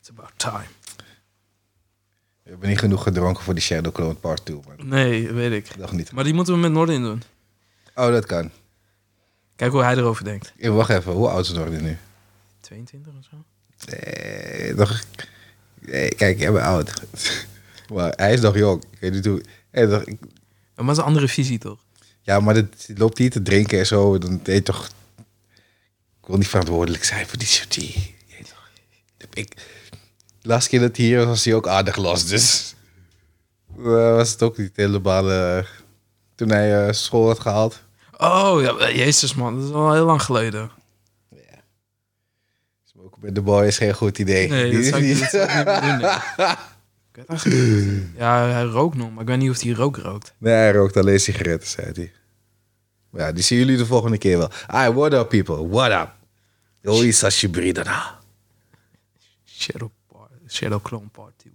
It's about time. We hebben niet genoeg gedronken voor die Shadow Clone Part 2, man. Nee, weet ik. Ik dacht niet. Maar die moeten we met Nordin doen. Oh, dat kan. Kijk hoe hij erover denkt. Eh, wacht even, hoe oud is Norden nu? 22 of zo? Eh, nog... eh, kijk, jij bent oud. maar hij is nog jong. Ik weet niet hoe... eh, nog- ik- Maar dat is een andere visie toch? Ja, maar dit loopt hier te drinken en zo. Dan weet je toch... Ik wil niet verantwoordelijk zijn voor die soort dingen. Je weet toch. Ik... De laatste keer dat hij hier was, was hij ook aardig los, dus... Eh, was het ook niet helemaal... eh, toen hij eh, school had gehaald. Oh, ja, jezus man, dat is al heel lang geleden. Smoken met de boy is geen goed idee. Nee, Die dat is zou ik, niet- dat zou ik niet meer doen. nee. Ik weet eigenlijk niet. Ja, hij rookt nog, maar ik weet niet of hij rook rookt. Nee, hij rookt alleen sigaretten, zei hij. Maar Ja, die zien jullie de volgende keer wel. Ah, what up, people? What up? Yoi, sashibri daarna. Shadow, par- Shadow Clone Party.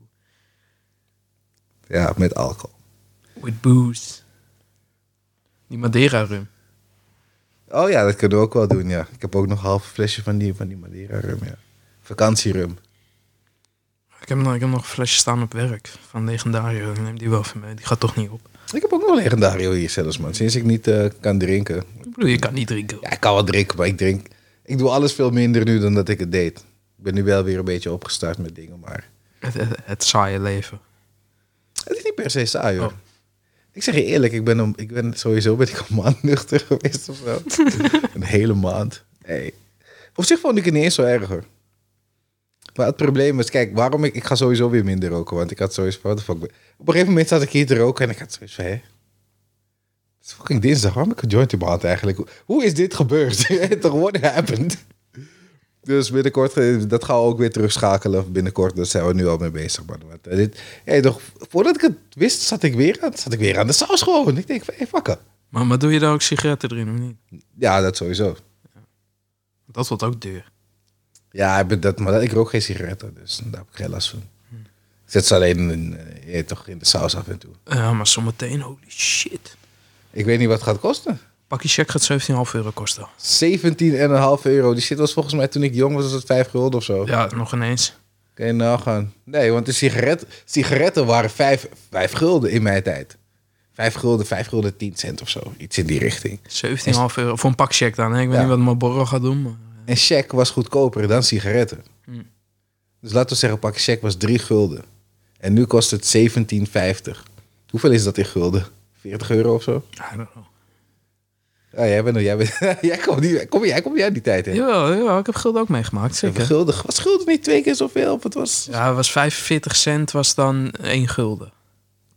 Ja, met alcohol. With booze. Die Madeira rum. Oh ja, dat kunnen we ook wel doen, ja. Ik heb ook nog een half flesje van die, van die Madeira-rum, ja. Vakantierum. Ik heb, nog, ik heb nog een flesje staan op werk van Legendario. Ik neem die wel van mee. Die gaat toch niet op. Ik heb ook nog legendario hier zelfs, man. Sinds ik niet eh, kan drinken. Ik bedoel, je kan niet drinken. Ja, ik kan wel drinken, maar ik drink... Ik doe alles veel minder nu dan dat ik het deed. Ik ben nu wel weer een beetje opgestart met dingen, maar... Het, het, het saaie leven. Het is niet per se saai hoor. Oh. Ik zeg je eerlijk, ik ben, om, ik ben sowieso ben ik een maand nuchter geweest of zo. een hele maand. Nee. Op zich vond ik het niet eens zo erg hoor. Maar het probleem is, kijk, waarom ik, ik ga sowieso weer minder roken. Want ik had sowieso van, what the fuck. ben- Op een gegeven moment zat ik hier te roken en ik had zoiets van, hè? Het is fucking dinsdag, waarom heb ik gejoint die maand eigenlijk? Hoe- Hoe is dit gebeurd? Toch, what happened? Dus binnenkort, eh, dat gaan we ook weer terugschakelen. Binnenkort, daar zijn we nu al mee bezig. Man. Want, eh, dit, hey, toch, voordat ik het wist, zat ik weer aan, zat ik weer aan de saus gewoon. Ik denk, van, hey, fuck it. Maar, maar doe je daar ook sigaretten erin of niet? Ja, dat sowieso. Dat wordt ook duur. Ja, ik ben dat, maar dat, ik rook geen sigaretten, dus daar heb ik geen last van. Ik zet ze alleen in, eh, je weet toch, in de saus af en toe. Ja, maar zometeen, holy shit. Ik weet niet wat het gaat kosten. Pakje check gaat 17,5 euro kosten. 17,5 euro. Die shit was volgens mij toen ik jong was, was het 5 gulden of zo. Ja, nog ineens. Kan je nou gaan? Nee, want de sigaret, sigaretten waren 5, 5 gulden in mijn tijd. 5 gulden, 5 gulden 10 cent of zo. Iets in die richting. 17,5 euro voor een pak check dan. Hè? Ik weet Ja. niet wat Marlboro gaat doen. Maar... En check was goedkoper dan sigaretten. Hm. Dus laten we zeggen, pak check was 3 gulden. En nu kost het 17,50. Hoeveel is dat in gulden? 40 euro of zo? I don't know. Ah, jij bent nog, jij, bent, jij komt die, kom, jij komt uit die tijd, hè? Jawel, jawel, ik heb gulden ook meegemaakt, zeker. Gulden, was gulden niet twee keer zoveel? Of het was... Ja, het was 45 cent was dan 1 gulden.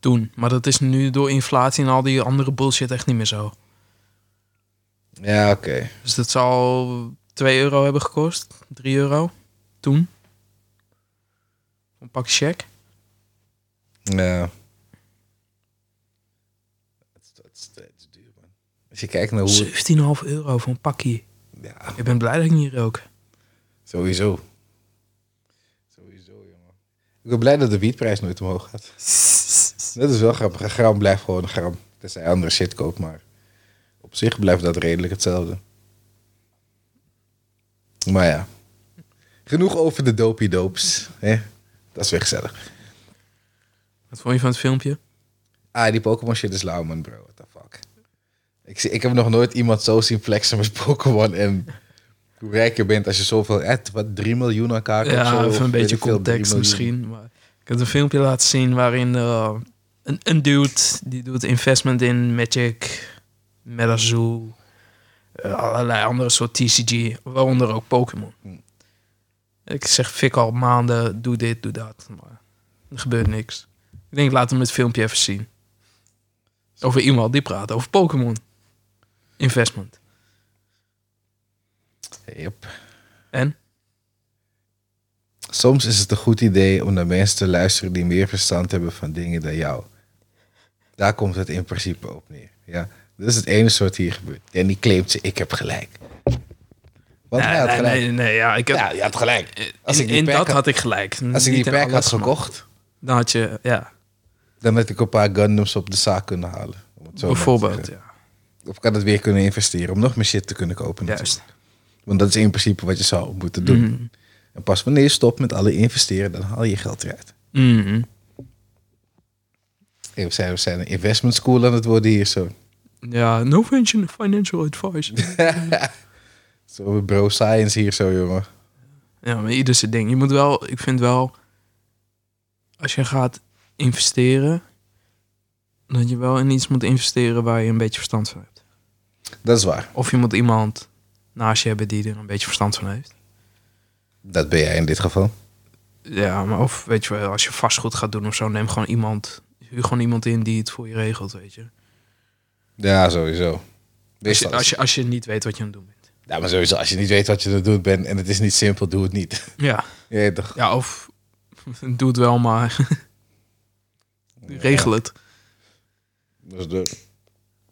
Toen. Maar dat is nu door inflatie en al die andere bullshit echt niet meer zo. Ja, oké. Dus dat zal 2 euro hebben gekost. 3 euro. Toen. Een pak check. Ja. Het is, het is- het is duur, man. Als je kijkt naar hoe... 17,5 euro voor een pakje. Ja, Ik ben blij dat ik niet rook. sowieso. Sowieso, jongen. Ik ben blij dat de wietprijs nooit omhoog gaat. Dat is wel grappig. Een gram blijft gewoon een gram. Tenzij je andere shit koopt, maar... Op zich blijft dat redelijk hetzelfde. Maar ja. Genoeg over de dopiedoops. hè? Dat is weer gezellig. Wat vond je van het filmpje? Ah, die Pokémon shit is lauw, man, bro. What the fuck. Ik, zie- ik heb nog nooit iemand zo zien flexen met Pokémon. En hoe rijk je bent als je zoveel... Eh, wat, 3 miljoen aan kaarten of zo? Ja, Of even een weet beetje ik veel, drie context miljoen. misschien. Maar ik heb een filmpje laten zien waarin eh, een, een dude die doet investment in Magic, MetaZoo, eh, allerlei andere soort TCG, waaronder ook Pokémon. Hm. Ik zeg fik al maanden, doe dit, doe dat. Maar er gebeurt niks. Ik denk, laat hem het filmpje even zien. Over iemand die praat over Pokémon. Investment. Yep. En? Soms is het een goed idee om naar mensen te luisteren die meer verstand hebben van dingen dan jou. Daar komt het in principe op neer. Ja? Dat is het ene soort hier gebeurt. En die claimt ze, ik heb gelijk. Want hij nee, had nee, gelijk. nee, nee, ja, ik heb, Ja, je had gelijk. Als in, ik die in pack dat had- had ik gelijk. Als ik Niet die in pack had alles, maar- gekocht... Dan had je, ja, Dan had ik een paar Gundams op de zaak kunnen halen. om het zo maar te bijvoorbeeld. zeggen. Ja, Of ik had het weer kunnen investeren om nog meer shit te kunnen kopen. natuurlijk. juist. Want dat is in principe wat je zou moeten doen. Mhm. En pas wanneer je stopt met alle investeren, dan haal je je geld eruit. Mhm. Hey, we, zijn, we zijn een investment school aan het worden hier zo. Ja, no financial- financial advice. Zo bro science hier zo, jongen. Ja, maar ieder zijn ding. Je moet wel, ik vind wel, als je gaat investeren, dat je wel in iets moet investeren waar je een beetje verstand van hebt. Dat is waar. Of je moet iemand naast je hebben die er een beetje verstand van heeft. Dat ben jij in dit geval. Ja, maar of weet je wel, als je vastgoed gaat doen of zo, neem gewoon iemand, huur gewoon iemand in die het voor je regelt, weet je. Ja, sowieso. Als Wees je, dat. als je, als je niet weet wat je aan het doen bent. Ja, maar sowieso, als je niet weet wat je aan het doen bent en het is niet simpel, doe het niet. Ja, Je weet toch? ja of doe het wel, maar regel het. Ja, dat is de-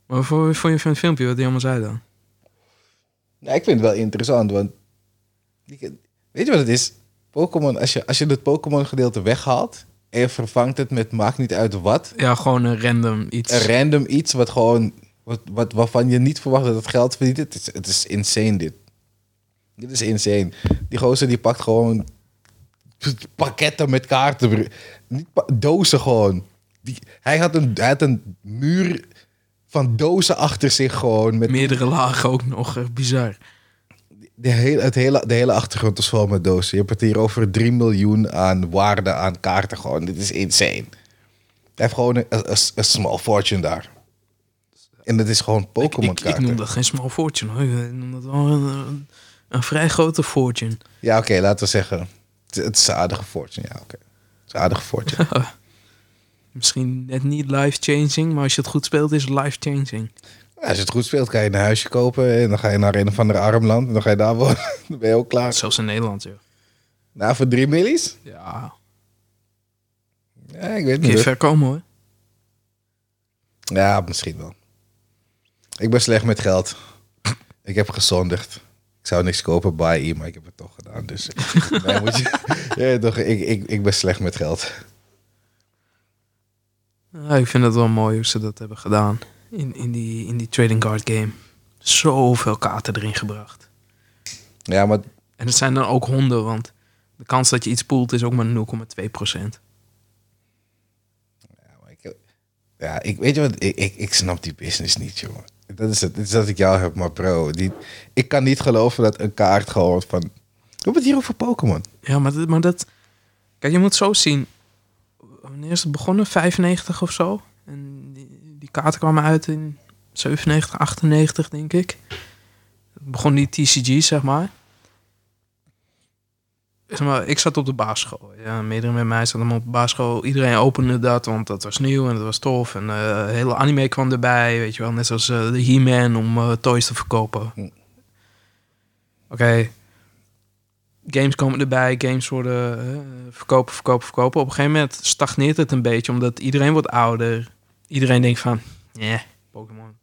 Maar voor, voor je van het filmpje, wat die allemaal zei dan? Nou, ik vind het wel interessant, want je- weet je wat het is? Pokémon, als je, als je het Pokémon gedeelte weghaalt en je vervangt het met maakt niet uit wat, Ja, gewoon een random iets. een random iets wat gewoon, wat, wat, waarvan je niet verwacht dat het geld verdient, het is, het is insane dit. Dit is insane. Die gozer die pakt gewoon pakketten met kaarten, bro. niet pa- dozen gewoon. Die, hij, had een, hij had een muur van dozen achter zich gewoon met Meerdere lagen ook nog, echt bizar. De hele, het hele, de hele achtergrond is vol met dozen. Je hebt het hier over 3 miljoen aan waarde aan kaarten gewoon. Dit is insane. Hij heeft gewoon een, een, een small fortune daar. En dat is gewoon Ik, Pokémon ik, ik noem kaarten. dat geen small fortune hoor. Ik eh, noem dat wel een, een, een vrij grote fortune. Ja, oké, laten we zeggen. Het, het is een aardige fortune, ja, oké. Het is een aardige fortune. Misschien net niet life-changing, maar als je het goed speelt is het life-changing. Ja, Als je het goed speelt, kan je een huisje kopen. En dan ga je naar een of ander arm land. En dan ga je daar wonen. Dan ben je ook klaar. Zelfs in Nederland, joh. Nou, voor 3 millies? Ja, Ja, ik weet kun je niet. ver komen hoor. Ja, misschien wel. Ik ben slecht met geld. Ik heb gezondigd. Ik zou niks kopen bij I, maar ik heb het toch gedaan. Dus nee, moet je, ja, toch, ik, ik, ik ben slecht met geld. Ja, ik vind het wel mooi hoe ze dat hebben gedaan in, in, die, in die trading card game. Zoveel kaarten erin gebracht. Ja, maar En het zijn dan ook honden, want de kans dat je iets poelt is ook maar 0,2%. Ja, ik, ja, ik weet je wat, ik, ik, ik snap die business niet, jongen. Dat is het, dit is dat ik jou heb, maar bro, die, ik kan niet geloven dat een kaart gewoon van... We hebben het hier over Pokémon. Ja, maar dat, maar dat... Kijk, je moet zo zien. Wanneer is het begonnen? 95 of zo? En die, die kaarten kwamen uit in 97, 98, denk ik. Begon die TCG, zeg maar. Zeg maar, ik zat op de basisschool. Ja, meerdere met mij zaten allemaal op de basisschool. Iedereen opende dat, want dat was nieuw en dat was tof. En eh hele anime kwam erbij, weet je wel. Net zoals eh, de He-Man om eh, toys te verkopen. Oké, games komen erbij, games worden eh, verkopen, verkopen, verkopen. Op een gegeven moment stagneert het een beetje, omdat iedereen wordt ouder. Iedereen denkt van, nee, Pokémon.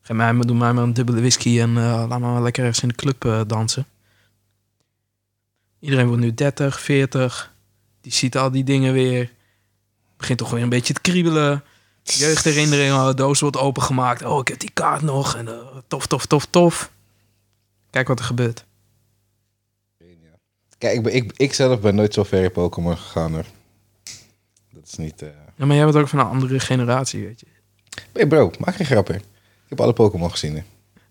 Geef mij maar, doe mij maar een dubbele whisky en eh, laat me maar lekker ergens in de club eh, dansen. Iedereen wordt nu 30, 40. Die ziet al die dingen weer. Begint toch weer een beetje te kriebelen. Jeugdherinnering, oh, de doos wordt opengemaakt. Oh, ik heb die kaart nog. En eh, tof, tof, tof, tof. Kijk wat er gebeurt. Kijk, ik, ben, ik, ik zelf ben nooit zo ver in Pokémon gegaan, hoor. Dat is niet... eh, Ja, maar jij bent ook van een andere generatie, weet je. Hey bro, maak geen grappen. Ik heb alle Pokémon gezien. hè.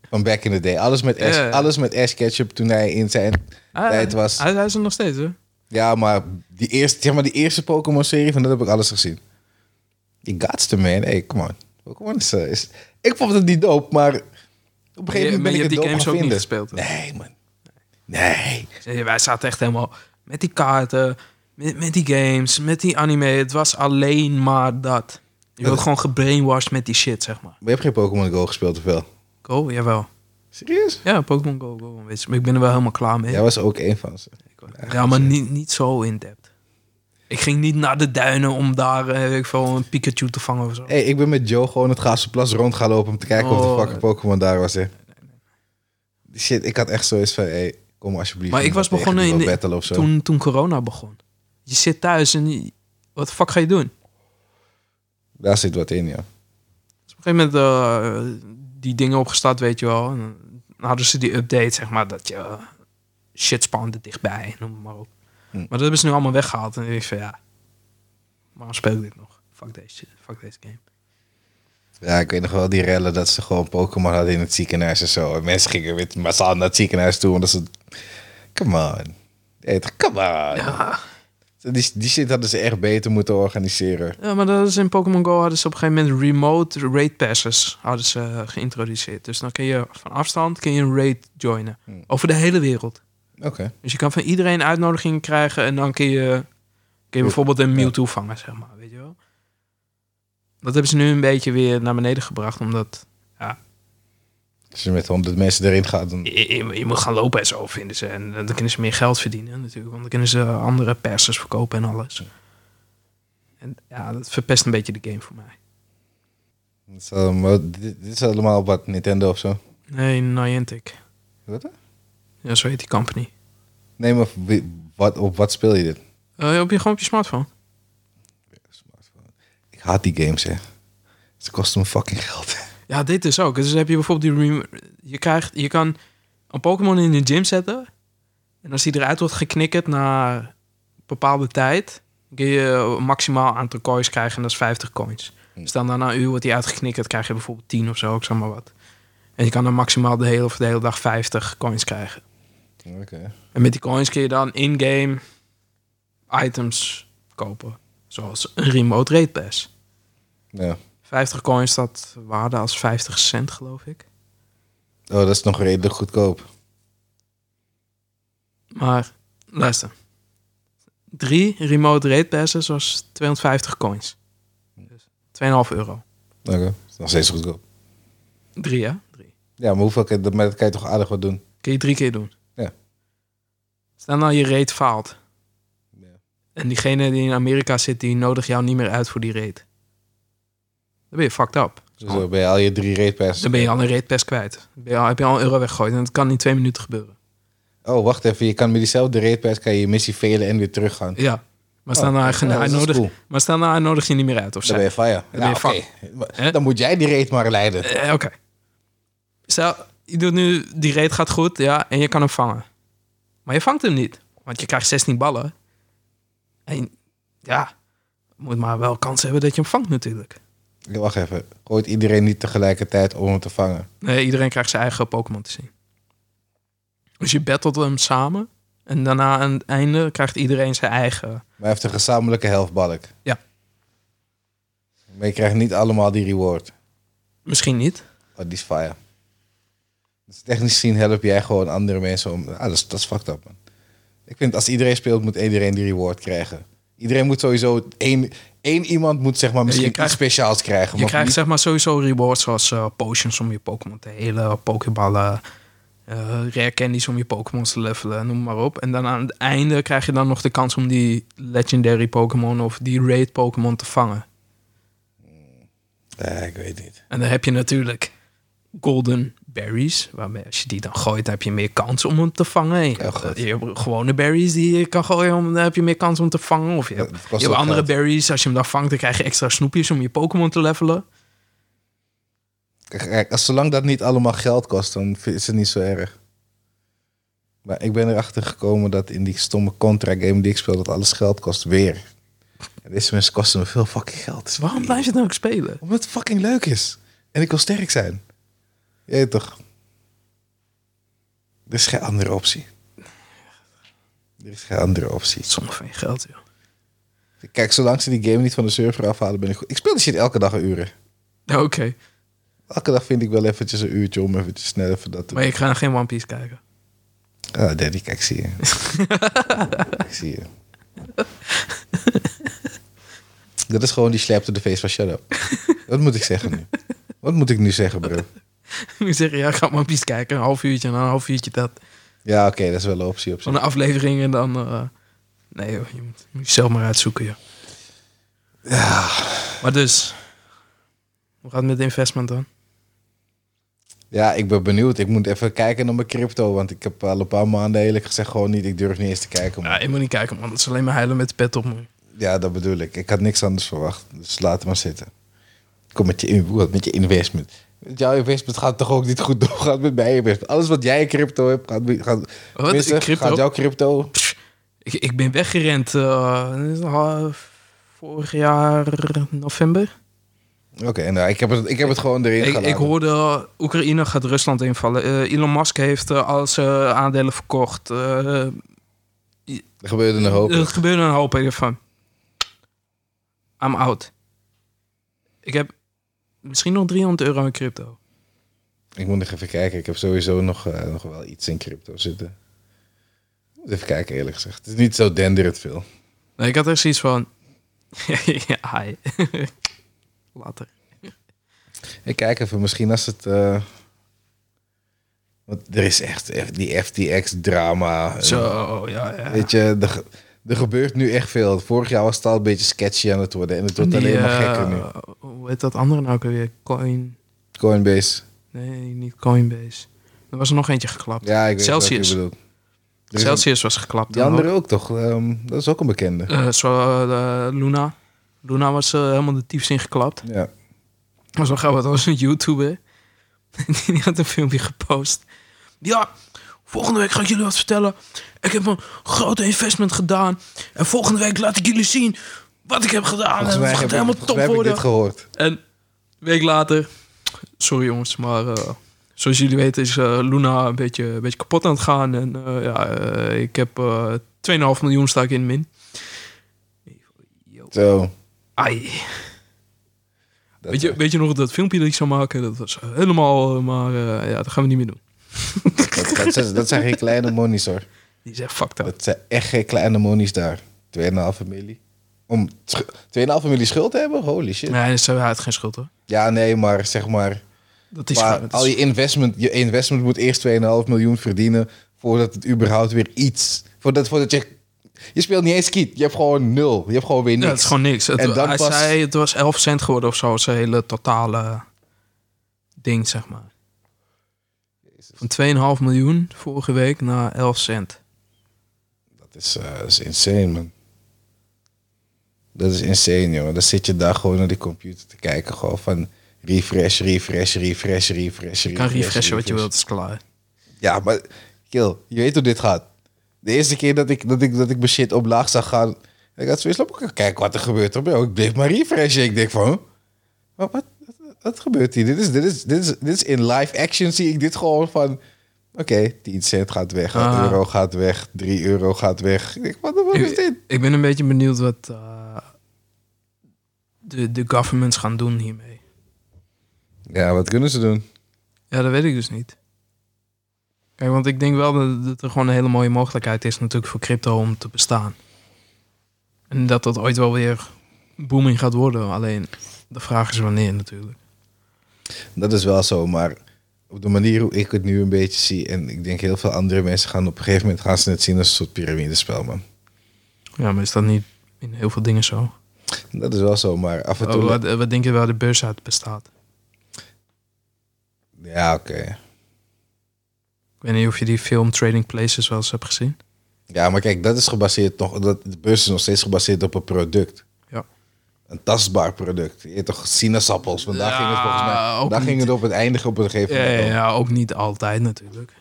Van back in the day. Alles met Ash, Ja, ja. alles met Ash Ketchum toen hij in zijn tijd was. Ah, Hij, hij is er nog steeds, hè? Ja, maar die eerste, zeg maar, die eerste Pokémon-serie, van dat heb ik alles gezien. Die gaatste man. Hey, come on. Pokémon is, eh, is... Ik vond het niet dope, maar... Op een Maar je- gegeven moment maar ben je hebt ik het die dope games gaan ook niet vinden. gespeeld, hè? Nee, man. Nee. Ja, Wij zaten echt helemaal met die kaarten, met, met die games, met die anime. Het was alleen maar dat. Je wordt is- gewoon gebrainwashed met die shit, zeg maar. Maar je hebt geen Pokémon Go gespeeld, of wel? Go, jawel. Serieus? Ja, Pokémon Go, Go. een beetje. Maar ik ben er wel helemaal klaar mee. Jij was ook één van ze. Ja, maar niet, niet zo in-depth. Ik ging niet naar de duinen om daar eh, weet ik veel, een Pikachu te vangen of zo. Hey, ik ben met Joe gewoon het Gaasplas rond gaan lopen om te kijken of Oh. de fucking Pokémon daar was. Hè. Shit, ik had echt zoiets van, hey, kom alsjeblieft. Maar ik was tegen begonnen die in de- battle of zo. Toen, toen corona begon. Je zit thuis en je- wat de fuck ga je doen? Daar zit wat in, ja. Dus op een gegeven moment eh, die dingen opgestart, weet je wel. En dan hadden ze die update, zeg maar, dat je eh, shit spawnde dichtbij, noem het maar op. Hm. Maar dat hebben ze nu allemaal weggehaald. En ik denk van ja, waarom speel ik dit nog? Fuck deze, shit, fuck deze game. Ja, ik weet nog wel die rellen dat ze gewoon Pokémon hadden in het ziekenhuis en zo. En mensen gingen met massaal naar het ziekenhuis toe. Omdat ze... Come on. Hey, toch, come on. Ja, Die, die shit hadden ze echt beter moeten organiseren. ja maar dat is in Pokémon Go hadden ze op een gegeven moment remote raid passes hadden ze eh, geïntroduceerd. Dus dan kun je van afstand kun je een raid joinen. Hm. Over de hele wereld. Oké. Dus je kan van iedereen uitnodigingen krijgen en dan kun je, kun je bijvoorbeeld een Mewtwo vangen, zeg maar, weet je wel. Dat hebben ze nu een beetje weer naar beneden gebracht, omdat Als je met 100 mensen erin gaat, dan... je, je- je moet gaan lopen en zo, vinden ze. En eh, dan kunnen ze meer geld verdienen natuurlijk, want dan kunnen ze andere persers verkopen en alles. En ja, dat verpest een beetje de game voor mij. Dat is allemaal- dit, dit is allemaal wat Nintendo of zo. Nee, Niantic. Wat? Ja, zo heet die company. Nee, maar wie- wat, op wat speel je dit? Eh, op je, gewoon op je smartphone. Ik haat die games, hè. Ze kosten me fucking geld. Ja, dit is ook. Dus heb je bijvoorbeeld die... rem- Je, krijgt, je kan een Pokémon in de gym zetten. En als die eruit wordt geknikkerd na een bepaalde tijd... kun je maximaal aantal coins krijgen. En dat is 50 coins. Hm. Dus dan na een uur wordt die uitgeknikkerd... krijg je bijvoorbeeld 10 of zo, ik zeg maar wat. En je kan dan maximaal de hele, of de hele dag 50 coins krijgen. Oké. En met die coins kun je dan in-game items kopen. Zoals een remote raid pass. Ja. 50 coins, dat waarde als 50 cent, geloof ik. Oh, dat is nog redelijk goedkoop. Maar luister. Drie remote rate passes was 250 coins. Dus 2,5 euro. Oké. Dat is nog steeds goedkoop. Drie, hè? Drie. Ja, maar hoeveel kan, maar dat kan je toch aardig wat doen? Kun je drie keer doen. Ja. Stel nou je rate faalt. Ja. En diegene die in Amerika zit, die nodigt jou niet meer uit voor die rate. Dan ben je fucked up. Dus dan ben je al je drie raidpasses. Dan ben je al een rate pass kwijt. Dan ben je al, heb je al een euro weggegooid. En dat kan in twee minuten gebeuren. Oh, wacht even. Je kan met diezelfde raidpass kan je je missie velen en weer teruggaan. Ja. Maar stel, nou, hij- Oh, ja, hij dat is nodigt- cool. maar stel nou, hij nodigt je niet meer uit. Of zij. Dan ben je fire. ben je Ja, oké. Hè? Dan moet jij die raid maar leiden. Eh, Oké. Stel, je doet nu, die raid gaat goed, ja, en je kan hem vangen. Maar je vangt hem niet, want je krijgt 16 ballen. En ja, je moet maar wel kans hebben dat je hem vangt natuurlijk. Ja, Wacht even. Gooit iedereen niet tegelijkertijd om hem te vangen? Nee, iedereen krijgt zijn eigen Pokémon te zien. Dus je battelt hem samen. En daarna aan het einde krijgt iedereen zijn eigen. Maar hij heeft een gezamenlijke helftbalk. Ja. Maar je krijgt niet allemaal die reward. Misschien niet. Oh, die is fire. Dus technisch gezien help jij gewoon andere mensen om... Ah, dat is, dat is fucked up, man. Ik vind als iedereen speelt, moet iedereen die reward krijgen. Iedereen moet sowieso... één, één iemand moet zeg maar misschien krijgt- iets speciaals krijgen. Je maar krijgt niet- zeg maar sowieso rewards zoals eh, potions om je Pokémon te helen, Pokéballen, eh, rare candies om je Pokémons te levelen, noem maar op. En dan aan het einde krijg je dan nog de kans om die legendary Pokémon of die raid Pokémon te vangen. Ja, ik weet niet. En dan heb je natuurlijk golden berries, waarmee als je die dan gooit, dan heb je meer kans om hem te vangen. En je, Oh, hebt, eh, goed. je hebt gewone berries die je kan gooien, om, dan heb je meer kans om te vangen. Of je hebt, Dat kost je hebt ook andere geld. berries, als je hem dan vangt, dan krijg je extra snoepjes om je Pokémon te levelen. Kijk, Kijk, als zolang dat niet allemaal geld kost, dan vind- is het niet zo erg. Maar ik ben erachter gekomen dat in die stomme Contra-game die ik speel, dat alles geld kost weer. En deze mensen kosten me veel fucking geld. Dus waarom blijf je het dan ook spelen? Omdat het fucking leuk is. En ik wil sterk zijn. Je weet toch? Er is geen andere optie. Er is geen andere optie. Sommige van je geld, joh. Kijk, zolang ze die game niet van de server afhalen, ben ik goed. Ik speel die shit elke dag een uren. Ja, Oké, Elke dag vind ik wel eventjes een uurtje om eventjes snel even dat te maar ik ga geen One Piece kijken. Ah, Daddy, kijk, ik zie je. ik zie je. Dat is gewoon die slap to the face van shut up. Wat moet ik zeggen nu? Wat moet ik nu zeggen, bro? ik zeg, ja, ik ga One Piece kijken. Een half uurtje en dan een half uurtje dat. Ja, oké, dat is wel een optie op zich. Van een aflevering en dan... eh, nee, joh, je moet, moet je zelf maar uitzoeken, joh. Ja. Maar dus, hoe gaat het met investment dan? Ja, ik ben benieuwd. Ik moet even kijken naar mijn crypto. Want ik heb eh, al een paar maanden eerlijk gezegd gewoon niet. Ik durf niet eens te kijken. Ja, Man. ik moet niet kijken, man. Dat is alleen maar huilen met de pet op, man. Ja, dat bedoel ik. Ik had niks anders verwacht. Dus laat het maar zitten. Kom met je, in- wat met je investment. Met jouw investment gaat toch ook niet goed door. Gaat met mijn investment. Alles wat jij in crypto hebt, gaat... gaat Wat is tenminste, crypto? Gaat jouw crypto... Ik, ik ben weggerend eh, dat is al vorig jaar november. Oké, nou, ik heb het, ik heb het gewoon erin Ik, gelaten. ik hoorde eh, Oekraïne gaat Rusland invallen. Eh, Elon Musk heeft eh, al zijn aandelen verkocht. Eh, Er gebeurde een hoop. Er gebeurde een hoop ervan. I'm out. Ik heb misschien nog 300 euro in crypto. Ik moet nog even kijken. Ik heb sowieso nog, eh, nog wel iets in crypto zitten. Moet Even kijken, eerlijk gezegd. Het is niet zo denderend veel. Nee, ik had echt zoiets van... ja, hi. Later. Ik kijk even, misschien als het... eh, Want er is echt, echt die FTX-drama. en- Zo, ja, ja. Weet je, er, ge- er gebeurt nu echt veel. Vorig jaar was het al een beetje sketchy aan het worden. En het wordt alleen eh, maar gekker nu. nu. Hoe heet dat andere nou ook alweer? Coin... Coinbase. Nee, niet Coinbase. Er was er nog eentje geklapt. Ja, ik weet Celsius. wat je bedoelt. Er is een- Celsius was geklapt. Die dan andere ook toch? Ehm, dat is ook een bekende. ook. Eh, zo, eh, Luna. Luna was eh, helemaal de diepst ingeklapt. Ja. was wel grappig, dat was een YouTuber. Die had een filmpje gepost. Ja, volgende week ga ik jullie wat vertellen. Ik heb een grote investment gedaan. En volgende week laat ik jullie zien wat ik heb gedaan. Volgens en mij het heb, gaat ik- helemaal volgens top mij heb ik worden. dit gehoord. En een week later... Sorry jongens, maar eh, zoals jullie weten is eh, Luna een beetje, een beetje kapot aan het gaan. En eh, ja, eh, ik heb eh 2,5 miljoen sta ik in de min. Zo. Ai. Dat- Weet je, weet je nog dat filmpje dat ik zou maken? Dat was helemaal, eh, maar eh, ja, dat gaan we niet meer doen. Dat, dat zijn, dat zijn geen kleine monies hoor. Die zegt fuck dat. Dat zijn echt geen kleine monies daar. 2,5 miljoen. Om schu- 2,5 miljoen schuld te hebben? Holy shit. Nee, dat hij had geen schuld hoor. Ja, nee, maar zeg maar. Dat is maar gewoon- dat al is- je investment, je investment moet eerst 2,5 miljoen verdienen. voordat het überhaupt weer iets. Voordat, voordat je. Je speelt niet eens kiet. Je hebt gewoon nul. Je hebt gewoon weer ja, niks. dat is gewoon niks. Het, En dan hij pas- zei het was 11 cent geworden of zo, zijn hele totale ding zeg maar. Van 2,5 miljoen vorige week naar 11 cent. Dat is, eh, dat is insane, man. Dat is insane, jongen. Dan zit je daar gewoon naar die computer te kijken. Gewoon van refresh, refresh, refresh, refresh, refresh. Je kan refreshen wat je wilt, is klaar. Ja, maar kill, je weet hoe dit gaat. De eerste keer dat ik, dat ik, dat ik mijn shit omlaag zag gaan... Ik had zoiets van, kijk wat er gebeurt. op jou. Ik bleef maar refreshen. Ik denk van, huh? wat, wat, wat, wat gebeurt hier? Dit is, dit, is, dit, is, dit is in live action zie ik dit gewoon van... Oké, 10 cent gaat weg, een Ah. euro gaat weg, 3 euro gaat weg. Ik denk, wat, wat is dit? Ik, ik ben een beetje benieuwd wat eh, de, de governments gaan doen hiermee. Ja, wat kunnen ze doen? Ja, dat weet ik dus niet. Kijk, want ik denk wel dat, dat er gewoon een hele mooie mogelijkheid is natuurlijk voor crypto om te bestaan. En dat dat ooit wel weer booming gaat worden. Alleen de vraag is wanneer natuurlijk. Dat is wel zo, maar op de manier hoe ik het nu een beetje zie... en ik denk heel veel andere mensen gaan op een gegeven moment... gaan ze het zien als een soort piramidespel, man. Ja, maar is dat niet in heel veel dingen zo? Dat is wel zo, maar af en toe... Oh, wat, wat denk je waar de beurs uit bestaat? Ja, oké. Ik weet niet of je die film Trading Places wel eens hebt gezien. Ja, maar kijk, dat is gebaseerd nog... Dat, de beurs is nog steeds gebaseerd op een product. Ja. Een tastbaar product. Je eet toch sinaasappels, want daar Ja, ging het volgens mij... ook Daar ging niet. het op het eindigen op een gegeven Ja, moment. ja, om. ja, ook niet altijd natuurlijk.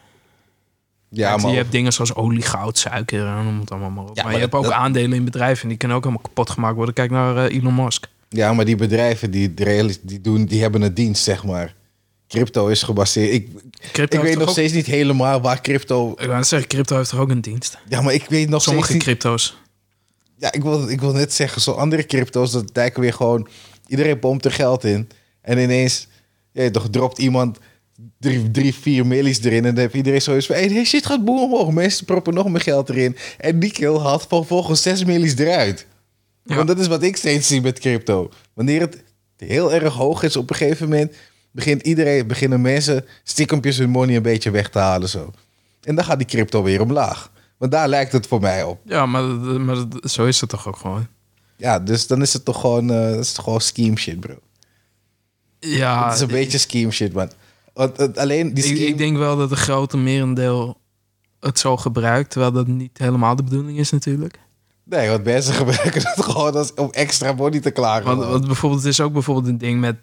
Ja, je maar... hebt dingen zoals olie, goud, suiker en noem het allemaal maar op. Ja, maar, maar je hebt dat- ook dat- aandelen in bedrijven en die kunnen ook helemaal kapot gemaakt worden. Kijk naar eh, Elon Musk. Ja, maar die bedrijven die, het reali- die, doen, die hebben een dienst, zeg maar. Crypto is gebaseerd... Ik, Crypto ik heeft weet toch nog ook- steeds niet helemaal waar crypto... Ik wou net zeggen, crypto heeft toch ook een dienst? Ja, maar ik weet nog Sommige steeds niet... crypto's. Ja, ik wil, ik wil net zeggen, zo andere crypto's, dat lijken weer gewoon... Iedereen pompt er geld in. En ineens, ja, toch dropt iemand drie, drie, vier millies erin. En dan heeft iedereen zoiets van, hey, shit gaat boem omhoog. Mensen proppen nog meer geld erin. En die kill haalt vervolgens zes millies eruit. Ja. Want dat is wat ik steeds zie met crypto. Wanneer het heel erg hoog is op een gegeven moment... begint iedereen, beginnen mensen stikkempjes hun money een beetje weg te halen zo. En dan gaat die crypto weer omlaag. Want daar lijkt het voor mij op. Ja, maar, dat- maar dat- zo is het toch ook gewoon. Ja, dus dan is het toch gewoon, eh, dat is toch gewoon scheme shit, bro. Ja, het is een Ah, ik- beetje scheme shit, man. Want het- alleen die ik, scheme... ik denk wel dat een grote merendeel het zo gebruikt, terwijl dat niet helemaal de bedoeling is natuurlijk. Nee, want mensen gebruiken dat gewoon als, om extra money te klagen. Want, man. want bijvoorbeeld, het is ook bijvoorbeeld een ding met...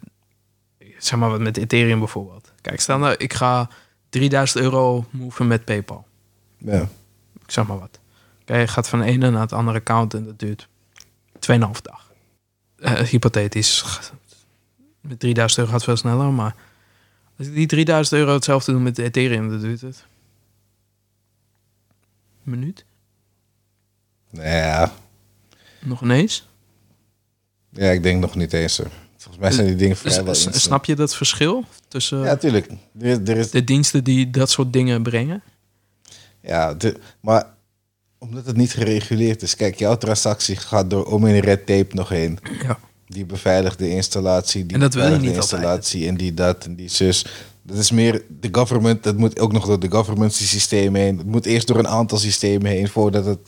Ik zeg maar wat met Ethereum bijvoorbeeld. Kijk, stel nou, ik ga 3000 euro moven met PayPal. Ja. Ik zeg maar wat. Oké, je gaat van de ene naar het andere account en dat duurt 2,5 dag. Eh, hypothetisch. Met 3000 euro gaat het veel sneller, maar als ik die 3000 euro hetzelfde doe met Ethereum, dan duurt het. Een minuut? Nou ja. Nog ineens? ja, ik denk nog niet eens. hoor. Volgens mij zijn die dingen S- vrijwel s- instant. Snap je dat verschil tussen Ja, tuurlijk. Er is, er is, de diensten die dat soort dingen brengen? ja, de- maar omdat het niet gereguleerd is. Kijk, jouw transactie gaat door om in red tape nog heen. Ja. Die beveiligde installatie, die En dat wil je beveiligde niet altijd. installatie en die dat en die zus. Dat is meer de government. Dat moet ook nog door de government systemen heen. Het moet eerst door een aantal systemen heen voordat het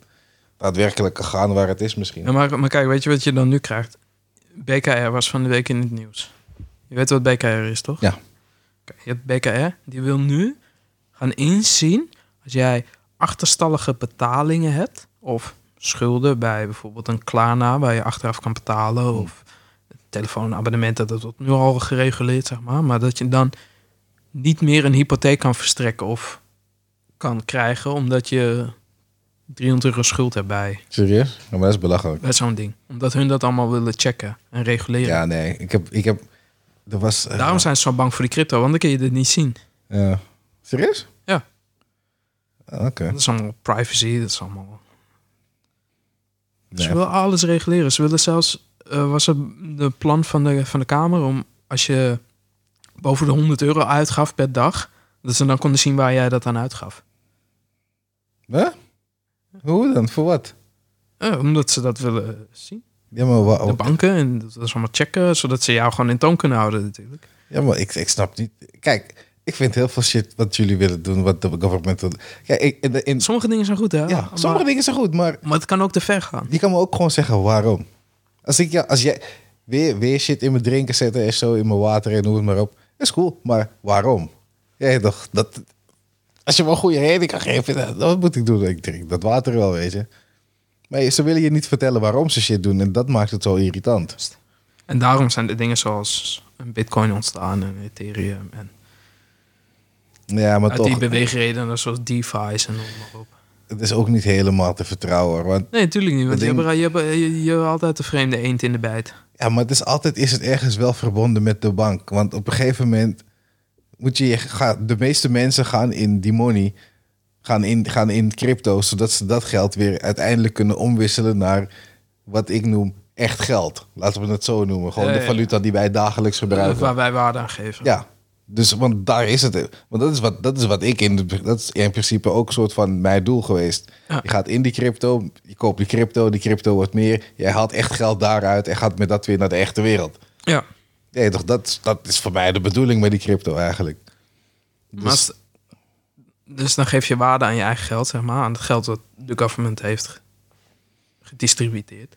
daadwerkelijk kan gaan waar het is misschien. Ja, maar, maar kijk, weet je wat je dan nu krijgt? BKR was van de week in het nieuws. Je weet wat BKR is, toch? Ja. Oké, je hebt BKR, die wil nu gaan inzien als jij achterstallige betalingen hebt of schulden bij bijvoorbeeld een Klarna waar je achteraf kan Hmm. betalen of een telefoonabonnement dat dat wordt nu al gereguleerd zeg maar, maar dat je dan niet meer een hypotheek kan verstrekken of kan krijgen omdat je 300 euro schuld hebt bij Serieus? Ja, maar dat is belachelijk. bij zo'n ding. Omdat hun dat allemaal willen checken en reguleren. Ja, nee. Ik heb... Ik heb er was... eh, Daarom zijn ze zo bang voor die crypto, want dan kun je dit niet zien. ja. Serieus? Ja. Ah, Oké. Dat is allemaal privacy, dat is allemaal... Nee. Ze willen alles reguleren. Ze willen zelfs... eh, was het de plan van de, van de Kamer om als je boven de 100 euro uitgaf per dag... dat ze dan konden zien waar jij dat aan uitgaf. Huh? Hoe dan? Voor wat? Eh, omdat ze dat willen zien. Oh, Ja, maar, wa- De banken, en dat is allemaal checken... zodat ze jou gewoon in toon kunnen houden natuurlijk. ja, maar ik, ik snap niet. Kijk, ik vind heel veel shit wat jullie willen doen, wat de government wil. Kijk, ik, in, in- Sommige dingen zijn goed, hè? ja, maar, sommige dingen zijn goed, maar maar het kan ook te ver gaan. je kan me ook gewoon zeggen waarom. Als, ik, ja, als jij weer, weer shit in mijn drinken zetten en zo, in mijn water en hoe het maar op, is cool, maar waarom? Ja, toch, dat, als je me een goede reden kan geven, dan, wat moet ik doen? Ik drink dat water wel, weet je. Maar ze willen je niet vertellen waarom ze shit doen en dat maakt het zo irritant. En daarom zijn de dingen zoals een bitcoin ontstaan en ethereum en Ja, maar uit toch. die beweegredenen zoals DeFi's en noem maar op. het is ook niet helemaal te vertrouwen. hoor, Want, Nee, natuurlijk niet, want Dat je, ding- hebt, je, hebt, je, je hebt altijd de vreemde eend in de bijt. ja, maar het is altijd is het ergens wel verbonden met de bank. Want op een gegeven moment moet je, je ga- de meeste mensen gaan in die money, gaan in, gaan in crypto, zodat ze dat geld weer uiteindelijk kunnen omwisselen naar wat ik noem echt geld. Laten we het zo noemen. Gewoon Ja, de ja. valuta die wij dagelijks gebruiken. Waar wij waarde aan geven. Ja, dus want daar is het. Want dat is wat, dat is wat ik in de, dat is in principe ook een soort van mijn doel geweest. Ja. Je gaat in die crypto, je koopt die crypto, die crypto wordt meer. Jij haalt echt geld daaruit en gaat met dat weer naar de echte wereld. Ja, Nee, toch, dat, dat is voor mij de bedoeling met die crypto eigenlijk. Dus, maar als- dus dan geef je waarde aan je eigen geld, zeg maar, aan het geld dat de government heeft ge- gedistributeerd.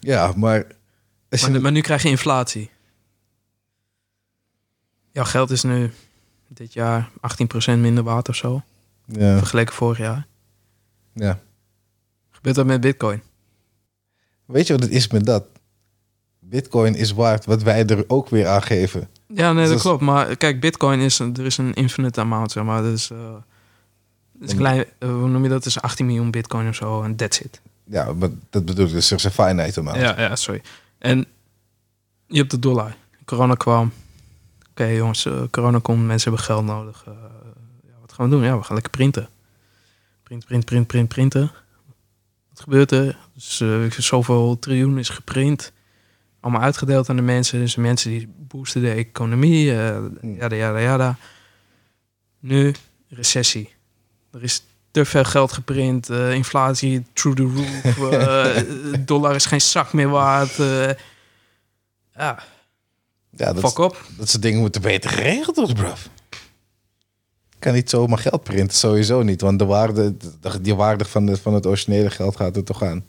ja, maar. als je- Maar, maar nu krijg je inflatie. Jouw geld is nu dit jaar 18% minder waard of zo, ja, vergeleken vorig jaar. ja. Gebeurt dat met bitcoin? Weet je wat het is met dat? Bitcoin is waard wat wij er ook weer aan geven. Ja, nee, Dus dat dat is- klopt. Maar kijk, bitcoin is, een- er is een infinite amount, zeg maar. Dus, eh dus En- klein, eh, hoe noem je dat? Dus 18 miljoen bitcoin of zo en that's it. Ja, maar dat bedoel ik. Dus er is een finite amount. Ja, ja, sorry. En je hebt de dollar. Corona kwam. Oké jongens, eh, corona komt, mensen hebben geld nodig. Eh, ja, wat gaan we doen? Ja, we gaan lekker printen. Print, print, print, print, printen. Wat gebeurt er? Dus, eh, zoveel triljoen is geprint. Allemaal uitgedeeld aan de mensen. Dus de mensen die boosten de economie. eh jada, jada, jada. Nu, recessie. Er is te veel geld geprint. eh, inflatie, through the roof. eh, dollar is geen zak meer waard. eh. ja, Ja, dat is- fuck op. Dat soort dingen moeten beter geregeld worden, bruv. Ik kan niet zomaar geld printen, sowieso niet. Want de waarde, de, die waarde van, de, van het originele geld gaat er toch aan.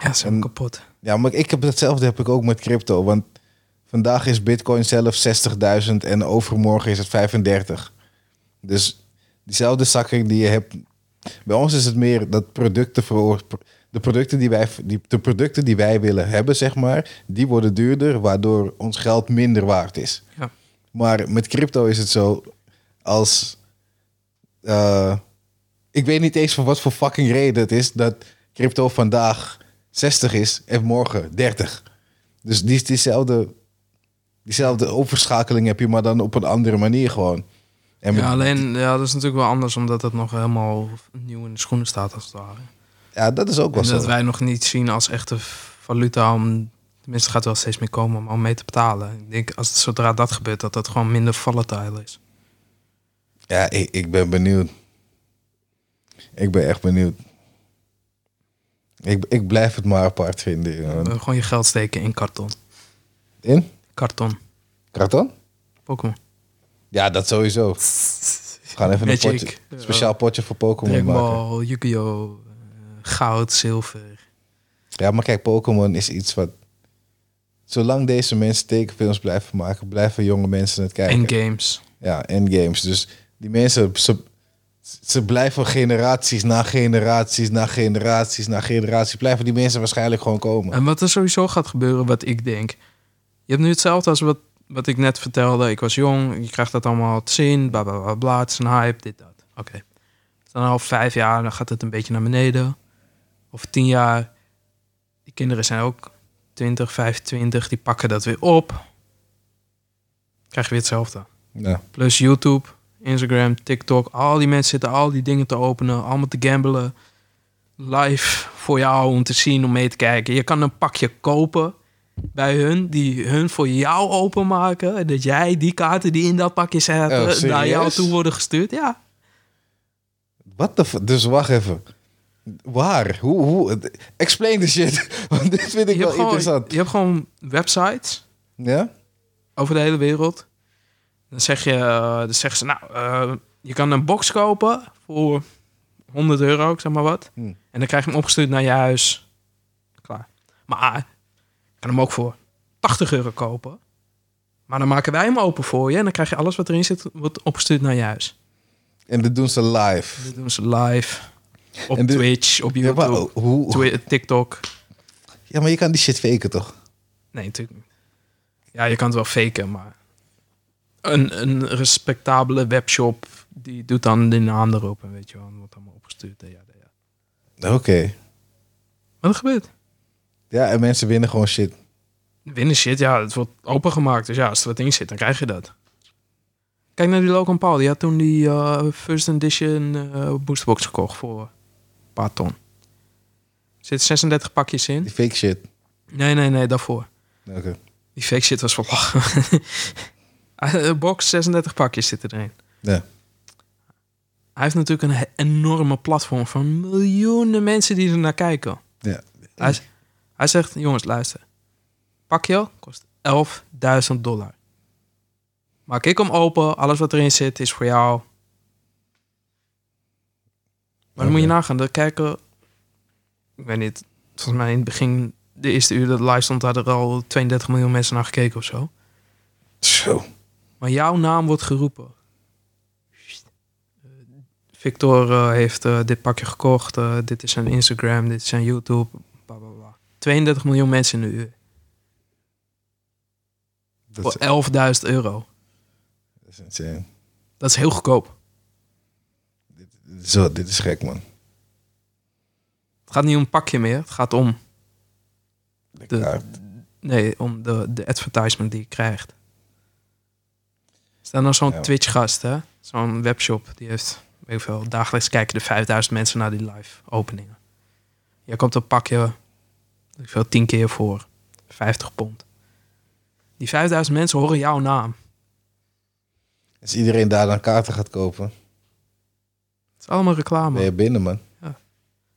Ja, ze zijn kapot. Ja, maar ik heb datzelfde heb ik ook met crypto. Want vandaag is bitcoin zelf 60.000 en overmorgen is het 35. Dus diezelfde zakking die je hebt. Bij ons is het meer dat producten veroor- De producten die wij, die, de producten die wij willen hebben, zeg maar, die worden duurder, waardoor ons geld minder waard is. Ja. Maar met crypto is het zo als. eh, ik weet niet eens van wat voor fucking reden het is dat crypto vandaag 60 is en morgen 30. Dus die, diezelfde, diezelfde overschakeling heb je, maar dan op een andere manier gewoon. En met- Ja, alleen, ja, dat is natuurlijk wel anders, omdat het nog helemaal nieuw in de schoenen staat, als het ware. ja, dat is ook wel En zo. dat wij nog niet zien als echte valuta om... Tenminste, het gaat wel steeds meer komen, maar om mee te betalen. Ik denk, als het, zodra dat gebeurt, dat dat gewoon minder volatile is. Ja, ik, ik ben benieuwd. Ik ben echt benieuwd. Ik, ik blijf het maar apart vinden. jongen. Eh, Gewoon je geld steken in karton. In? Karton. Karton? Pokémon. Ja, dat sowieso. We gaan even een Magic. potje, speciaal potje voor Pokémon Dragon maken. Ball, Yu-Gi-Oh! eh, goud, zilver. Ja, maar kijk, Pokémon is iets wat... Zolang deze mensen tekenfilms blijven maken, blijven jonge mensen het kijken. En games. Ja, en games. Dus die mensen, ze, ze blijven generaties na generaties na generaties na generaties... blijven die mensen waarschijnlijk gewoon komen. En wat er sowieso gaat gebeuren, wat ik denk. Je hebt nu hetzelfde als wat, wat ik net vertelde. Ik was jong, je krijgt dat allemaal te zien. Bla bla bla, bla het is een hype, dit, dat. Oké. Het is Dan al vijf jaar, dan gaat het een beetje naar beneden. Of tien jaar. Die kinderen zijn ook 20, 25, die pakken dat weer op. Krijg je weer hetzelfde. Ja. Plus YouTube, Instagram, TikTok. Al die mensen zitten al die dingen te openen. Allemaal te gambelen. Live voor jou om te zien, om mee te kijken. Je kan een pakje kopen bij hun. Die hun voor jou openmaken. En dat jij die kaarten die in dat pakje Oh, zetten... naar serieus? jou toe worden gestuurd. Ja. Wat de... f- Dus wacht even. Waar? Hoe? hoe? Explain the shit. Want dit vind ik je, wel hebt gewoon, interessant. je hebt gewoon websites Ja? over de hele wereld. Dan, zeg je, eh, dan zeggen ze, nou, eh, je kan een box kopen voor 100 euro, ik zeg maar wat. Hmm. En dan krijg je hem opgestuurd naar je huis. Klaar. Maar eh, je kan hem ook voor 80 euro kopen. Maar dan maken wij hem open voor je. En dan krijg je alles wat erin zit, wordt opgestuurd naar je huis. En dat doen ze live. Dat doen ze live. Op En dit- Twitch, op Ja, YouTube, maar, hoe? Twi- TikTok. ja, maar je kan die shit faken toch? Nee, natuurlijk niet. Ja, je kan het wel faken, maar... Een, een respectabele webshop, die doet dan de naam erop en weet je wel, en wordt allemaal opgestuurd. Ja, ja, ja. Oké. Wat er gebeurt? Ja, en mensen winnen gewoon shit. Winnen shit, ja, het wordt opengemaakt. Dus ja, als er wat in zit, dan krijg je dat. Kijk naar die Logan Paul, die had toen die eh, first edition eh, boosterbox gekocht voor een paar ton. Er zitten 36 pakjes in. Die fake shit. Nee, nee, nee, daarvoor. Oké. Die fake shit was van lachen. Een box, 36 pakjes zitten erin. Ja. Hij heeft natuurlijk een he- enorme platform van miljoenen mensen die er naar kijken. Ja. Hij, z- hij zegt, jongens, luister. Pakje kost 11.000 dollar. Maak ik hem open, alles wat erin zit is voor jou. Maar dan moet je Oké. nagaan, er kijken... Ik weet niet, volgens mij in het begin, de eerste uur dat het live stond, hadden er al 32 miljoen mensen naar gekeken of zo. Zo. Maar jouw naam wordt geroepen. Eh, Victor eh, heeft eh, dit pakje gekocht. eh, dit is zijn Instagram, dit is zijn YouTube. Bla, bla, bla. 32 miljoen mensen in de uur. Dat Voor is, 11.000 euro. dat is insane. Dat is heel goedkoop. Zo, dit is gek, man. Het gaat niet om een pakje meer. Het gaat om, De... Ja, nee, om de, de advertisement die je krijgt. Stel nou zo'n Ja. Twitch-gast, hè? Zo'n webshop. Die heeft, weet ik veel, dagelijks kijken er 5000 mensen naar die live openingen. Jij komt een pakje, weet ik veel, 10 keer voor 50 pond. Die 5000 mensen horen jouw naam. als iedereen daar dan kaarten gaat kopen, Het is allemaal reclame. ben je binnen, man.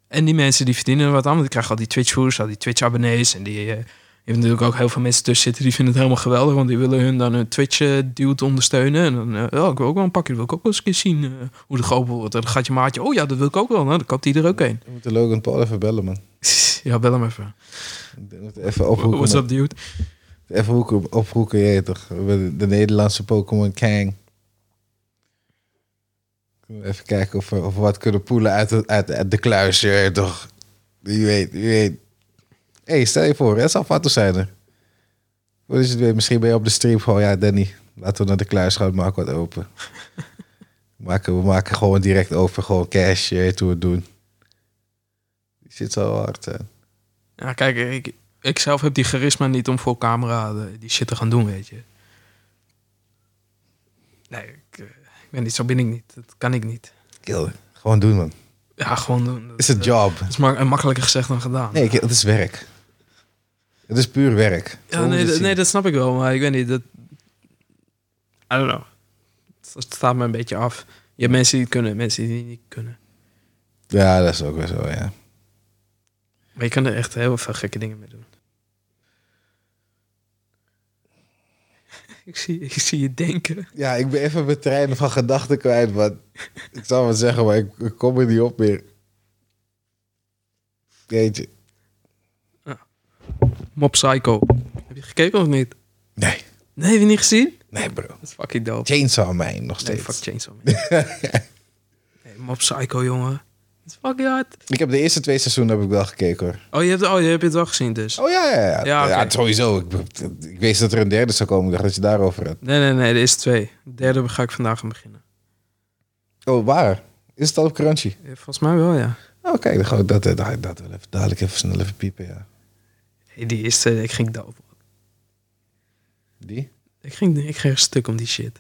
En die mensen die verdienen er wat aan, want ik krijg al die Twitch-voers, al die Twitch-abonnees. En die eh, je hebt natuurlijk ook heel veel mensen tussen zitten die vinden het helemaal geweldig, want die willen hun dan hun Twitch-dude ondersteunen. En dan, eh, oh, ik wil ook wel een pakje, dat wil ik ook wel eens een keer zien eh, hoe de geopend wordt. En dan gaat je maatje, oh ja, dat wil ik ook wel. Nou, dan koopt hij er ook een. We moeten Logan Paul even bellen, man. ja, bel hem even. We moeten even ophoeken. What's up, dude? Even hoeken, ophoeken, je weet toch? We hebben De Nederlandse Pokémon Kang. Kunnen we Even kijken of we, of we wat kunnen poelen uit, de- uit, uit de kluis, je weet toch? Wie weet, wie weet. Hé, hey, stel je voor, het zou Fatou zijn er. Wat is het weer? Misschien ben je op de stream gewoon, ja, Danny. Laten we naar de kluis gaan, maken wat open. We maken, we maken gewoon direct open, gewoon cash, je weet hoe we het doen. Die zit zo hard. hè. Ja, kijk, ik, ik zelf heb die charisma niet om voor camera eh, die shit te gaan doen, weet je. Nee, ik, eh, ik ben niet, zo ben ik niet. Dat kan ik niet. Kill. Gewoon doen, man. Ja, gewoon doen. Dat Het is een eh, job. dat is maar makkelijker gezegd dan gedaan. Nee, kill, het is werk. Het is puur werk. ja, Zo moet je nee, het dat- zien. nee, dat snap ik wel, maar ik weet niet. Dat, I don't know. Dat staat me een beetje af. Je hebt mensen die het kunnen, mensen die het niet kunnen. Ja, dat is ook wel zo, ja. Maar je kan er echt heel veel gekke dingen mee doen. ik, zie, ik zie je denken. Ja, ik ben even mijn trein van gedachten kwijt, maar ik zou wel zeggen, maar ik, ik kom er niet op meer. Jeetje. Mob Psycho. Heb je gekeken of niet? Nee, Nee, heb je niet gezien? nee bro. Dat is fucking dope. Chainsaw Man nog Nee, steeds. fuck Chainsaw Man. nee, Mob Psycho, jongen. Dat is fucking hard. ik heb de eerste twee seizoenen heb ik wel gekeken hoor. Oh, je hebt, oh, je hebt het wel gezien dus. Oh ja, ja, ja. Ja, Ja, oké. sowieso. Ik, ik wist dat er een derde zou komen. Ik dacht dat je daarover had. Nee, nee, nee. Er is twee. De derde ga ik vandaag aan beginnen. Oh, waar? Is het al op Crunchy? Eh, Volgens mij wel, ja. Oh, kijk, dan ga ik dat, eh, dat, dat wel even dadelijk even snel even piepen, ja. Hey, die eerste, ik ging dope. Die? Ik ging, ik ging stuk om die shit.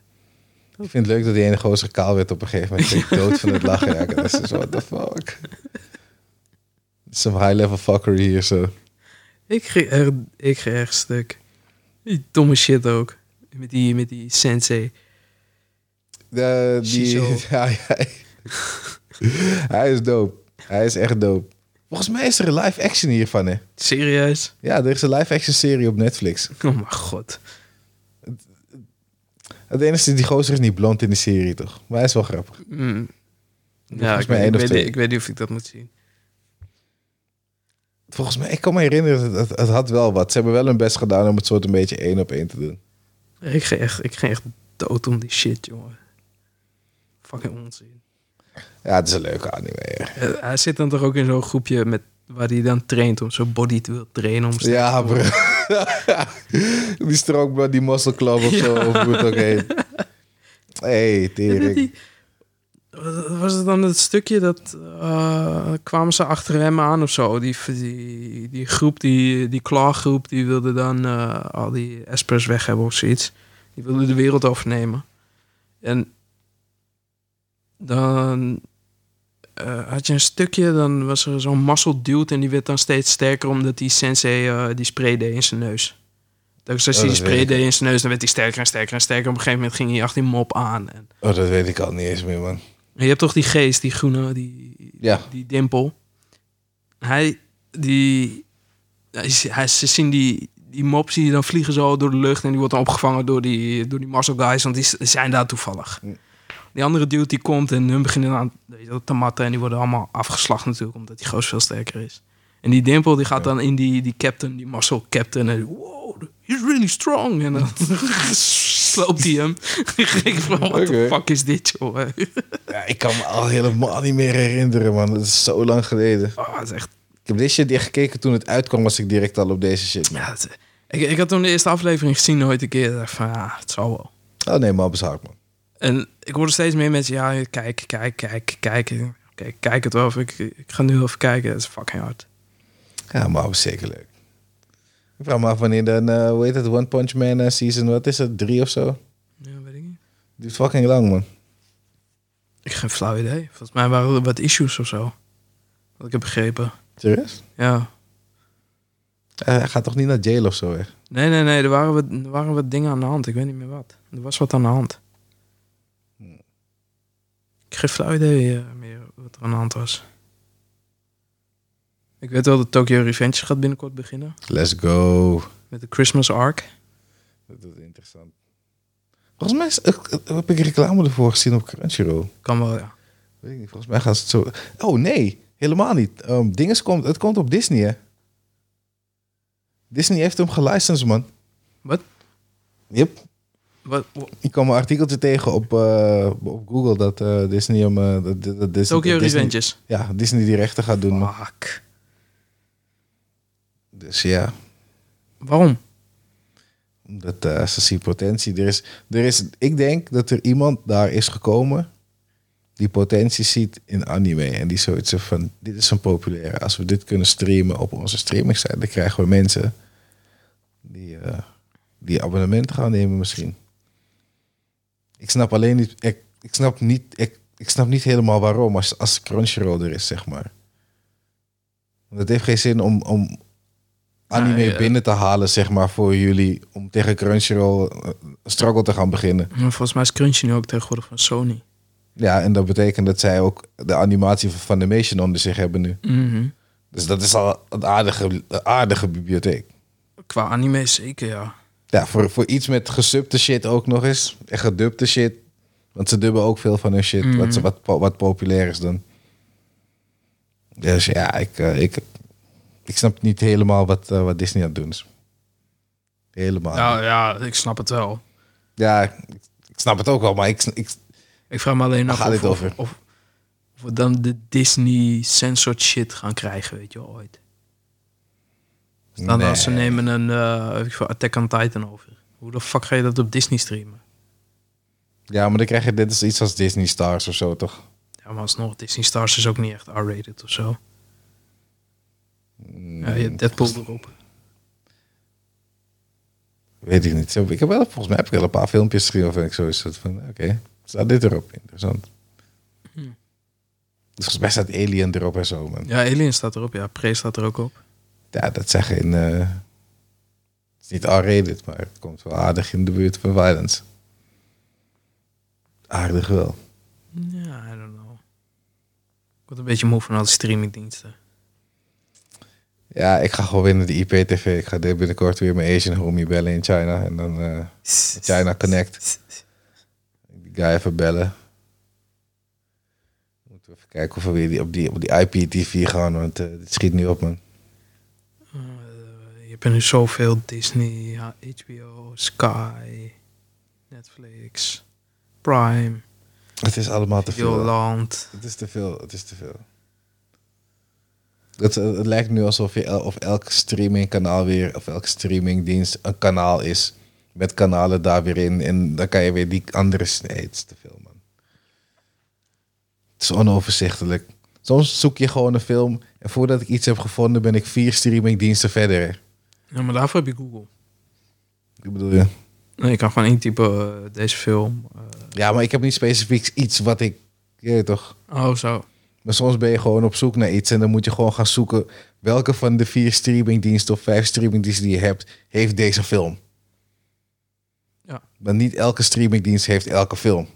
Ik vind het leuk dat die ene gozer kaal werd op een gegeven moment. Ik ben dood van het lachen. Ja, ik dacht, zo, what the fuck? Some high-level fuckery hier zo. Ik ging echt, ik ging echt stuk. Die domme shit ook. Met die, met die sensei. De, die, Shizo. ja, ja. Hij is dope. Hij is echt dope. Volgens mij is er een live-action hiervan, hè? Serieus? Ja, er is een live-action serie op Netflix. Oh mijn god. Het enige is, die gozer is niet blond in de serie, toch? Maar hij is wel grappig. Mm. Ja, Volgens ik, mij weet- één ik, of weet, twee. ik weet niet of ik dat moet zien. Volgens mij, ik kan me herinneren, dat het, het had wel wat. Ze hebben wel hun best gedaan om het soort een beetje één op één te doen. Ik ging echt, ik ging echt dood om die shit, jongen. Fucking onzin. Ja, het is een leuke anime. ja. Eh, hij zit dan toch ook in zo'n groepje met, waar hij dan traint om zo'n body te wil trainen. Om sterk Ja, te worden. bro. die strookblad, die muscle club of zo, of hoe het ook heet. hey, En dat tering. die- Wat Was het dan het stukje dat eh, kwamen ze achter hem aan of zo? Die, die, die groep, die, die klaargroep, die wilde dan eh, al die espers weg hebben of zoiets. Die wilde de wereld overnemen. En dan eh, had je een stukje, dan was er zo'n muscle dude en die werd dan steeds sterker omdat die sensei eh, die spray deed in zijn neus. Dus als hij Oh, dat die spray weet ik. deed in zijn neus, dan werd hij sterker en sterker en sterker. Op een gegeven moment ging hij achter die mop aan. En Oh, dat weet ik al niet eens meer, man. je hebt toch die geest, die groene, die, Ja. die dimpel. Hij, die, hij, hij- ze zien die, die mop, zie je dan vliegen zo door de lucht en die wordt dan opgevangen door die, door die muscle guys, want die s- zijn daar toevallig. Mm. Die andere dude die komt en hun beginnen aan weet je wel, te matten en die worden allemaal afgeslacht natuurlijk, omdat die goos veel sterker is. En die dimpel die gaat dan in die, die captain, die muscle captain en wow, he's really strong. En dan sloopt hij hem. Ik denk van, what the Oké. fuck is dit, joh? Ja, ik kan me al helemaal niet meer herinneren, man. Dat is zo lang geleden. Oh, dat is echt. Ik heb deze shit echt gekeken toen het uitkwam, was ik direct al op deze shit. Ja, dat is- ik, ik had toen de eerste aflevering gezien nooit een keer. Ik dacht van ja, het zal wel. Oh nee, man, hard, man. En ik hoorde steeds meer mensen, ja, kijk, kijk, kijk, kijk. Oké, kijk het wel. of Ik, ik ga nu even kijken. Dat is fucking hard. Ja, maar was zeker leuk. Ik vraag me af wanneer dan, eh, hoe heet het, One Punch Man eh, season, wat is dat, drie of zo? Ja, weet ik niet. Duurt fucking lang, man. Ik heb geen flauw idee. Volgens mij waren er wat issues of zo. Wat ik heb begrepen. Serieus? Ja. Eh, hij gaat toch niet naar jail of zo, hè? Nee, nee, nee. Er waren, wat, er waren wat dingen aan de hand. Ik weet niet meer wat. Er was wat aan de hand. Ik heb geen flauw idee eh, meer wat er aan de hand was. Ik weet wel dat Tokyo Revenge gaat binnenkort beginnen. Let's go. Met de Christmas Arc. Dat is interessant. Volgens mij is- ik- ik- heb ik reclame ervoor gezien op Crunchyroll. Kan wel, ja. Weet ik niet, volgens mij gaan ze het zo... Oh nee, helemaal niet. Ehm dinges komt, het komt op Disney, hè? Disney heeft hem gelicensed, man. Wat? Yep. Wat, wa- Ik kwam een artikeltje tegen op, eh, op Google dat eh, Disney hem... eh, dat, dat- dat Disney, Tokyo dat Disney- Revenges. Ja, Disney die rechten gaat doen. man. Fuck. Dus ja, Waarom? Dat, eh, ze zien potentie. Er is, er is, ik denk dat er iemand daar is gekomen die potentie ziet in anime. En die zoiets heeft van, dit is een populaire. Als we dit kunnen streamen op onze streaming site, dan krijgen we mensen die, eh die abonnement gaan nemen misschien. Ik snap alleen niet, ik, ik snap niet, ik, ik snap niet helemaal waarom als, als Crunchyroll er is, zeg maar. Want het heeft geen zin om, om anime Nee, eh. binnen te halen, zeg maar, voor jullie. Om tegen Crunchyroll eh, een struggle te gaan beginnen. Maar volgens mij is Crunchy nu ook tegenwoordig van Sony. Ja, en dat betekent dat zij ook de animatie van Funimation onder zich hebben nu. Mhm. Dus dat is al een aardige, een aardige bibliotheek. Qua anime zeker, ja. Ja, voor, voor iets met gesubte shit ook nog eens. En gedubte shit. Want ze dubben ook veel van hun shit. Mhm. Wat, ze- wat, po- wat populair is dan. Dus ja, ik, eh, ik, ik snap niet helemaal wat, eh, wat Disney aan het doen is. Helemaal. Ja, Nou ja, ik snap het wel. ik, ik snap het ook wel, maar ik, sn- ik, Ik vraag me alleen Waar af gaat of, dit of, over? of- of we dan de Disney censored shit gaan krijgen, weet je wel, ooit. Dus Dan als ze Nee. nemen een eh, weet ik veel, Attack on Titan over. Hoe de fuck ga je dat op Disney streamen? Ja, maar dan krijg je dit is iets als Disney Stars of zo, toch? Ja, maar alsnog, Disney Stars is ook niet echt R-rated of zo. Mm. Ja, je hebt Deadpool erop. Weet ik niet. Zo, Ik heb wel, volgens mij heb ik wel een paar filmpjes gezien waarvan ik zo is dat van, oké, staat dit erop? Interessant. Dus volgens mij staat Alien erop en zo, man. Ja, Ja, Alien staat erop. Ja, Prey staat er ook op. dat zijn geen... eh, het is niet R-rated, maar het komt wel aardig in de buurt van violence. Aardig wel. Ja, I don't know. Ik word een beetje moe van al die streamingdiensten. Ja, ik ga gewoon weer naar de IPTV. Ik ga dit binnenkort weer mijn Asian homie bellen in China. En dan eh, China Connect. die guy even bellen. Moeten we even kijken of we weer die, op, die, op die IPTV gaan, want eh dit schiet nu op, man. Eh, je hebt nu zoveel Disney, H- HBO, Sky, Netflix, Prime, Het is allemaal te veel. Videoland. Het is te veel, het is te veel. Het, eh, het lijkt nu alsof je el- of elk streamingkanaal weer, of elk streamingdienst een kanaal is. Met kanalen daar weer in. En dan kan je weer die andere. s- Nee, het is te veel, man. Het is onoverzichtelijk. Soms zoek je gewoon een film. En voordat ik iets heb gevonden, ben ik vier streamingdiensten verder. Ja, maar daarvoor heb je Google. Ik bedoel je? Nee, je kan gewoon intypen eh, deze film. eh, Ja, maar ik heb niet specifiek iets wat ik. Je weet toch? oh, zo. Maar soms ben je gewoon op zoek naar iets en dan moet je gewoon gaan zoeken welke van de vier streamingdiensten of vijf streamingdiensten die je hebt, heeft deze film. Ja. Maar niet elke streamingdienst heeft elke film.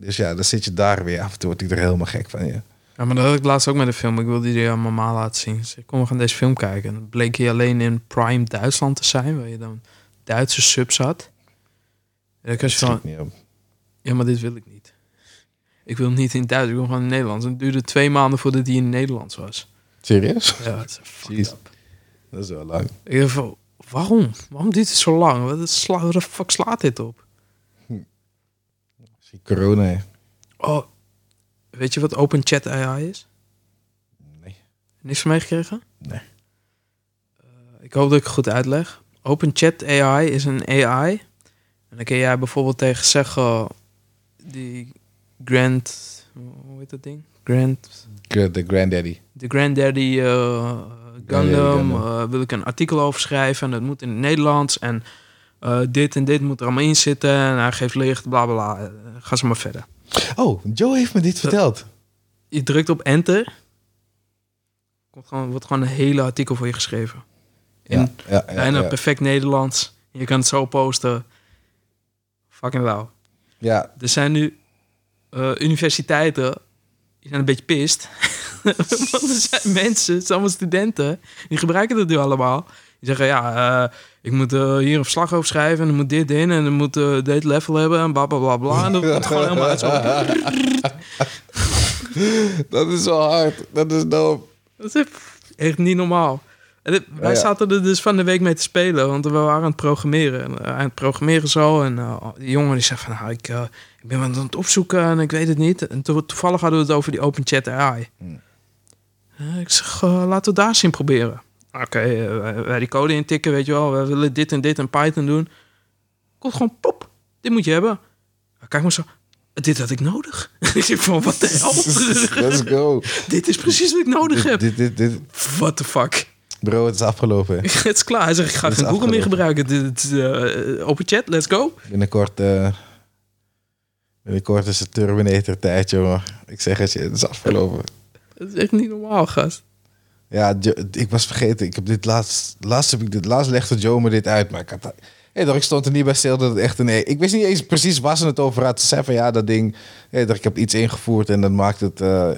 Dus ja, dan zit je daar weer. Af en toe word ik er helemaal gek van. Ja. Ja, maar dat had ik laatst ook met een film. Ik wilde die aan mama laten zien. Ze kon we gaan deze film kijken. En dan bleek hij alleen in Prime Duitsland te zijn, waar je dan Duitse subs had. En dan kan je Dat van, schiet niet op. ja, maar dit wil ik niet. Ik wil niet in Duits, ik wil gewoon in Nederlands. En het duurde twee maanden voordat hij in Nederlands was. Serieus? Ja, dat is fucked Jeez. up. Dat is wel lang. Ik dacht van, waarom? Waarom duurt het zo lang? Wat het sla, waar de fuck slaat dit op? Misschien Corona. hè? Oh, weet je wat Open Chat AI is? Nee. Niks van meegekregen? Nee. Eh, ik hoop dat ik het goed uitleg. Open Chat AI is een AI. En dan kun jij bijvoorbeeld tegen zeggen... Die Grand... Hoe heet dat ding? Grand... Good, The Granddaddy. De Granddaddy eh, Gundam. Gundam. eh, wil ik een artikel over schrijven. En dat moet in het Nederlands. En eh, dit en dit moet er allemaal in zitten. En hij geeft licht, bla bla bla. Eh, Ga ze maar verder. Oh, Joe heeft me dit verteld. Je drukt op enter. Komt gewoon, wordt gewoon een hele artikel voor je geschreven. In Mm. Ja, ja, ja, bijna ja. perfect Nederlands. Je kan het zo posten. Fucking lauw. ja, Er zijn nu eh, universiteiten. Die zijn een beetje pist. Want er zijn mensen, het zijn allemaal studenten. Die gebruiken dat nu allemaal. Die zeggen, ja, eh, ik moet eh, hier een verslag over schrijven. En er moet dit in. En er moet eh, dit level hebben. En bla, bla, bla, bla. En dat wordt gewoon helemaal uit. zo- dat is wel hard. Dat is dope. Dat is echt niet normaal. En dit- wij Ja, ja. zaten er dus van de week mee te spelen, want we waren aan het programmeren. En, eh, aan het programmeren zo. En eh, die jongen die zei van, nou, ik, eh, ik ben wat aan het opzoeken en ik weet het niet. En to- toevallig hadden we het over die open chat AI. Hmm. Eh, ik zeg, eh, laten we daar eens in proberen. Oké, eh, wij- wij die code intikken, weet je wel. We willen dit en dit en Python doen. Komt gewoon pop. Dit moet je hebben. Maar Kijk maar zo. Dit had ik nodig. ik zeg van, wat de hel? Let's go. dit is precies wat ik nodig Dit, heb. dit, dit, dit- What the fuck? Bro, het is afgelopen. Het is klaar. Hij zegt, ik ga Het is geen Google meer afgelopen. gebruiken. Dit, is, eh, open chat, let's go. Binnenkort, eh, binnenkort is het Terminator tijd, jongen. Ik zeg het je, het is afgelopen. Dat is echt niet normaal, gast. Ja, Jo- ik was vergeten. Ik heb dit laatst, laatst, heb ik dit, laatst legde Joe me dit uit, maar ik had... Hey, ik stond er niet bij stil dat het echt een... e- Ik wist niet eens precies waar ze het over had. Ze zei van ja, dat ding... Hey, ik heb iets ingevoerd en dan maakt het... eh,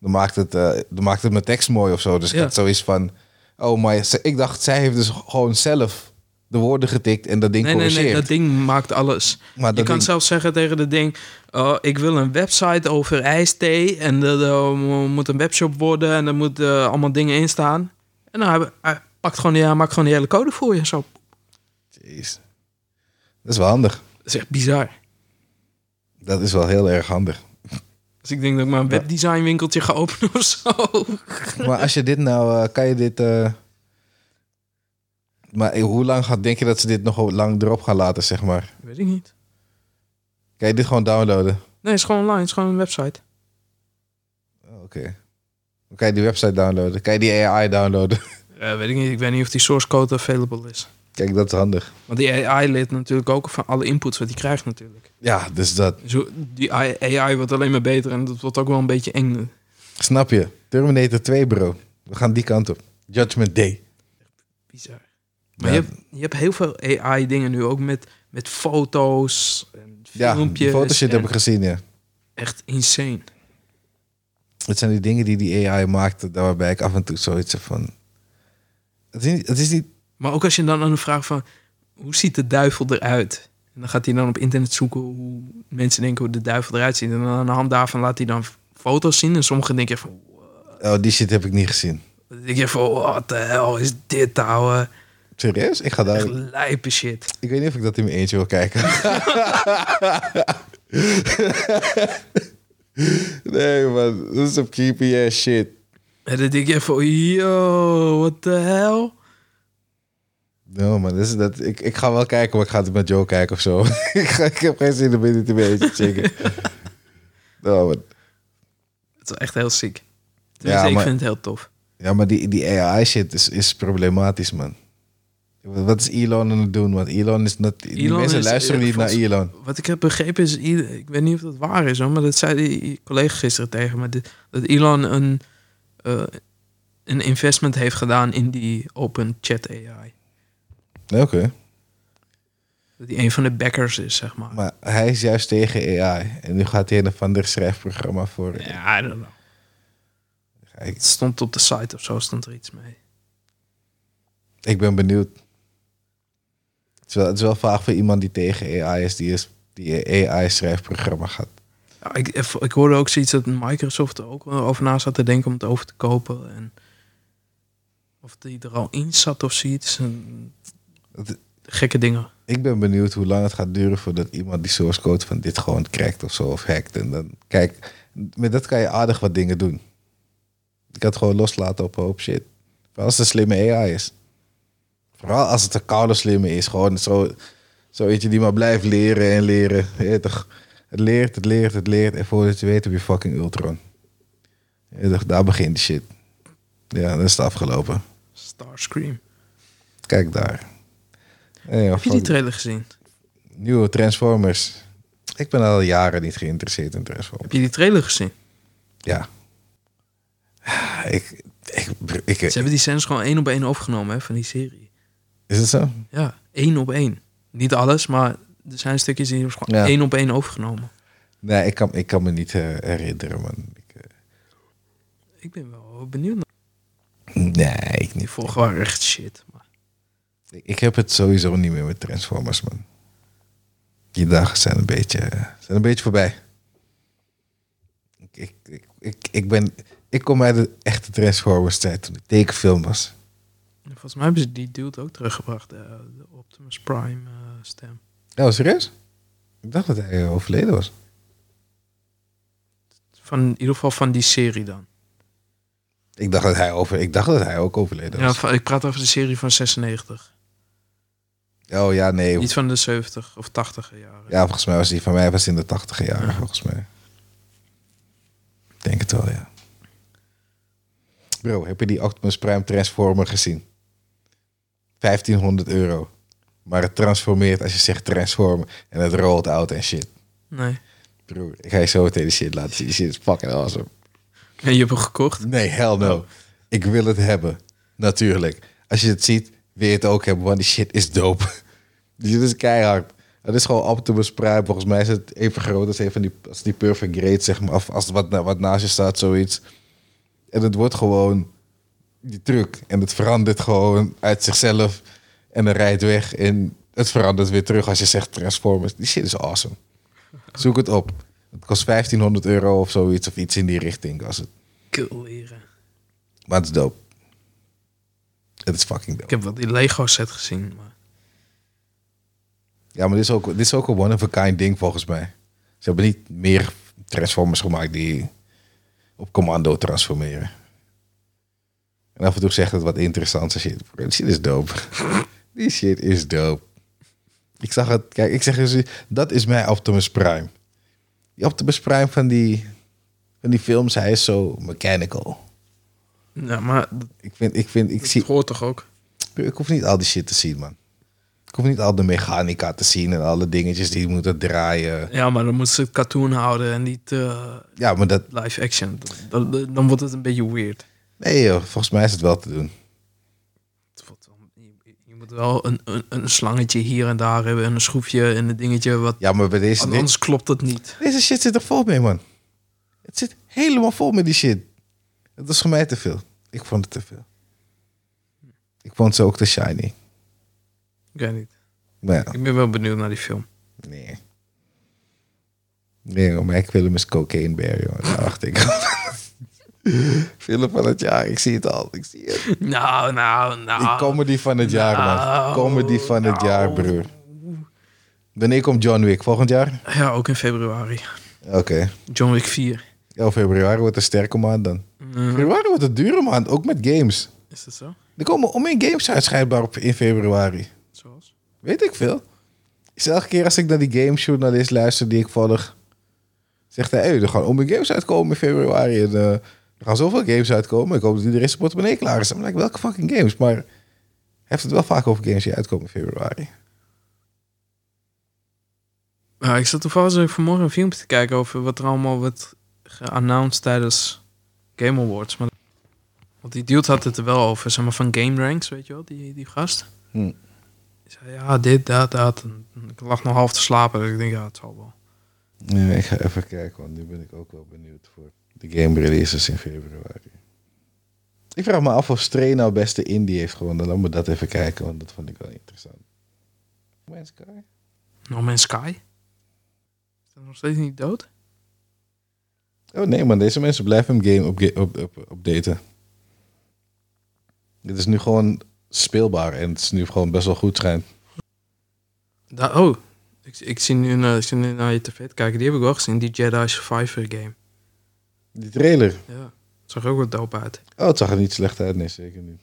dan, maakt het eh, dan maakt het mijn tekst mooi of zo. Dus ik Ja. had zoiets van... Oh, maar ze- ik dacht, zij heeft dus gewoon zelf de woorden getikt en dat ding Nee, nee, corrigeert. nee. Dat ding maakt alles. Maar je dat kan ding- zelfs zeggen tegen dat ding... eh, ik wil een website over ijsthee. En dat eh, mo- moet een webshop worden. En er moeten eh, allemaal dingen in staan. En dan hebben- hij pakt gewoon, ja, maakt gewoon die hele code voor je. Zo. Jeez. Dat is wel handig. Dat is echt bizar. Dat is wel heel erg handig. Dus ik denk dat ik maar een Ja. webdesignwinkeltje ga openen of zo. Maar als je dit nou, eh, kan je dit. eh, Maar eh, hoe lang gaat, denk je dat ze dit nog lang erop gaan laten, zeg maar? Weet ik niet. Kan je dit gewoon downloaden? Nee, het is gewoon online. Het is gewoon een website. Oh, Oké. Dan Kan je die website downloaden? Kan je die AI downloaden? Eh, weet ik niet. Ik weet niet of die source code available is. Kijk, dat is handig. Want die AI leert natuurlijk ook van alle inputs wat hij krijgt natuurlijk. Ja, dus dat. Zo, die AI wordt alleen maar beter en dat wordt ook wel een beetje eng. eh, Snap je? Terminator 2, bro. We gaan die kant op. Judgment Day. Bizar. Maar Ja. je, hebt, je hebt heel veel AI dingen nu, ook met, met foto's en Ja, filmpjes. die fotoshit en heb ik gezien, ja. Echt insane. Het zijn die dingen die die AI maakt, waarbij ik af en toe zoiets heb van... Het is niet... Het is niet Maar ook als je dan aan de vraag van, hoe ziet de duivel eruit? En dan gaat hij dan op internet zoeken hoe mensen denken hoe de duivel eruit ziet. En dan aan de hand daarvan laat hij dan foto's zien. En sommigen denken van, oh, die shit heb ik niet gezien. dan denk je van wat de hel is dit, ouwe? Serieus? Ik ga daar... Echt lijpe shit. Ik weet niet of ik dat in mijn eentje wil kijken. nee, man. Dat is op creepy ass shit. En dan denk je van, yo, what the hell? No, man. Dat is, dat, ik, ik ga wel kijken, maar ik ga het met Joe kijken of zo. ik, ga- ik heb geen zin om dit in mijn eentje te checken. no, man. Het is echt heel ziek. Tenminste, Ja, maar- ik vind het heel tof. Ja, maar die, die AI shit is, is problematisch, man. Wat wat is Elon aan het doen? Want Elon is not, die Elon mensen is- luisteren eh, niet naar volgens- Elon. Wat ik heb begrepen is, i- ik weet niet of dat waar is, hoor, maar dat zei die collega gisteren tegen me, dit- dat Elon een, eh, een investment heeft gedaan in die open chat AI. Nee, Oké. Dat hij een van de backers is, zeg maar. Maar hij is juist tegen AI. En nu gaat hij een of ander schrijfprogramma voor. Ja, I don't know. Ik- Het stond op de site of zo, stond er iets mee. Ik ben benieuwd. Het is wel, het is wel vaag voor iemand die tegen AI is, die, is, die AI-schrijfprogramma gaat. Ja, ik, eh, ik hoorde ook zoiets dat Microsoft er ook wel over na zat te denken om het over te kopen. En of die er al in zat of zoiets. En Het- gekke dingen. Ik ben benieuwd hoe lang het gaat duren voordat iemand die source code van dit gewoon crackt of zo, of hackt. En dan, kijk, met dat kan je aardig wat dingen doen. Ik kan het gewoon loslaten op een hoop shit. Vooral als het een slimme AI is. Vooral als het een koude slimme is. Gewoon zo, zo eentje die maar blijft leren en leren. Je weet toch, het leert, het leert, het leert. En voordat je weet heb je fucking Ultron. Je weet toch, daar begint de shit. Ja, dan is het afgelopen. Starscream. Kijk daar. Hey, Heb je die trailer gezien? Nieuwe Transformers. Ik ben al jaren niet geïnteresseerd in Transformers. Heb je die trailer gezien? Ja. Ik, ik, ik, Ze hebben die scènes gewoon één op één opgenomen hè, van die serie. is het zo? Ja, één op één. Niet alles, maar er zijn stukjes die hebben ze gewoon Ja. één op één overgenomen. Nee, ik kan, ik kan me niet eh, herinneren, man. Ik, eh, Ik ben wel benieuwd. naar- nee, ik Die niet. vorige waren echt shit. Maar Ik, ik heb het sowieso niet meer met Transformers, man. Die dagen zijn een beetje, eh, zijn een beetje voorbij. Ik, ik, ik, ik, ik ben, ik kom uit de echte Transformers-tijd toen de tekenfilm was. volgens mij hebben ze die dude ook teruggebracht. eh, de Optimus Prime eh, stem. Oh, serieus? Ik dacht dat hij eh, overleden was. Van, in ieder geval van die serie dan. Ik dacht dat hij, over, ik dacht dat hij ook overleden Ja, was. van- ik praat over de serie van 96. Oh ja, nee. Iets van de 70 of 80 jaren. Ja, volgens mij was die van mij was in de tachtige jaren, volgens mij. Ik Denk het wel, ja. Bro, heb je die Optimus Prime Transformer gezien? 1500 euro. Maar het transformeert als je zegt transformen en het rolt out en shit. Nee. Broer, ik ga je zo meteen die shit laten zien. Die shit is fucking awesome. En je hebt hem gekocht? Nee, hell no. Ik wil het hebben. Natuurlijk. Als je het ziet, wil je het ook hebben, want die shit is dope. Die shit is keihard. Het is gewoon Optimus Prime. Volgens mij is het even groot als, een van die, als die Perfect Grade, zeg maar. Of als wat, na- wat naast je staat, zoiets. En het wordt gewoon die truc. En het verandert gewoon uit zichzelf. En het rijdt weg. En het verandert weer terug als je zegt Transformers. Die shit is awesome. Zoek het op. Het kost 1500 euro of zoiets. Of iets in die richting. Als het Cool leren. maar het is dope. Het is fucking Ik dope. heb wel die Lego set gezien, maar... Ja, maar dit is ook, dit is ook een one-of-a-kind ding volgens mij. Ze hebben niet meer Transformers gemaakt die op commando transformeren. En af en toe zegt het wat interessante shit. Die shit is dope. Die shit is dope. Ik zag het, kijk, ik zeg eens, dat is mijn Optimus Prime. Die Optimus Prime van die, van die films, hij is zo mechanical. Ja, maar Ik vind, ik vind, ik ik zie, hoort toch ook? Ik hoef niet al die shit te zien, man. Ik hoef niet al de mechanica te zien en alle dingetjes die moeten draaien. Ja, maar dan moeten ze het cartoon houden en niet eh, Ja, maar dat... live action. Dan, dan, dan wordt het een beetje weird. Nee, joh, volgens mij is het wel te doen. Het wordt wel- je- Je moet wel een, een, een slangetje hier en daar hebben en een schroefje en een dingetje. Wat, Ja, maar bij deze... anders klopt het niet. Deze shit zit er vol mee, man. Het zit helemaal vol met die shit. Het was voor mij te veel. Ik vond het te veel. Ik vond ze ook te shiny. Ik weet niet. Maar ja, Ik ben wel benieuwd naar die film. nee. Nee, joh, maar ik wil hem eens cocaine bear, joh. Daar wacht ik op. Film van het jaar, ik zie het al. Ik zie het. Nou, nou, nou. Die comedy van het jaar, man. Nou, Comedy van het nou. jaar, broer. Wanneer komt John Wick? Volgend jaar? Ja, ook in februari. Oké. John Wick 4. 11 februari wordt een sterke maand dan. Mm, Februari wordt een dure maand, ook met games. is dat zo? Er komen omheen games uit schijnbaar op in februari. Zoals? Weet ik veel. Is elke keer als ik naar die gamejournalist luister die ik volg... zegt hij, hey, er gaan omheen games uitkomen in februari. En, eh, er gaan zoveel games uitkomen. Ik hoop dat iedereen zijn portemonnee klaar is. Dan ben ik, welke fucking games? Maar hij heeft het wel vaak over games die uitkomen in februari. Ja, ik zat toevallig zo vanmorgen een filmpje te kijken over wat er allemaal werd geannounced tijdens Game Awards. Maar, want die dude had het er wel over, zeg maar van Game Ranks, weet je wel, die, die gast. Hm. Die zei, ja, dit, dat, dat. En ik lag nog half te slapen, dus ik denk, ja, het zal wel. Nee, ik ga even kijken, want nu ben ik ook wel benieuwd voor de game releases in februari. Ik vraag me af of Stray nou beste indie heeft gewonnen. Laten we dat even kijken, want dat vond ik wel interessant. No Man's Sky? No Man's Sky? Is dat nog steeds niet dood? Oh nee man, deze mensen blijven hem game op, op, op, updaten. Dit is nu gewoon speelbaar en het is nu gewoon best wel goed schijnt. Da- oh, ik, ik, zie nu naar, ik zie nu naar je tv te kijken. Die heb ik wel gezien, die Jedi Survivor game. Die trailer. Ja, zag ook wel dope uit. Oh, het zag er niet slecht uit. Nee, zeker niet.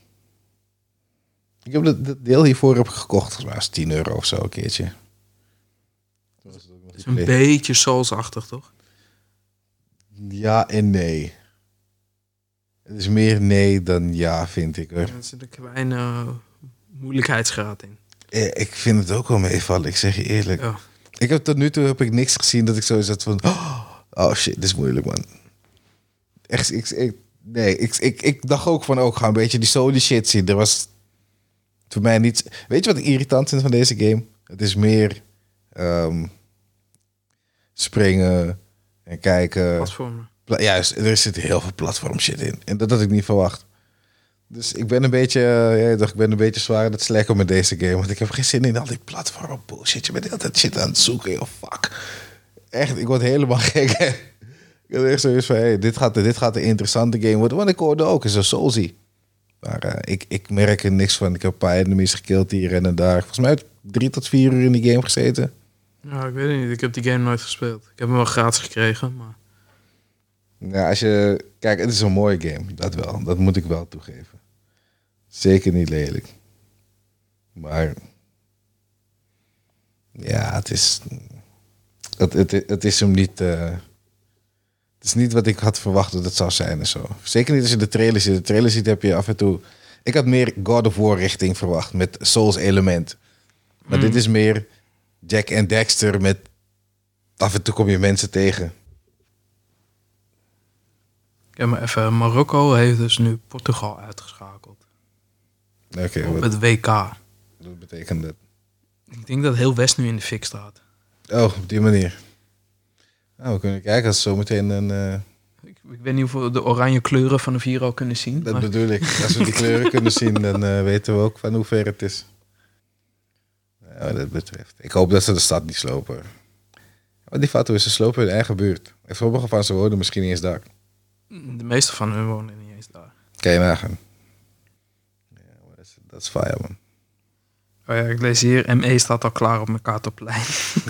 Ik heb dat, dat deel hiervoor heb ik gekocht. Volgens mij was het 10 euro of zo een keertje. Toen was het ook nog Het is die een play- beetje Souls-achtig, toch? Ja en nee. Het is meer nee dan ja, vind ik. Hoor. Ja, Er zit een kleine eh, moeilijkheidsgraad in. Eh, Ik vind het ook wel meevallen, ik zeg je eerlijk. Ja. Ik heb tot nu toe heb ik niks gezien dat ik zo zat van... Oh, oh shit, dit is moeilijk, man. Echt, ik, ik, nee, ik, ik, ik dacht ook van... ook ga een beetje die soli shit zien. Er was voor mij niets... Weet je wat ik irritant vind van deze game? Het is meer... ehm, springen en kijken. Platformen. Pla- Juist, er zit heel veel platform shit in. En dat had ik niet verwacht. Dus ik ben een beetje, eh, ja, toch, ik ben een beetje zwaar aan het slekken met deze game. Want ik heb geen zin in al die platform bullshit. Je bent altijd shit aan het zoeken, joh, fuck. Echt, ik word helemaal gek. hè. ik had echt zoiets van, hey, dit, gaat, dit gaat een interessante game worden. Want ik hoorde ook, het is een Soulsy. Maar eh, ik, ik merk er niks van. Ik heb een paar enemies gekild hier en daar. Volgens mij heb ik drie tot vier uur in die game gezeten. Ja, ik weet het niet. Ik heb die game nooit gespeeld. Ik heb hem wel gratis gekregen, maar... Nou, als je... Kijk, het is een mooie game. Dat wel. Dat moet ik wel toegeven. Zeker niet lelijk. Maar Ja, het is. Het, het, het is hem niet. eh, het is niet wat ik had verwacht dat het zou zijn en zo. Zeker niet als je de trailer ziet. De trailer ziet heb je af en toe. Ik had meer God of War richting verwacht met Souls element. Maar dit is meer Jack en Dexter met. Af en toe kom je mensen tegen. Kijk maar even, Marokko heeft dus nu Portugal uitgeschakeld. Oké, op wat, het WK. wat betekent dat? Ik denk dat heel West nu in de fik staat. Oh, op die manier. Nou, we kunnen kijken als zometeen een. eh, Ik, ik weet niet of we de oranje kleuren van de vier al kunnen zien. Dat maar- bedoel ik. Als we die kleuren kunnen zien, dan eh, weten we ook van hoe ver het is. Ja, wat dat betreft. Ik hoop dat ze de stad niet slopen. Want die fatwa is ze slopen hun eigen buurt. En sommige van ze wonen misschien niet eens daar. De meeste van hun wonen niet eens daar. Kan je nagaan. Ja, maar dat is- Dat is fire, man. Oh ja, ik lees hier, ME staat al klaar op mijn kaartenplein.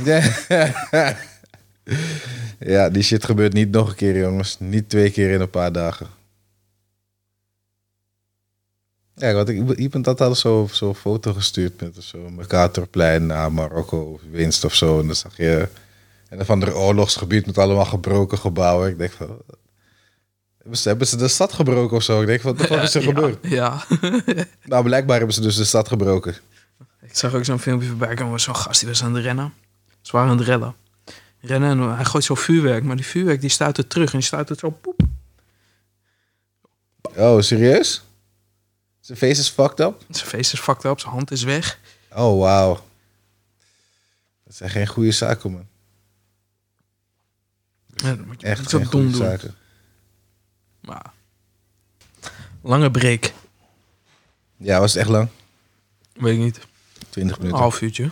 Ja. ja, die shit gebeurt niet nog een keer, jongens. Niet twee keer in een paar dagen. Ja, want ik- iemand had al zo'n zo foto gestuurd met zo'n Mercatorplein naar Marokko, winst of zo. En dan zag je een van de oorlogsgebied met allemaal gebroken gebouwen. Ik denk van. Hebben ze, hebben ze de stad gebroken of zo? Ik denk van, wat is er Ja, gebeurd? Ja. Nou, blijkbaar hebben ze dus de stad gebroken. Ik zag ook zo'n filmpje voorbij komen. Zo'n gast die was aan het rennen. Ze waren aan het rennen. Rennen en hij gooit zo'n vuurwerk. Maar die vuurwerk die stuit het terug. En die stuit het zo poep. Oh, serieus? Zijn face is fucked up? Zijn feest is fucked up. Zijn hand is weg. Oh, wauw. Dat zijn geen goede zaken, man. Ja, dan moet je Echt niet geen zo dom goede doen. zaken. Maar. Lange break. Ja, was het echt lang? Weet ik niet. 20 Een minuten. half uurtje.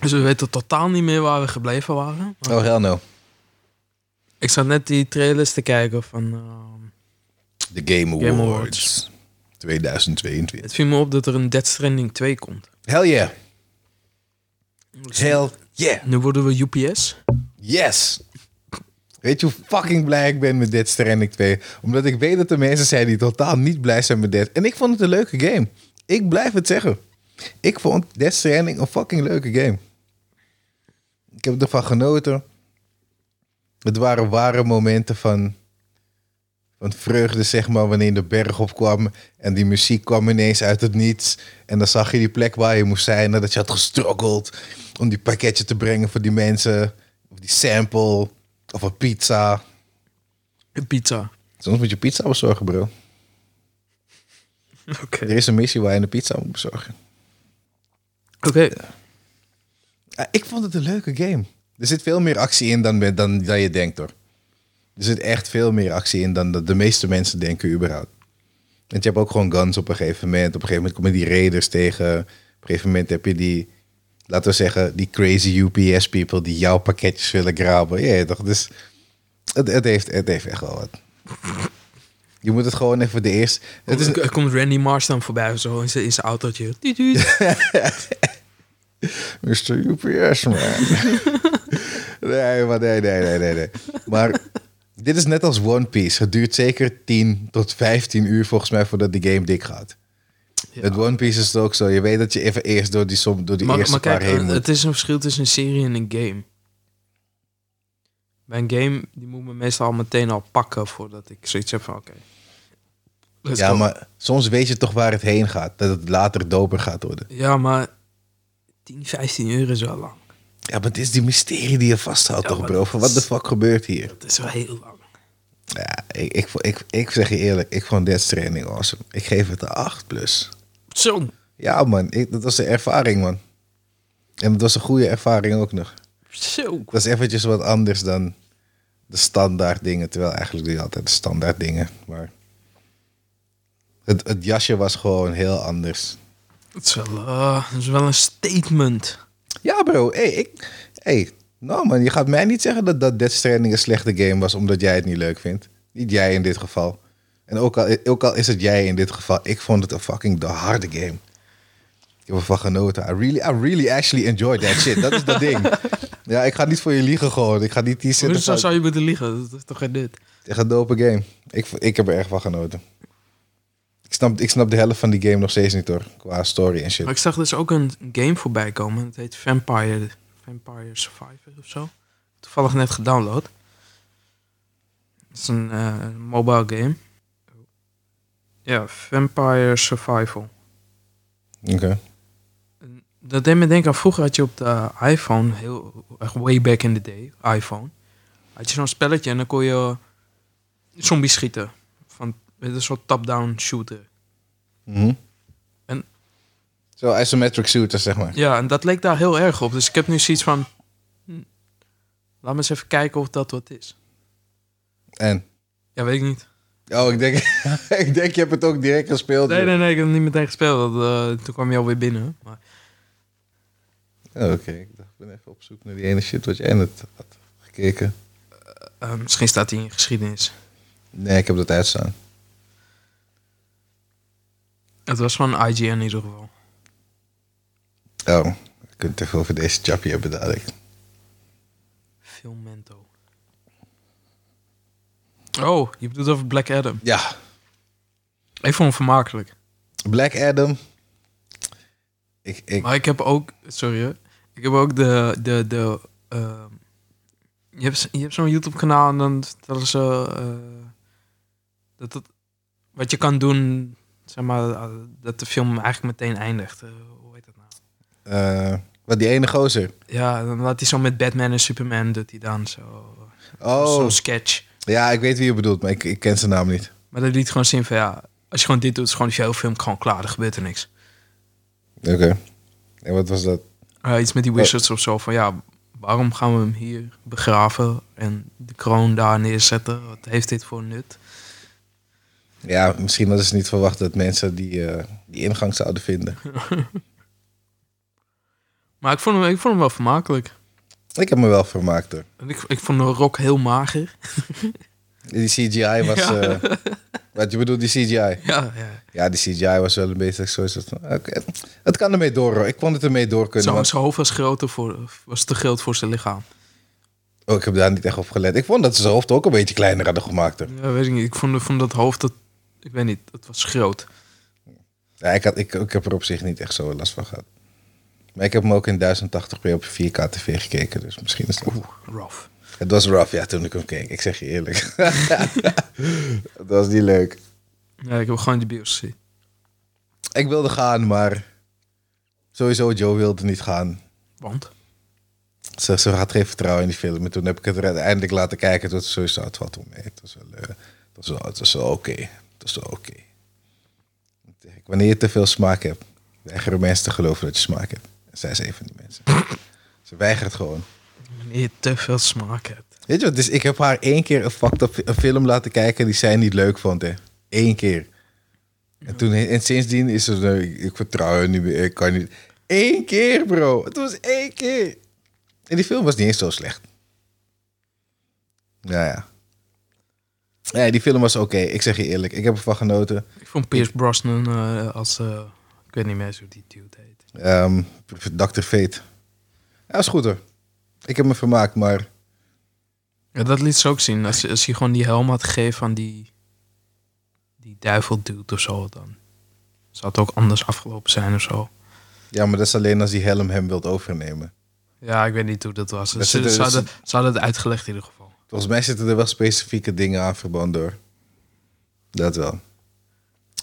Dus we weten totaal niet meer waar we gebleven waren. Oh, hell no. Ik zat net die trailers te kijken van... ehm, The Game Awards. Awards. 2022. het viel me op dat er een Dead Stranding 2 komt. Hell yeah. Hell yeah. Nu worden we UPS. Yes. Weet je hoe fucking blij ik ben met Dead Stranding 2? Omdat ik weet dat er mensen zijn die totaal niet blij zijn met Dead. En ik vond het een leuke game. Ik blijf het zeggen. Ik vond Dead Stranding een fucking leuke game. Ik heb ervan genoten. Het waren ware momenten van, van vreugde, zeg maar, wanneer de berg opkwam. En die muziek kwam ineens uit het niets. En dan zag je die plek waar je moest zijn. Nadat je had gestroggeld om die pakketje te brengen voor die mensen. Of die sample. Of een pizza. Een pizza. Soms moet je pizza bezorgen, bro. Oké. Er is een missie waar je een pizza moet bezorgen. Oké. Ah, ik vond het een leuke game. Er zit veel meer actie in dan, dan, dan je denkt hoor. Er zit echt veel meer actie in dan dat de meeste mensen denken überhaupt. Want je hebt ook gewoon guns op een gegeven moment. Op een gegeven moment komen die raiders tegen. Op een gegeven moment heb je die, laten we zeggen, die crazy UPS people die jouw pakketjes willen graben. Ja, toch? Dus het, het, heeft, het heeft echt wel wat. Je moet het gewoon even de eerste. Het is, Er komt Randy Marsh dan voorbij of zo in zijn in zijn autootje. Tuut, tuut. Mr. UPS, man. nee, maar nee, nee, nee, nee, nee. Maar dit is net als One Piece. Het duurt zeker 10 tot 15 uur volgens mij voordat die game dik gaat. Ja. Met One Piece is het ook zo. Je weet dat je even eerst door die, som, door die Maar, eerste maar kijk, paar heen eh, moet. het is een verschil tussen een serie en een game. Bij een game die moet me meestal al meteen al pakken voordat ik zoiets heb van oké. let's ja, go. maar soms weet je toch waar het heen gaat. Dat het later doper gaat worden. ja, maar 10, 15 uur is wel lang. Ja, maar het is die mysterie die je vasthoudt Ja, toch, maar bro? dat Van wat is- de fuck gebeurt hier? Dat is wel heel lang. Ja, ik, ik, ik, ik zeg je eerlijk. Ik vond Death Stranding awesome. Ik geef het een 8 plus. Zo. Ja, man. Ik, dat was een ervaring, man. En het was een goede ervaring ook nog. Zo. Het was eventjes wat anders dan de standaard dingen. Terwijl eigenlijk doe je altijd de standaard dingen. Maar het, het jasje was gewoon heel anders. Dat is wel, eh, dat is wel een statement. Ja, bro. Hey, ik... Hey, nou man, je gaat mij niet zeggen dat, dat Death Stranding een slechte game was... omdat jij het niet leuk vindt. Niet jij in dit geval. En ook al, ook al is het jij in dit geval... ik vond het een fucking de harde game. Ik heb ervan genoten. I really, I really actually enjoyed that shit. Dat is dat ding. Ja, ik ga niet voor je liegen gewoon. Ik ga niet die zitten Hoezo van... zou je moeten liegen? Dat is toch geen dit? Echt een dope game. Ik, ik heb er echt van genoten. Ik snap, ik snap de helft van die game nog steeds niet hoor. Qua story en shit. Maar ik zag dus ook een game voorbij komen. Het heet Vampire, Vampire Survivor of zo. Toevallig net gedownload. Het is een eh, mobile game. Ja, Vampire Survival. Oké. En Dat deed me denken aan vroeger had je op de iPhone, heel, echt way back in the day, iPhone. Had je zo'n spelletje en dan kon je zombies schieten. Van, met een soort top-down shooter. Mhm. En- Zo isometric shooters, zeg maar. Ja, en dat leek daar heel erg op. Dus ik heb nu zoiets van... hm, laat me eens even kijken of dat wat is. En? Ja, weet ik niet. Oh, ik denk, ik denk je hebt het ook direct gespeeld. Nee, nee, nee, ik heb het niet meteen gespeeld. want, eh, toen kwam je alweer binnen. Maar Oh, Oké, ik dacht, ik ben even op zoek naar die ene shit wat jij net had gekeken. eh, misschien staat hij in geschiedenis. Nee, ik heb dat uitstaan. Het was van IGN in ieder geval. Oh, ik kunt het even over deze chappie hebben dadelijk. Filmento. Oh, je bedoelt over Black Adam. Ja, Ik vond hem vermakelijk. Black Adam. Ik, ik, Maar ik heb ook... Sorry hoor. Ik heb ook de... de, de ehm, je hebt, je hebt zo'n YouTube kanaal en dan vertellen ze... eh, dat het, wat je kan doen... Zeg maar, eh, dat de film eigenlijk meteen eindigt. Eh, hoe heet dat nou? eh, wat die ene gozer. Ja, dan laat hij zo met Batman en Superman... doet hij dan zo... Oh, Zo'n sketch. ja, ik weet wie je bedoelt, maar ik, ik ken zijn naam niet. Maar dat liet gewoon zien van ja... Als je gewoon dit doet, is gewoon de hele film gewoon klaar. Er gebeurt er niks. Oké. En wat was dat? Eh, iets met die wizards of zo. Van ja, waarom gaan we hem hier begraven en de kroon daar neerzetten? Wat heeft dit voor nut? Ja, misschien hadden ze niet verwacht dat mensen die, eh, die ingang zouden vinden. Maar ik vond hem, ik vond hem wel vermakelijk. Ik heb me wel vermaakt hoor. En Ik, ik vond de rock heel mager. Die CGI was... Ja. eh, wat je bedoelt, die CGI. Ja, ja. Ja, die CGI was wel een beetje zo. zo van, oké, Het kan ermee door hoor. Ik kon het ermee door kunnen. Zo, want- zijn hoofd was, groter voor, was te groot voor zijn lichaam. oh, ik heb daar niet echt op gelet. Ik vond dat ze zijn hoofd ook een beetje kleiner hadden gemaakt. hoor. Ja, weet ik niet. Ik vond, vond dat hoofd, dat, ik weet niet, dat was groot. Ja, ik, had, ik, ik heb er op zich niet echt zo last van gehad. Maar ik heb hem ook in 1080p op 4K tv gekeken. Dus misschien is dat... Rough. Het was rough, ja, toen ik hem keek. Ik zeg je eerlijk. Het was niet leuk. Ja, ik heb gewoon die bios gezien. Ik wilde gaan, maar... Sowieso, Joe wilde niet gaan. Want? Ze, ze had geen vertrouwen in die film. En toen heb ik het er uiteindelijk laten kijken. Toen was het sowieso het valt wel mee. Het was wel, eh, het was wel, het was wel oké. Het was wel oké. Ik zeg, Wanneer je te veel smaak hebt, weigeren mensen te geloven dat je smaak hebt. En zij is een van die mensen. ze weigert gewoon. Wanneer je te veel smaak hebt. Weet je wat? Dus ik heb haar één keer een fucked up fi- een film laten kijken die zij niet leuk vond. Hè. Eén keer. En, toen, en sindsdien is het, eh, ik, ik vertrouw haar niet meer. Ik kan niet. Eén keer, bro. Het was één keer. En die film was niet eens zo slecht. Nou ja. Nee, die film was oké. Ik zeg je eerlijk. Ik heb ervan genoten. Ik vond Pierce Brosnan eh, als... eh, ik weet niet meer eens hoe die dude heet. Ehm, Dr. Fate. Ja, is goed hoor. Ik heb me vermaakt, maar... Ja, dat liet ze ook zien. Als, je- als je gewoon die helm had gegeven aan die, die duivel dude of zo, dan zou het ook anders afgelopen zijn of zo. Ja, maar dat is alleen als die helm hem wilt overnemen. Ja, ik weet niet hoe dat was. Dat ze, zit er- ze, dat hadden, ze hadden het uitgelegd in ieder geval. Volgens mij zitten er wel specifieke dingen aan verband door. Dat wel.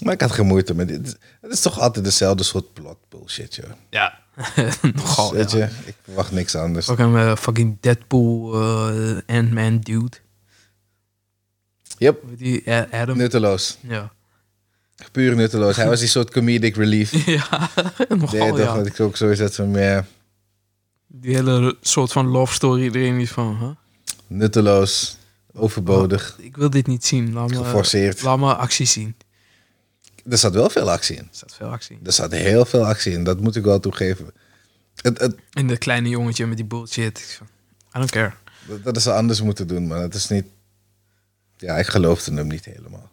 Maar ik had geen moeite met dit. Het is toch altijd dezelfde soort plot bullshit, joh. Ja. Nogal, Weet ja. je, ik verwacht niks anders. Ook een eh, fucking Deadpool eh Ant-Man dude. Yep, Die eh, Adam. nutteloos. Ja. Puur nutteloos. Hij was die soort comedic relief. ja, Nee, nogal toch Oh, ja. dat ik ook zo zat van, ja, Die hele soort van love story erin is van, huh? nutteloos, overbodig, ik wil dit niet zien. Laat me, geforceerd. laat me actie zien. Er zat wel veel actie in. Er staat veel actie in. Er zat heel veel actie in, dat moet ik wel toegeven. Het, het, En dat kleine jongetje met die bullshit. Ik van, I don't care. dat, dat is anders moeten doen, maar het is niet... Ja, ik geloofde hem niet helemaal.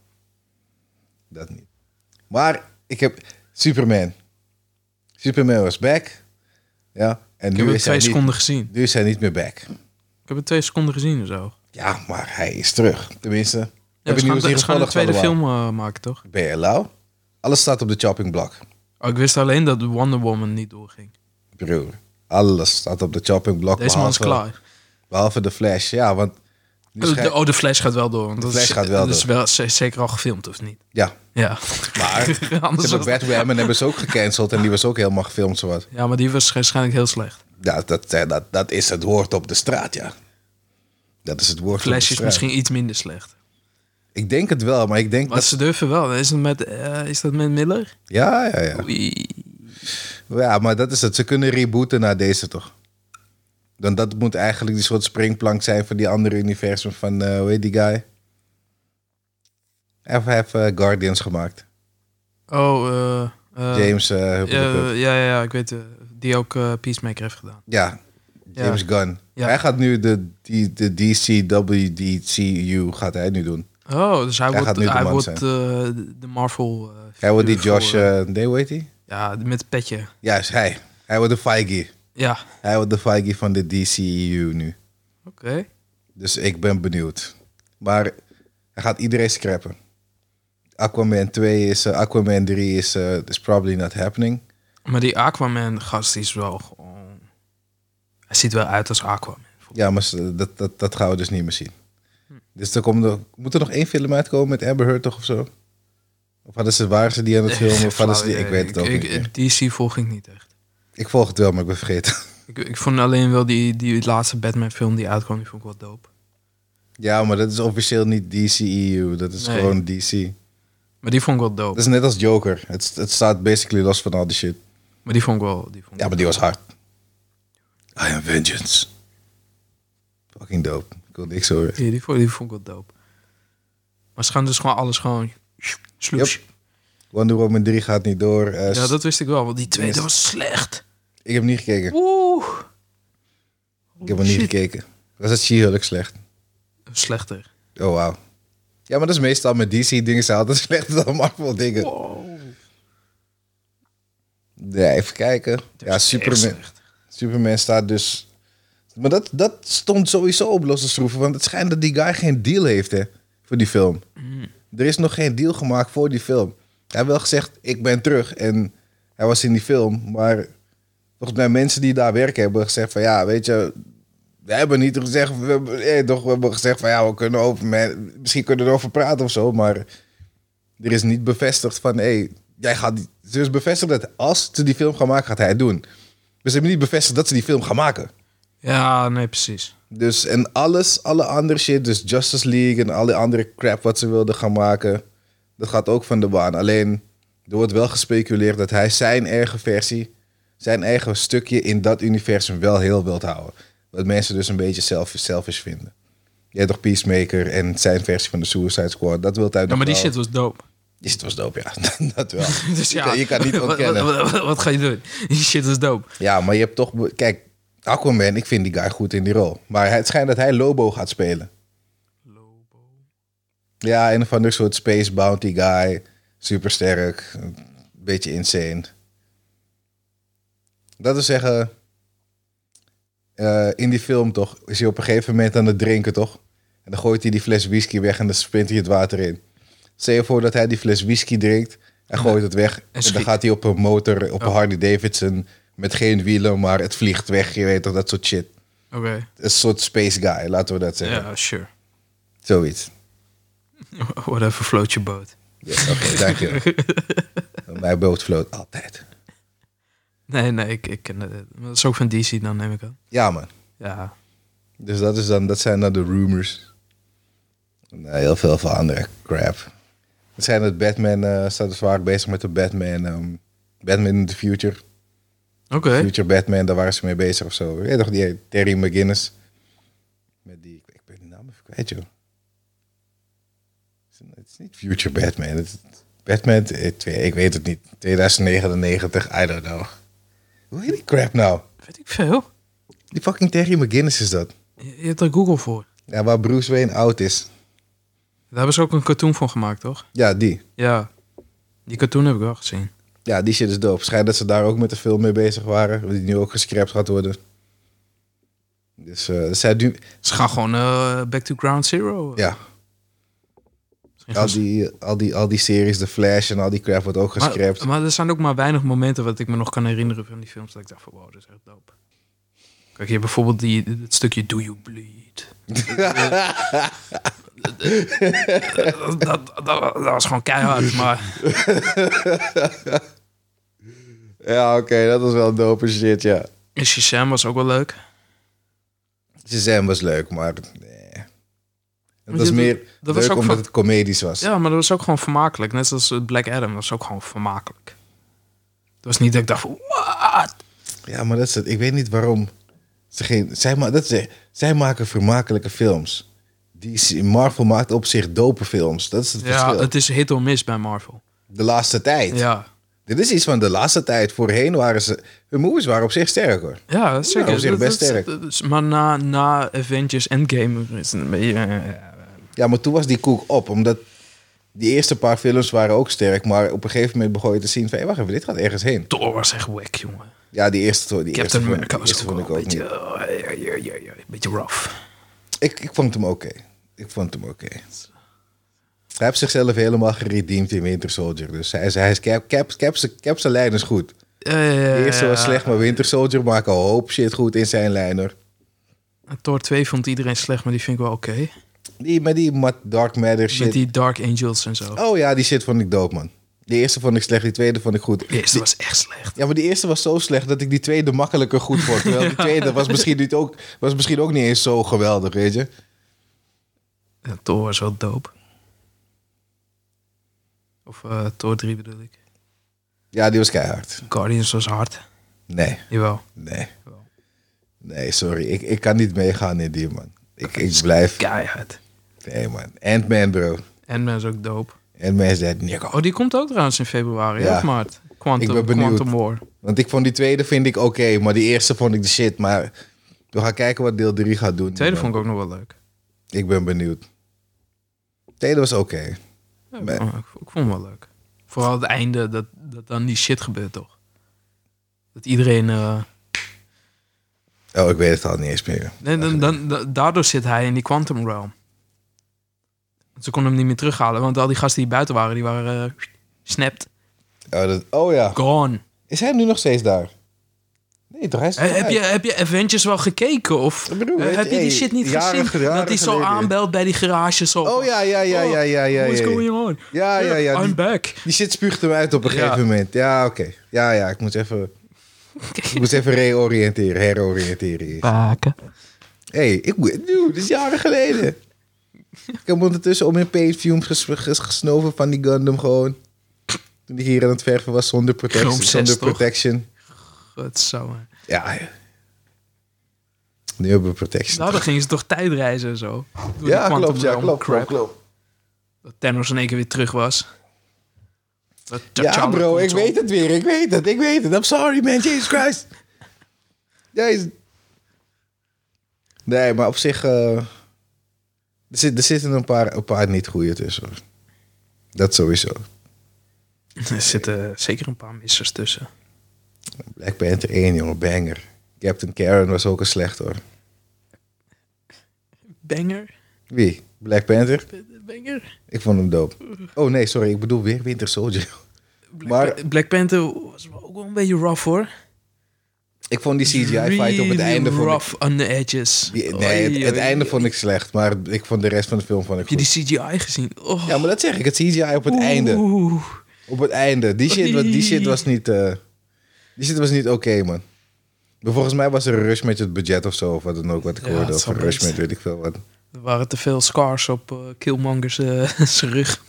Dat niet. Maar ik heb Superman. Superman was back. Ja, en Ik nu heb het is, hij twee niet, seconden gezien. nu is hij niet meer back. Ik heb het twee seconden gezien of zo. Ja, maar hij is terug. Tenminste, Ja, heb ze je gaan, nieuws niet ze gaan een gevolgd tweede allemaal? film eh, maken, toch? Ben je lauw? Alles staat op de chopping block. Oh, ik wist alleen dat Wonder Woman niet doorging. Bro, alles staat op de chopping block. Deze man is klaar. Behalve de Flash, ja, want... nu Oh, schij- de, oh, de Flash gaat wel door. Want dat Flash is, gaat wel dat is wel ze- zeker al gefilmd, of niet? Ja, Ja. maar ze Anders hebben was- Batwoman hebben ze ook gecanceld en die was ook helemaal gefilmd zowat. ja, maar die was waarschijnlijk heel slecht. Ja, dat, eh, dat, dat is het woord op de straat, ja. Dat is het woord op de Flash is straat. misschien iets minder slecht. Ik denk het wel, maar ik denk Maar dat... ze durven wel. Is dat met, eh, is dat met Miller? Ja, ja, ja. Oei. Ja, maar dat is het. Ze kunnen rebooten naar deze toch? Dan dat moet eigenlijk die soort springplank zijn voor die andere universum van, eh hoe heet die guy? Hij heeft eh, Guardians gemaakt. Oh, eh, eh, James, eh, huppeldepup. eh, ja, ja, ja, ik weet eh, Die ook eh, Peacemaker heeft gedaan. ja, James Gunn. Ja. Hij gaat nu de, die, de DCWDCU gaat hij nu doen. Oh, dus hij, Hij gaat wordt, nu de hij man wordt zijn. eh, de- de Marvel. eh, Hij wordt die figuur Josh, voor, eh, eh nee, hoe heet hij? ja, met het petje. Ja, is hij. Hij wordt de Feige. Ja, Hij wordt de Feige van de DCU nu. oké. Dus ik ben benieuwd. Maar hij gaat iedereen scrappen. Aquaman 2 is, eh, Aquaman 3 is, eh, is probably not happening. Maar die Aquaman-gast die is wel gewoon... Hij ziet wel uit als Aquaman. Ja, maar ze- dat, dat, dat gaan we dus niet meer zien. Dus er komt nog, moet er nog één film uitkomen met Amber Heard toch of zo? Of hadden ze, waren ze die aan het filmen? Of hadden ze die, ik weet het ook ik, niet meer. ik- DC volg ik niet echt. Ik volg het wel, maar ik ben vergeten. Ik, ik vond alleen wel die, die laatste Batman-film die uitkwam, die vond ik wel dope. Ja, maar dat is officieel niet DCEU. Dat is Nee. gewoon DC. Maar die vond ik wel Dat dope. is net als Joker. Het, het staat basically los van al die shit. Maar die vond ik wel... Die vond ik Ja, maar die was hard. I am vengeance. Fucking dope. Ik wil niks horen. Ja, die, vond, die vond ik wel dope. Maar ze gaan dus gewoon alles gewoon... Sloes. Wonder Woman 3 gaat niet door. Eh, Ja, dat wist ik wel, want die tweede Yes. was slecht. Ik heb niet gekeken. Oeh. Ik heb er niet gekeken. Was het She-Hulk slecht? Slechter. Oh, wauw. Ja, maar dat is meestal met DC-dingen. Ze altijd slechter dan Marvel-dingen. Oh. Wow. Ja, even kijken. Ja, Superman. Superman staat dus... Maar dat, dat stond sowieso op losse schroeven. Want het schijnt dat die guy geen deal heeft, hè. Voor die film. Er is nog geen deal gemaakt voor die film. Hij heeft wel gezegd, ik ben terug. En hij was in die film. Maar volgens mij mensen die daar werken hebben gezegd van... Ja, weet je... We hebben niet gezegd... We hebben, eh, toch, we hebben gezegd van ja, we kunnen over... men- Misschien kunnen we erover praten of zo. Maar er is niet bevestigd van... Hey, jij gaat... die- Ze is bevestigd dat als ze die film gaan maken, gaat hij het doen. Dus ze hebben niet bevestigd dat ze die film gaan maken. Ja, nee, precies. Dus en alles, alle andere shit, dus Justice League en alle andere crap wat ze wilden gaan maken, dat gaat ook van de baan. Alleen er wordt wel gespeculeerd dat hij zijn eigen versie, zijn eigen stukje in dat universum wel heel wilt houden. Wat mensen dus een beetje self- selfish vinden. Je hebt toch Peacemaker en zijn versie van de Suicide Squad, dat wil hij Ja, nog maar die wel. shit was dope. Die shit was dope, ja. dat wel. Dus ja, je, kan, je kan niet wat- wat- ontkennen. Wat, wat- wat ga je doen? Die shit is dope. Ja, maar je hebt toch... be- Kijk, Aquaman, ik vind die guy goed in die rol. Maar het schijnt dat hij Lobo gaat spelen. Ja, een of ander soort space bounty guy. Supersterk. Een beetje insane. Dat wil zeggen... eh, in die film toch, is hij op een gegeven moment aan het drinken toch? En dan gooit hij die fles whisky weg en dan spint hij het water in. Stel je voor dat hij die fles whisky drinkt en gooit het weg. En, dan schiet. Oh. gaat hij op een motor, op een Harley Davidson... met geen wielen, maar het vliegt weg. Je weet toch, dat soort shit. Oké, Een soort space guy, laten we dat ja, zeggen. sure. Zoiets. Whatever float your boat. Ja, Oké, dankjewel. Mijn boot floot altijd. Nee, nee, ik, ik ken het. Maar Dat is ook van DC dan, neem ik aan. Ja, man. Ja. Dus dat, is dan, dat zijn dan de rumors. En, eh, heel veel van andere crap. Het zijn het Batman, eh staat dus vaak bezig met de Batman. ehm, Batman in the Future. Oké. Future Batman, daar waren ze mee bezig of zo. Weet je toch, die Terry McGinnis. Met die, ik ben de naam even kwijt, joh. Het is niet Future Batman. Het is Batman, eh, twee- ik weet het niet. 2099, I don't know. Hoe heet die crap nou? Weet ik veel. Die fucking Terry McGinnis is dat. Je, je hebt er Google voor. Ja, waar Bruce Wayne oud is. Daar hebben ze ook een cartoon van gemaakt, toch? Ja, die. Ja. Die cartoon heb ik wel gezien. Ja, die shit is dope. Schijnt dat ze daar ook met de film mee bezig waren. Die nu ook gescrapt gaat worden. Dus eh, zij nu... Ze gaan gewoon eh, back to ground zero. Ja. Misschien Al gaan ze- die, al, die, al die series, The Flash en al die crap wordt ook gescrapt. maar, maar er zijn ook maar weinig momenten wat ik me nog kan herinneren van die films. Dat ik dacht van, wow, dat is echt dope. Kijk, je hebt bijvoorbeeld die, het stukje Do You Bleed. dat, dat, dat, dat was gewoon keihard, maar Ja, oké, dat was wel dope shit, ja. Shazam was ook wel leuk. Shazam was leuk, maar... Nee. Het was je- meer dat was leuk ook omdat van- het comedisch was. Ja, maar dat was ook gewoon vermakelijk. Net zoals eh, Black Adam, dat was ook gewoon vermakelijk. Het was niet dat ik dacht van, what? Ja, maar dat is het. Ik weet niet waarom. Ze geen, zij, ma- dat is, zij maken vermakelijke films. Die Marvel maakt op zich dope films. Dat is het Ja, verschil. het is hit or miss bij Marvel. De laatste tijd. Ja, Dit is iets van de laatste tijd. Voorheen waren ze... Hun movies waren op zich sterk, hoor. Ja, dat is Ja, zeker. op zich Dat- best dat- sterk. dat is- maar na, na Avengers Endgame is het een beetje... eh, Ja, maar toen was die koek op. Omdat die eerste paar films waren ook sterk. Maar op een gegeven moment begon je te zien van... Hé, wacht even, dit gaat ergens heen. Thor was echt wack, jongen. Ja, die eerste, die eerste, Captain vond, America die was eerste ook vond wel ik een ook niet. beetje... eh, ja, ja, ja, ja, een beetje rough. Ik, ik vond hem oké. Ik vond hem oké. Hij heeft zichzelf helemaal geredeemd in Winter Soldier. Dus hij is, hij is cap, cap, cap, zijn- cap zijn lijn is goed. Eh, De eerste was slecht, maar Winter Soldier maakt een hoop shit goed in zijn lijner. en Thor 2 vond iedereen slecht, maar die vind ik wel oké. Die, maar die Ma- Dark Matter Met shit. die Dark Angels en zo. Oh ja, die shit vond ik dope, man. De eerste vond ik slecht, die tweede vond ik goed. De eerste Die- was echt slecht. Ja, maar die eerste was zo slecht dat ik die tweede makkelijker goed vond. Terwijl die tweede was misschien, niet ook, was misschien ook niet eens zo geweldig, weet je. Ja, Thor was wel dope. Of eh Thor 3 bedoel ik. Ja, die was keihard. Guardians was hard. Nee. Jawel. Nee. Nee, sorry. Ik, ik kan niet meegaan in die, man. Ik, ik is blijf... Keihard. Nee, man. Ant-Man, bro. En man is ook dope. Ant-Man is dat niet. Oh, die komt ook trouwens in februari, Ja. ja. of maart? Quantum, Ik ben benieuwd. Quantum War. Want ik vond die tweede vind ik oké, maar die eerste vond ik de shit. Maar we gaan kijken wat deel 3 gaat doen. De tweede Ik ben- vond ik ook nog wel leuk. Ik ben benieuwd. tweede was oké. Ja, Nee. ik, vond, ik vond hem wel leuk. Vooral het einde, dat, dat dan die shit gebeurt, toch? Dat iedereen... eh, Oh, ik weet het al niet eens meer. nee, dan, dan, da- daardoor zit hij in die Quantum Realm. Ze konden hem niet meer terughalen, want al die gasten die buiten waren, die waren... eh, snapped. Oh, dat, oh ja. Gone. Is hij nu nog steeds daar? Nee, toch? Hij is Eh, toch heb, uit? je, heb je Avengers wel gekeken? Of Ik bedoel, eh, weet heb je die hey, shit niet jaren- gezien? jaren dat hij zo geleden. aanbelt bij die garage. Zo, Oh ja, ja, ja, ja, ja, ja. What's ja, ja. going on? Ja, ja, ja. I'm Die, back. die shit spuugt hem uit op een Ja. gegeven moment. Ja, oké. Ja, ja. Ik moet even, ik moet even reoriënteren, heroriënteren. Ah. hier. Baken. Hé, hey, ik moet- dude, dit is jaren geleden. ik heb ondertussen om mijn paint fumes ges- ges- gesnoven van die Gundam gewoon. Toen ik hier aan het verven was zonder protection. Chrome zes, zonder toch? protection. Godsamme. Ja, ja. Nu hebben we protection. Nou, dan gingen ze toch tijdreizen en zo. Door die ja, Quantum klopt, ja, Realm klopt, crap. klopt, klopt. Dat Thanos in één keer weer terug was. Dat Ja, T'Challa bro, komt ik zo. weet het weer. Ik weet het, ik weet het. I'm sorry, man. Jesus Christ. Jezus. Nee, maar op zich... eh, er, zit, er zitten een paar, een paar niet goede tussen. hoor. Dat sowieso. Er zitten zeker een paar missers tussen. Black Panther 1, jongen, banger. Captain Karen was ook een slecht hoor. Banger? Wie? Black Panther? Banger? Ik vond hem dope. Oh nee, sorry, ik bedoel weer Winter Soldier. Black, Maar- Pa- Black Panther was wel ook wel een beetje rough hoor. Ik vond die CGI-fight op het Really einde vond ik... rough on the edges. Die- nee, het, Oei, het oei, einde oei. vond ik slecht, maar ik vond de rest van de film vond ik Heb je goed. die CGI gezien? Oh. Ja, maar dat zeg ik, het CGI op het Oeh. einde. Op het einde. Die shit, wa- die shit Oei. was niet... eh, die shit was niet oké, man. Maar volgens mij was er een rush met het budget of zo, of wat dan ook, wat ik Ja, hoorde. het Of zal een rush best. met weet ik veel wat. Er waren te veel scars op eh, Killmonger's eh, zijn rug.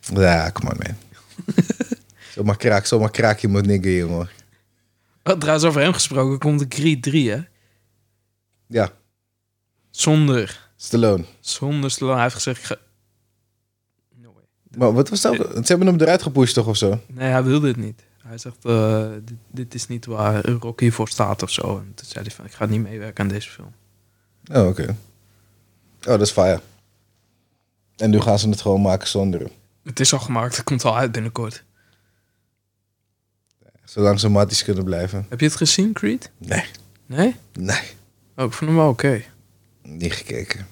Ja, come on, man. zomaar kraak, zomaar kraak je moet nigga, jongen. Oh, trouwens, over hem gesproken komt de Creed 3 hè? Ja, Zonder Stallone. Zonder Stallone. Hij heeft gezegd... ik ga- No way. Maar wat was dat? Ze hebben hem eruit gepusht toch of zo? Nee, hij wilde het niet. Hij zegt, eh, dit, dit is niet waar Rocky voor staat of zo. En toen zei hij van, ik ga niet meewerken aan deze film. Oh, oké. Oh, dat is fire. En nu gaan ze het gewoon maken zonder hem. Het is al gemaakt, het komt al uit binnenkort. Zolang ze matties kunnen blijven. Heb je het gezien, Creed? Nee, Nee? nee, Oh, ik vond hem wel oké. niet gekeken.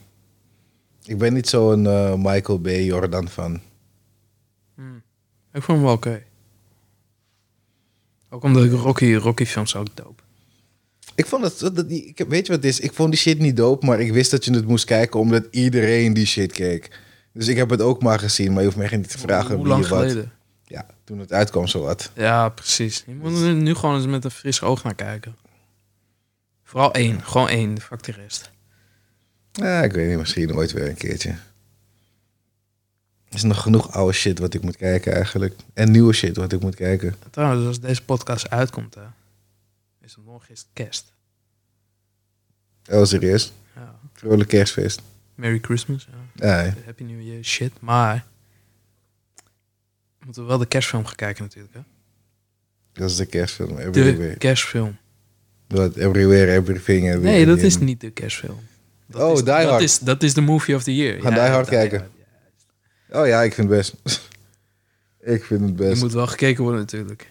Ik ben niet zo'n eh, Michael B. Jordan van. Ik vond hem wel oké. Ook omdat ik Rocky, Rocky films ook dope. Ik vond het, dat, die- ik, weet je wat het is? Ik vond die shit niet dope, maar ik wist dat je het moest kijken omdat iedereen die shit keek. Dus ik heb het ook maar gezien, maar je hoeft mij geen te vragen Hoe wie lang je wat. geleden? Ja, toen het uitkwam, zo wat. Ja, precies. Je moet er nu gewoon eens met een fris oog naar kijken. Vooral één. Gewoon één. Fuck de rest. Ja, ik weet niet, misschien ooit weer een keertje. Er is nog genoeg oude shit wat ik moet kijken eigenlijk. En nieuwe shit wat ik moet kijken. En trouwens, als deze podcast uitkomt, hè, is het morgen is het kerst. Oh, serieus? Ja. Vrolijk kerstfeest. Merry Christmas. Ja. Ja, hè. Happy New Year, shit. Maar we moeten wel de kerstfilm gaan kijken natuurlijk. Hè? dat is de kerstfilm. De Everywhere. kerstfilm. What, everywhere, everything. everything. Nee, dat is niet de kerstfilm. Dat Oh, is, Die Hard. Dat is, dat is de movie of the year. Gaan Die Hard kijken. Hard, ja. Oh ja, ik vind het best. ik vind het Die best. moet wel gekeken worden natuurlijk.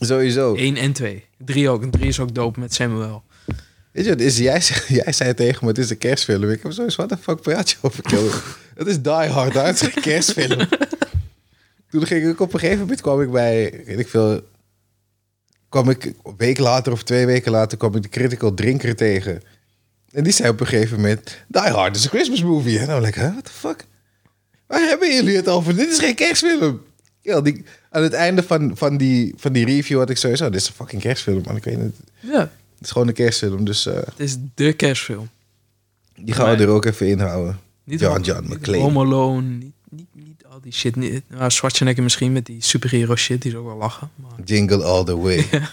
Sowieso. 1 en 2. 3 ook. En 3 is ook dope met Samuel. Weet je wat, het is, jij, zei- jij zei tegen me, het is een kerstfilm. Ik heb zoiets, wat de fuck praat je over? Kelvin? Het is Die Hard, dat is een kerstfilm. Toen ging ik op een gegeven moment, kwam ik bij, weet ik veel... kwam ik een week later of twee weken later, kwam ik de Critical Drinker tegen. En die zei op een gegeven moment, Die Hard is een Christmas movie. En dan like, huh, what the fuck? Waar hebben jullie het over? Dit is geen kerstfilm. Ja, die, aan het einde van, van, die, van die review had ik sowieso, dit is een fucking kerstfilm, man. Ik weet het, Ja, het is gewoon een kerstfilm, dus... eh, het is de kerstfilm. die gaan we Nee. er ook even in houden. Niet John- Home- John niet McClane. Home Alone. Niet, niet, niet al die shit. Niet, nou, Schwarzenegger misschien met die superhero shit. Die is ook wel lachen. Maar... Jingle all the way.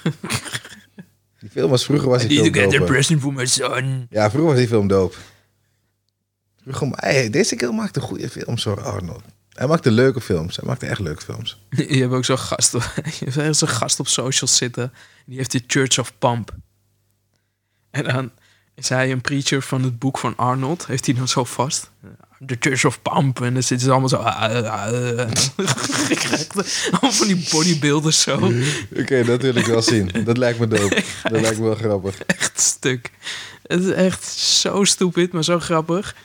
Die film was vroeger was I die need to film get a dope. present for my son. Ja, vroeger was die film dope. Vroeger, maar hey, deze kerel maakte goede films hoor, Arnold. Hij maakte leuke films. Hij maakte echt leuke films. Je hebt ook zo'n gast, op- je hebt ergens een gast op socials zitten. Die heeft de Church of Pump. En dan is hij een preacher van het boek van Arnold. Heeft hij dan zo vast? The Church of Pump. En dan zitten ze allemaal zo... ah, ah, ah. Ik krijg de- allemaal van die bodybuilders zo. Oké, dat wil ik wel zien. Dat lijkt me dope. Dat lijkt me wel grappig. Echt stuk. Het is echt zo stupid, maar zo grappig.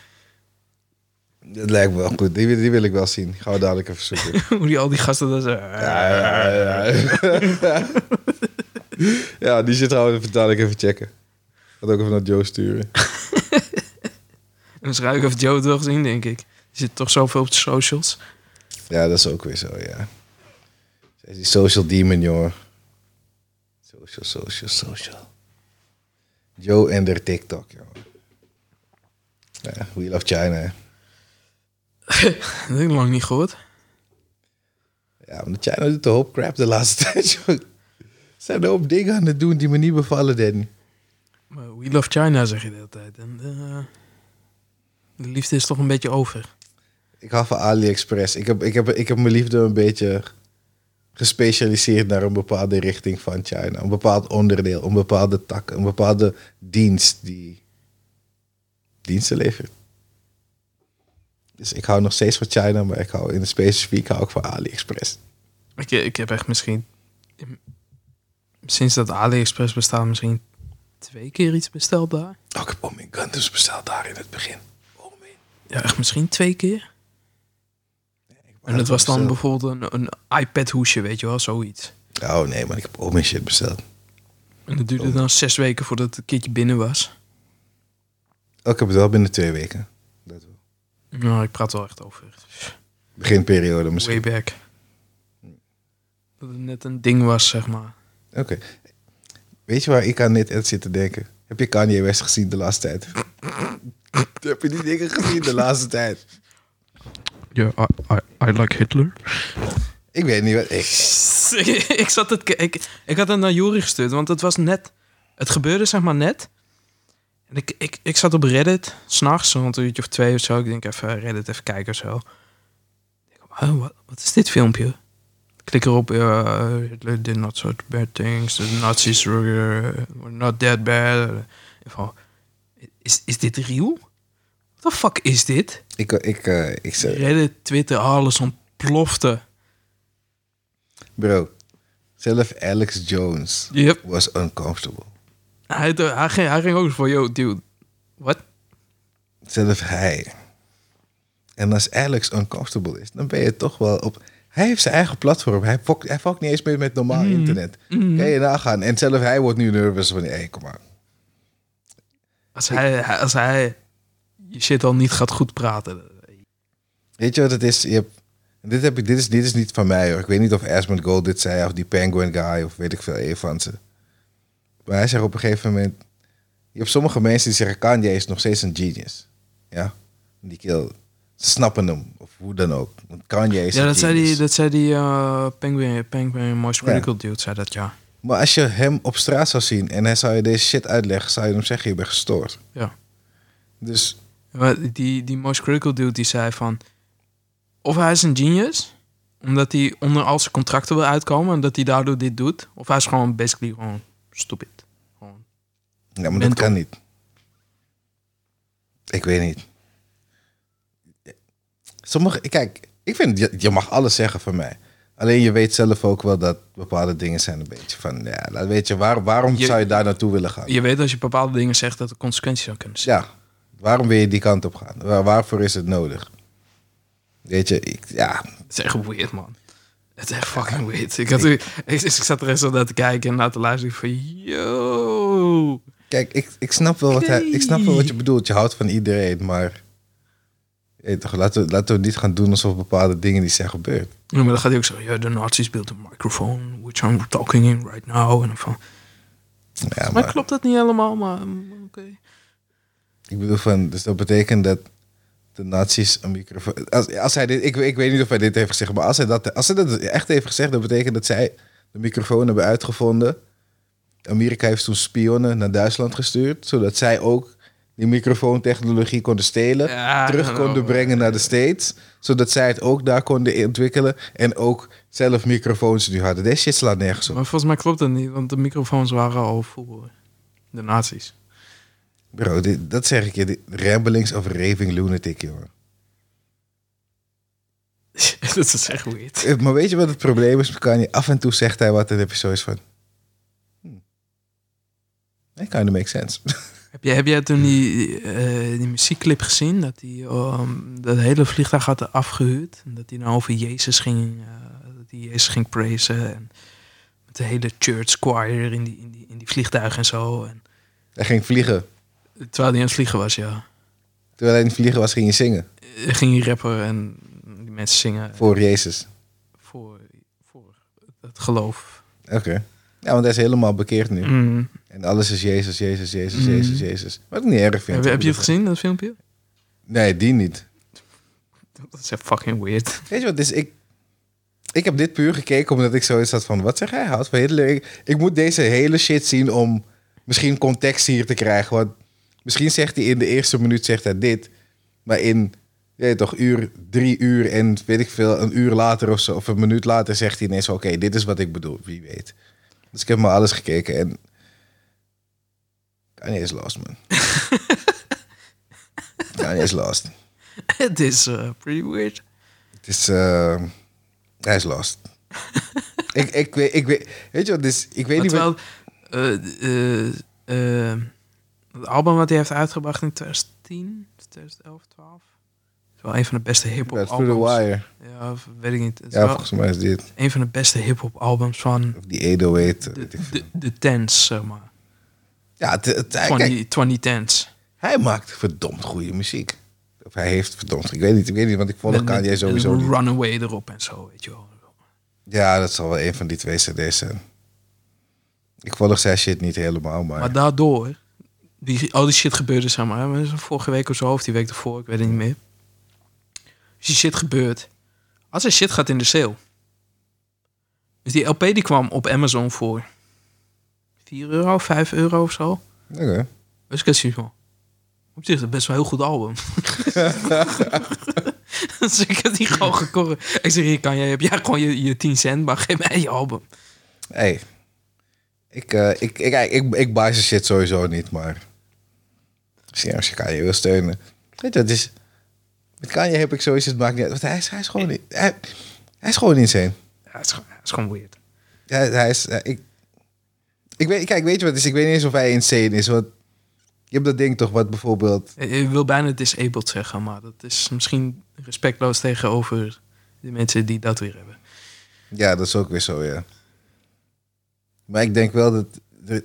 Dat lijkt me wel goed. Die, wil- die wil ik wel zien. Gaan we dadelijk even zoeken. Hoe die al die gasten dan zo... Ja, ja, ja, ja. ja, die zit gaan we dadelijk even checken. Gaat ook even naar Joe sturen. En dan schrijf ik of Joe het wel gezien, denk ik. Die zit toch zoveel op de socials. Ja, dat is ook weer zo, ja. Zij is die social demon, jongen. Social, social, social. Joe en der TikTok, jongen. Ja, we love China. hè. Dat heb ik lang niet gehoord. Ja, want China doet de hoop crap de laatste tijd, jongen. Ze zijn een hoop dingen aan het doen die me niet bevallen, Danny. Maar we love China, zeg je de hele tijd. En eh, de liefde is toch een beetje over. Ik hou van AliExpress. Ik heb, ik, heb, ik heb mijn liefde een beetje gespecialiseerd naar een bepaalde richting van China. Een bepaald onderdeel, een bepaalde tak, een bepaalde dienst die diensten levert. Dus ik hou nog steeds van China, maar ik hou in het specifiek hou ik van AliExpress. Ik, ik heb echt misschien... Sinds dat AliExpress bestaat misschien twee keer iets besteld daar. Oh, ik heb Omin Gundams besteld daar in het begin. Omin. Ja, echt misschien twee keer. En dat was dan bijvoorbeeld een, een iPad-hoesje, weet je wel, zoiets. Oh nee, maar ik heb Omin shit besteld. En dat duurde dan zes weken voordat het een keertje binnen was. Oh, ik heb het wel binnen twee weken. Dat wel. Nou, ik praat wel echt over Beginperiode misschien. way back. Dat het net een ding was, zeg maar. Oké. Weet je waar ik aan dit en zit te denken? Heb je Kanye West gezien de laatste tijd? Heb je die dingen gezien de laatste tijd? Ja, I, I, I like Hitler. Ik weet niet wat ik... ik, ik zat het, ke- ik, ik had het naar Jori gestuurd, want het was net. Het gebeurde zeg maar net. En ik, ik, ik zat op Reddit, s'nachts, rond een uurtje of twee of zo. Ik denk even Reddit even kijken of zo. Ik denk, oh, wat, wat is dit filmpje? Ik Klik erop, eh, Hitler did not such bad things, the Nazis were eh, were not that bad. Ik van, is, is dit real? What the fuck is dit? Ik, ik, eh, ik zeg, Reddit, Twitter, alles ontplofte. bro, zelf Alex Jones Yep. was uncomfortable. Hij, hij, ging, hij ging ook voor, yo, dude, wat? zelf hij. En als Alex uncomfortable is, dan ben je toch wel op... Hij heeft zijn eigen platform. Hij fokt, hij fokt niet eens meer met normaal Mm. internet. Kan je nagaan. En zelf hij wordt nu nervous van... Hé, hey, kom maar. Als hij, hij- als hij je shit al niet gaat goed praten. Weet je wat het is? Je hebt, dit, heb ik, dit, is dit is niet van mij hoor. Ik weet niet of Asmund Gold dit zei of die Penguin Guy of weet ik veel een van ze. Maar hij zegt op een gegeven moment... Je hebt sommige mensen die zeggen Kanye is nog steeds een genius. Ja? Die kill. Ze snappen hem. Of hoe dan ook. Want Kanye is Ja, een dat zei genius. die, dat zei die eh, Penguin, Penguin Most Ja. Critical Dude, zei dat ja. Maar als je hem op straat zou zien en hij zou je deze shit uitleggen... zou je hem zeggen je bent gestoord. Ja. Dus Maar die, die Most Critical Dude die zei van... Of hij is een genius, omdat hij onder al zijn contracten wil uitkomen... en dat hij daardoor dit doet. Of hij is gewoon basically gewoon stupid. Gewoon. Ja, maar dat Mental. kan niet. Ik weet niet. Sommige, kijk, ik vind, je, je mag alles zeggen van mij. Alleen je weet zelf ook wel dat bepaalde dingen zijn een beetje van, ja, laat- weet je, waar, waarom Je- zou je daar naartoe willen gaan? Je weet als je bepaalde dingen zegt dat er consequenties aan kunnen zijn. Ja, waarom wil je die kant op gaan? Waar- waarvoor is het nodig? Weet je, ik, ja, Het is echt weird, man. Het is echt fucking weird. Ik, had, ik, ik, zat er eens al naar te kijken en naar te luisteren van... Yo... kijk, ik, ik, snap wel wat hij, ik snap wel wat je bedoelt. Je houdt van iedereen, maar je weet toch, laten, we, laten we niet gaan doen alsof bepaalde dingen die zijn gebeurd. Ja, maar dan gaat hij ook zeggen, ja, de nazi's built een microphone, which I'm talking in right now. En dan van, Ja, maar klopt dat niet helemaal, maar mm, oké. Ik bedoel van, dus dat betekent dat de nazi's een microfoon... Als, als hij dit, ik, ik weet niet of hij dit heeft gezegd, maar als hij, dat, als hij dat echt heeft gezegd... dat betekent dat zij de microfoon hebben uitgevonden. Amerika heeft toen spionnen naar Duitsland gestuurd... zodat zij ook die microfoontechnologie konden stelen... Ja, terug nou, konden brengen naar de States... zodat zij het ook daar konden ontwikkelen... en ook zelf microfoons nu hadden. Deze shit slaat nergens op. Maar volgens mij klopt dat niet, want de microfoons waren al voor de nazi's. Bro, dit, dat zeg ik je. dit- Ramblings of raving lunatic, jongen. dat is echt weird. Eh, Maar weet je wat het probleem is? met Kanye? af en toe zegt hij wat en dan heb je zoiets van... hmm. That kind of makes sense. Heb jij, heb jij toen die, eh, die muziekclip gezien, dat die, ehm, dat hele vliegtuig had afgehuurd? En dat hij nou over Jezus ging, eh, dat hij Jezus ging praisen en met de hele church choir in die, in die, in die vliegtuig en zo. En, hij ging vliegen. terwijl hij aan het vliegen was, ja. Terwijl hij in het vliegen was, ging hij zingen. Eh, ging hij rappen en die mensen zingen Voor Jezus. voor, voor het geloof. Oké. Ja, want hij is helemaal bekeerd nu. Mm. En alles is Jezus, Jezus, Jezus, Mm. Jezus, Jezus. Wat ik niet erg vind. Heb, heb je het gezien, dat filmpje? Nee, die niet. Dat is echt fucking weird. Weet je wat, dus ik... Ik heb dit puur gekeken omdat ik zoiets had van... Wat zeg hij? Houdt van Hitler? Ik, ik moet deze hele shit zien om misschien context hier te krijgen. Want misschien zegt hij in de eerste minuut zegt hij dit. Maar in, je weet toch, uur, drie uur en weet ik veel... Een uur later of zo, of een minuut later zegt hij ineens... Oké, dit is wat ik bedoel, wie weet. Dus ik heb maar alles gekeken en... Kanye is lost, man. Kanye is lost. Het is eh, pretty weird. Het is. eh, hij is lost. ik, ik, weet, ik weet. Weet je wat? Dus, ik weet Maar niet wat. terwijl, eh, eh, eh, het album wat hij heeft uitgebracht in 2010, 2011, 12. is wel een van de beste hip-hop That's through the albums. wire. Ja, of weet ik niet. Het is Ja, wel volgens mij is dit. een van de beste hip-hop albums van Of die 808. eh, de, weet ik veel. de, de tens, zeg maar. Ja, het, het- hij, 20, kijk, 20 tens. hij maakt verdomd goede muziek. Of hij heeft verdomd. Ik weet niet, ik weet niet want ik volg Met- met Kanye sowieso niet. Runaway erop en zo, weet je wel. Ja, dat zal wel een van die twee CD's zijn. Ik volg zijn shit niet helemaal, maar. Maar daardoor, die, al die shit gebeurde, zeg maar. maar dat is Vorige week of zo, of die week ervoor, ik weet het niet meer. Dus die shit gebeurt. Als er shit gaat in de sale. Dus die LP die kwam op Amazon voor 4 euro, 5 euro of zo. Oké. Dus ik had zoiets van, op zich is het best wel een heel goed album. dus ik had die gewoon gekorren. Ik zeg, hier kan jij, heb jij gewoon je, je 10 cent, maar geef mij je album. Hey. Ik, eh, ik, ik, ik, ik, ik buy zijn shit sowieso niet, maar... Misschien als je Kanye wil steunen. Weet je, het is... Met Kanye heb ik sowieso, het maakt niet uit. Want hij is, hij is gewoon... niet- Hij, hij is gewoon insane. Ja, het is, gewoon- het is gewoon weird. Hij, hij is... eh, ik, ik weet, kijk, weet je wat het is? Ik weet niet eens of hij insane is, want... Je hebt dat ding toch wat bijvoorbeeld... Eh, Ik wil bijna disabled zeggen, maar dat is misschien respectloos tegenover de mensen die dat weer hebben. Ja, dat is ook weer zo, ja. Maar ik denk wel dat... dat-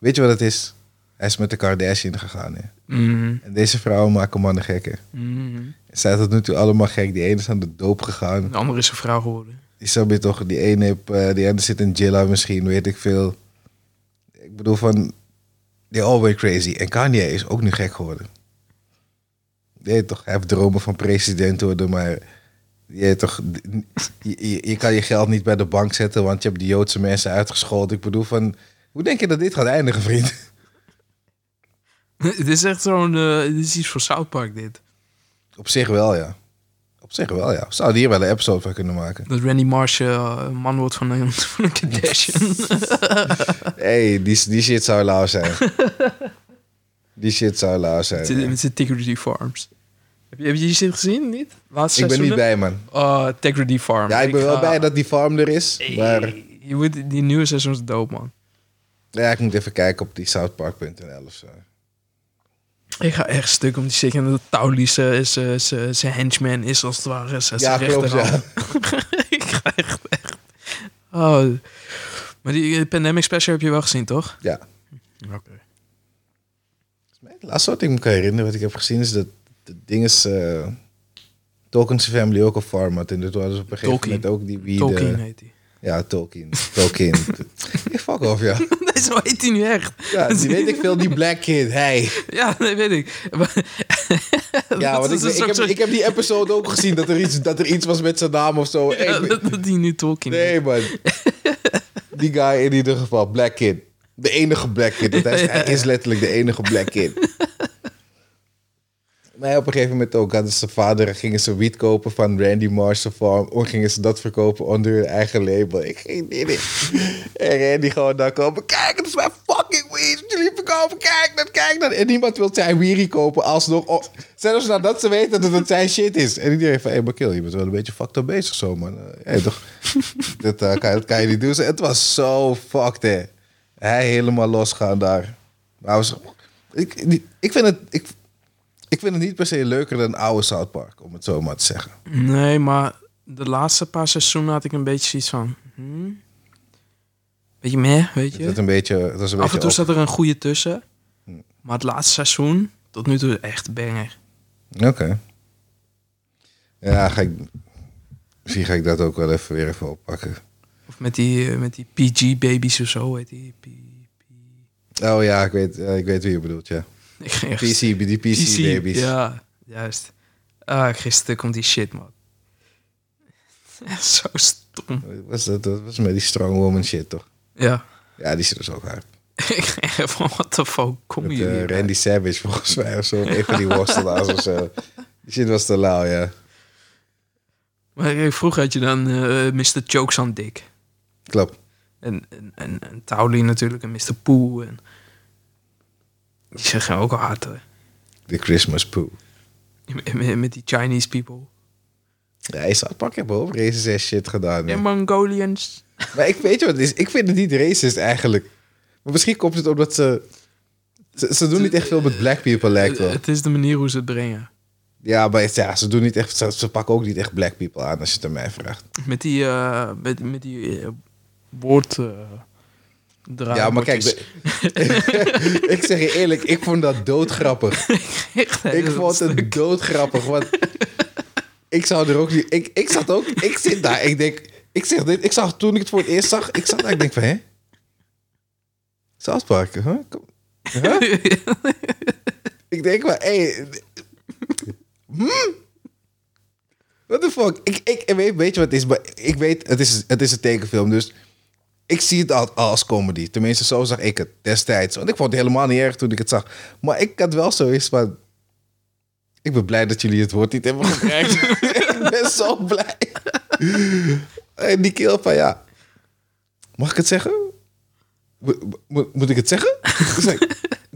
Weet je wat het is? Hij is met de Kardashian gegaan, hè. Mhm. En deze vrouwen maken mannen gekken. Mhm. Ze zijn tot nu toe allemaal gek. Die ene is aan de doop gegaan. De andere is een vrouw geworden. Die zou je toch... Die ene, heb, eh, die ene zit in Jilla misschien, weet ik veel. Ik bedoel van... They're all way crazy. En Kanye is ook nu gek geworden. Nee, toch? Hij heeft dromen van president worden, maar... Je, toch, je, je- je kan je geld niet bij de bank zetten, want je hebt die Joodse mensen uitgescholden. Ik bedoel van... Hoe denk je dat dit gaat eindigen, vriend? Het is echt zo'n... eh, dit is iets voor South Park, dit. Op zich wel, ja. Op zich wel, ja. We zouden hier wel een episode van kunnen maken. Dat Randy Marsh eh, een man wordt van een, van een Kardashian. hey, die, die shit zou lauw zijn. die shit zou lauw zijn. Met zijn- ja. Met zijn Tegrity Farms. Heb je, heb je die shit gezien, niet? Laatste Ik ben niet seizoenen? bij, man. Oh, Tegrity Farm. Ja, ik ben wel ga- bij dat die farm er is. Hey, Maar Je moet, die nieuwe seizoen is dope, man. ja, ik moet even kijken op die southpark.nl of zo. Ik ga echt stuk om die shit. En dat Tauli zijn- zijn zijn- zijn eh, henchman is als het ware. Zijn Ja, zijn klopt, ja. rechterhand. ik ga echt, echt... Oh. Maar die eh, Pandemic Special heb je wel gezien, toch? Ja. Oké. Het laatste wat ik me kan herinneren, wat ik heb gezien, is dat het ding is... eh Tolkien's family ook een farm had. En dat was op een gegeven Tolkien. moment ook die eh, wie Tolkien heet hij. Ja, Tolkien. Tolkien. Ik fuck off, ja. Nee, zo heet hij nu echt. ja. Die weet ik veel, die black kid. Hey. Ja, dat weet ik. Maar- Ja, Dat want is ik, een ik, heb, soort- ik heb die episode ook gezien dat er iets, dat er iets was met zijn naam of zo. Ja, Ik- dat dat hij nu Tolkien heet. nee, man. Die guy in ieder geval, Black Kid. De enige Black Kid. want hij, is, hij is letterlijk de enige Black Kid. Maar op een gegeven moment ook hadden ze vader, gingen ze wiet kopen van Randy Marshall Farm. Of gingen ze dat verkopen onder hun eigen label. Ik ging niet in. En Randy gewoon daar komen. Kijk, dat is mijn fucking weed. Jullie verkopen, kijk dat, kijk dat. En niemand wil zijn wierie kopen alsnog. Oh, zelfs nadat ze weten dat het zijn shit is. En iedereen van, hé, maar kill, je bent wel een beetje fucked up bezig zo, man. Eh, hey, toch, dat, eh, kan, je- dat kan je niet doen. Het was zo fucked, hè. Hij helemaal losgaan daar. Maar hij was, ik, die- ik vind het... Ik, ik vind het niet per se leuker dan oude South Park, om het zo maar te zeggen. Nee, maar de laatste paar seizoenen had ik een beetje zoiets van... hmm, Beetje meh, weet Het, was je? een beetje, het was een Af en beetje toe op- zat er een goede tussen. Maar het laatste seizoen, tot nu toe echt banger. Oké. Ja, ga ik, misschien ga ik dat ook wel even weer even oppakken. Of met die, eh, met die PG-babies of zo, weet die. P- Oh ja, ik weet, eh, ik weet wie je bedoelt, ja. ik ging echt- PC, die PC-babies. Ja, juist. Ah, ik ging stuk om die shit, man. Echt zo stom. Was dat, dat was met die strong woman shit, toch? Ja. Ja, die shit was ook hard. ik ging echt van, what the fuck, kom Met je eh, hier? Randy Savage, volgens mij, of zo. Even die worstelaars of zo. Die shit was te lauw, ja. Maar eh, vroeger had je dan eh Mr. Chokes on Dick. Klopt. En, en, en, en Towley natuurlijk, en Mr. Pooh. En... Die zeggen ook al hard, hè. De Christmas poo. Met- Met, met die Chinese people. Ja, in South Park hebben we ook racist shit gedaan. hè. En Mongolians. Maar ik weet je wat het is. Ik vind het niet racist eigenlijk. Maar misschien komt het omdat ze... Ze, ze doen niet echt veel met black people, lijkt Het, wel. Eh, het is de manier hoe ze het brengen. Ja, maar het- ja, ze, doen niet echt, ze, ze pakken ook niet echt black people aan, als je het aan mij vraagt. Met die, eh met, met die eh, woord... eh, ja, maar kijk... draaiwoordjes. de- ik zeg je eerlijk, ik vond dat doodgrappig. Echt, hè, Ik dat vond is- het doodgrappig, want ik zou er ook niet... Ik, ik zat ook... Ik zit daar, ik denk... Ik zeg dit, ik zag toen ik het voor het eerst zag, ik zat daar, ik denk van, hè? South Park, huh? Kom- huh? Ik denk maar, hé. Hey, hmm? What the fuck? Ik, ik, ik weet, weet je wat het is, maar ik weet, het is, het is een tekenfilm, dus ik zie het al, als comedy. Tenminste, zo zag ik het destijds. Want ik vond het helemaal niet erg toen ik het zag. Maar ik had wel zoiets van, ik ben blij dat jullie het woord niet hebben gebruikt. ik ben zo blij. en die keel van, ja, mag ik het zeggen? Mo- mo- moet ik het zeggen? Ik zei,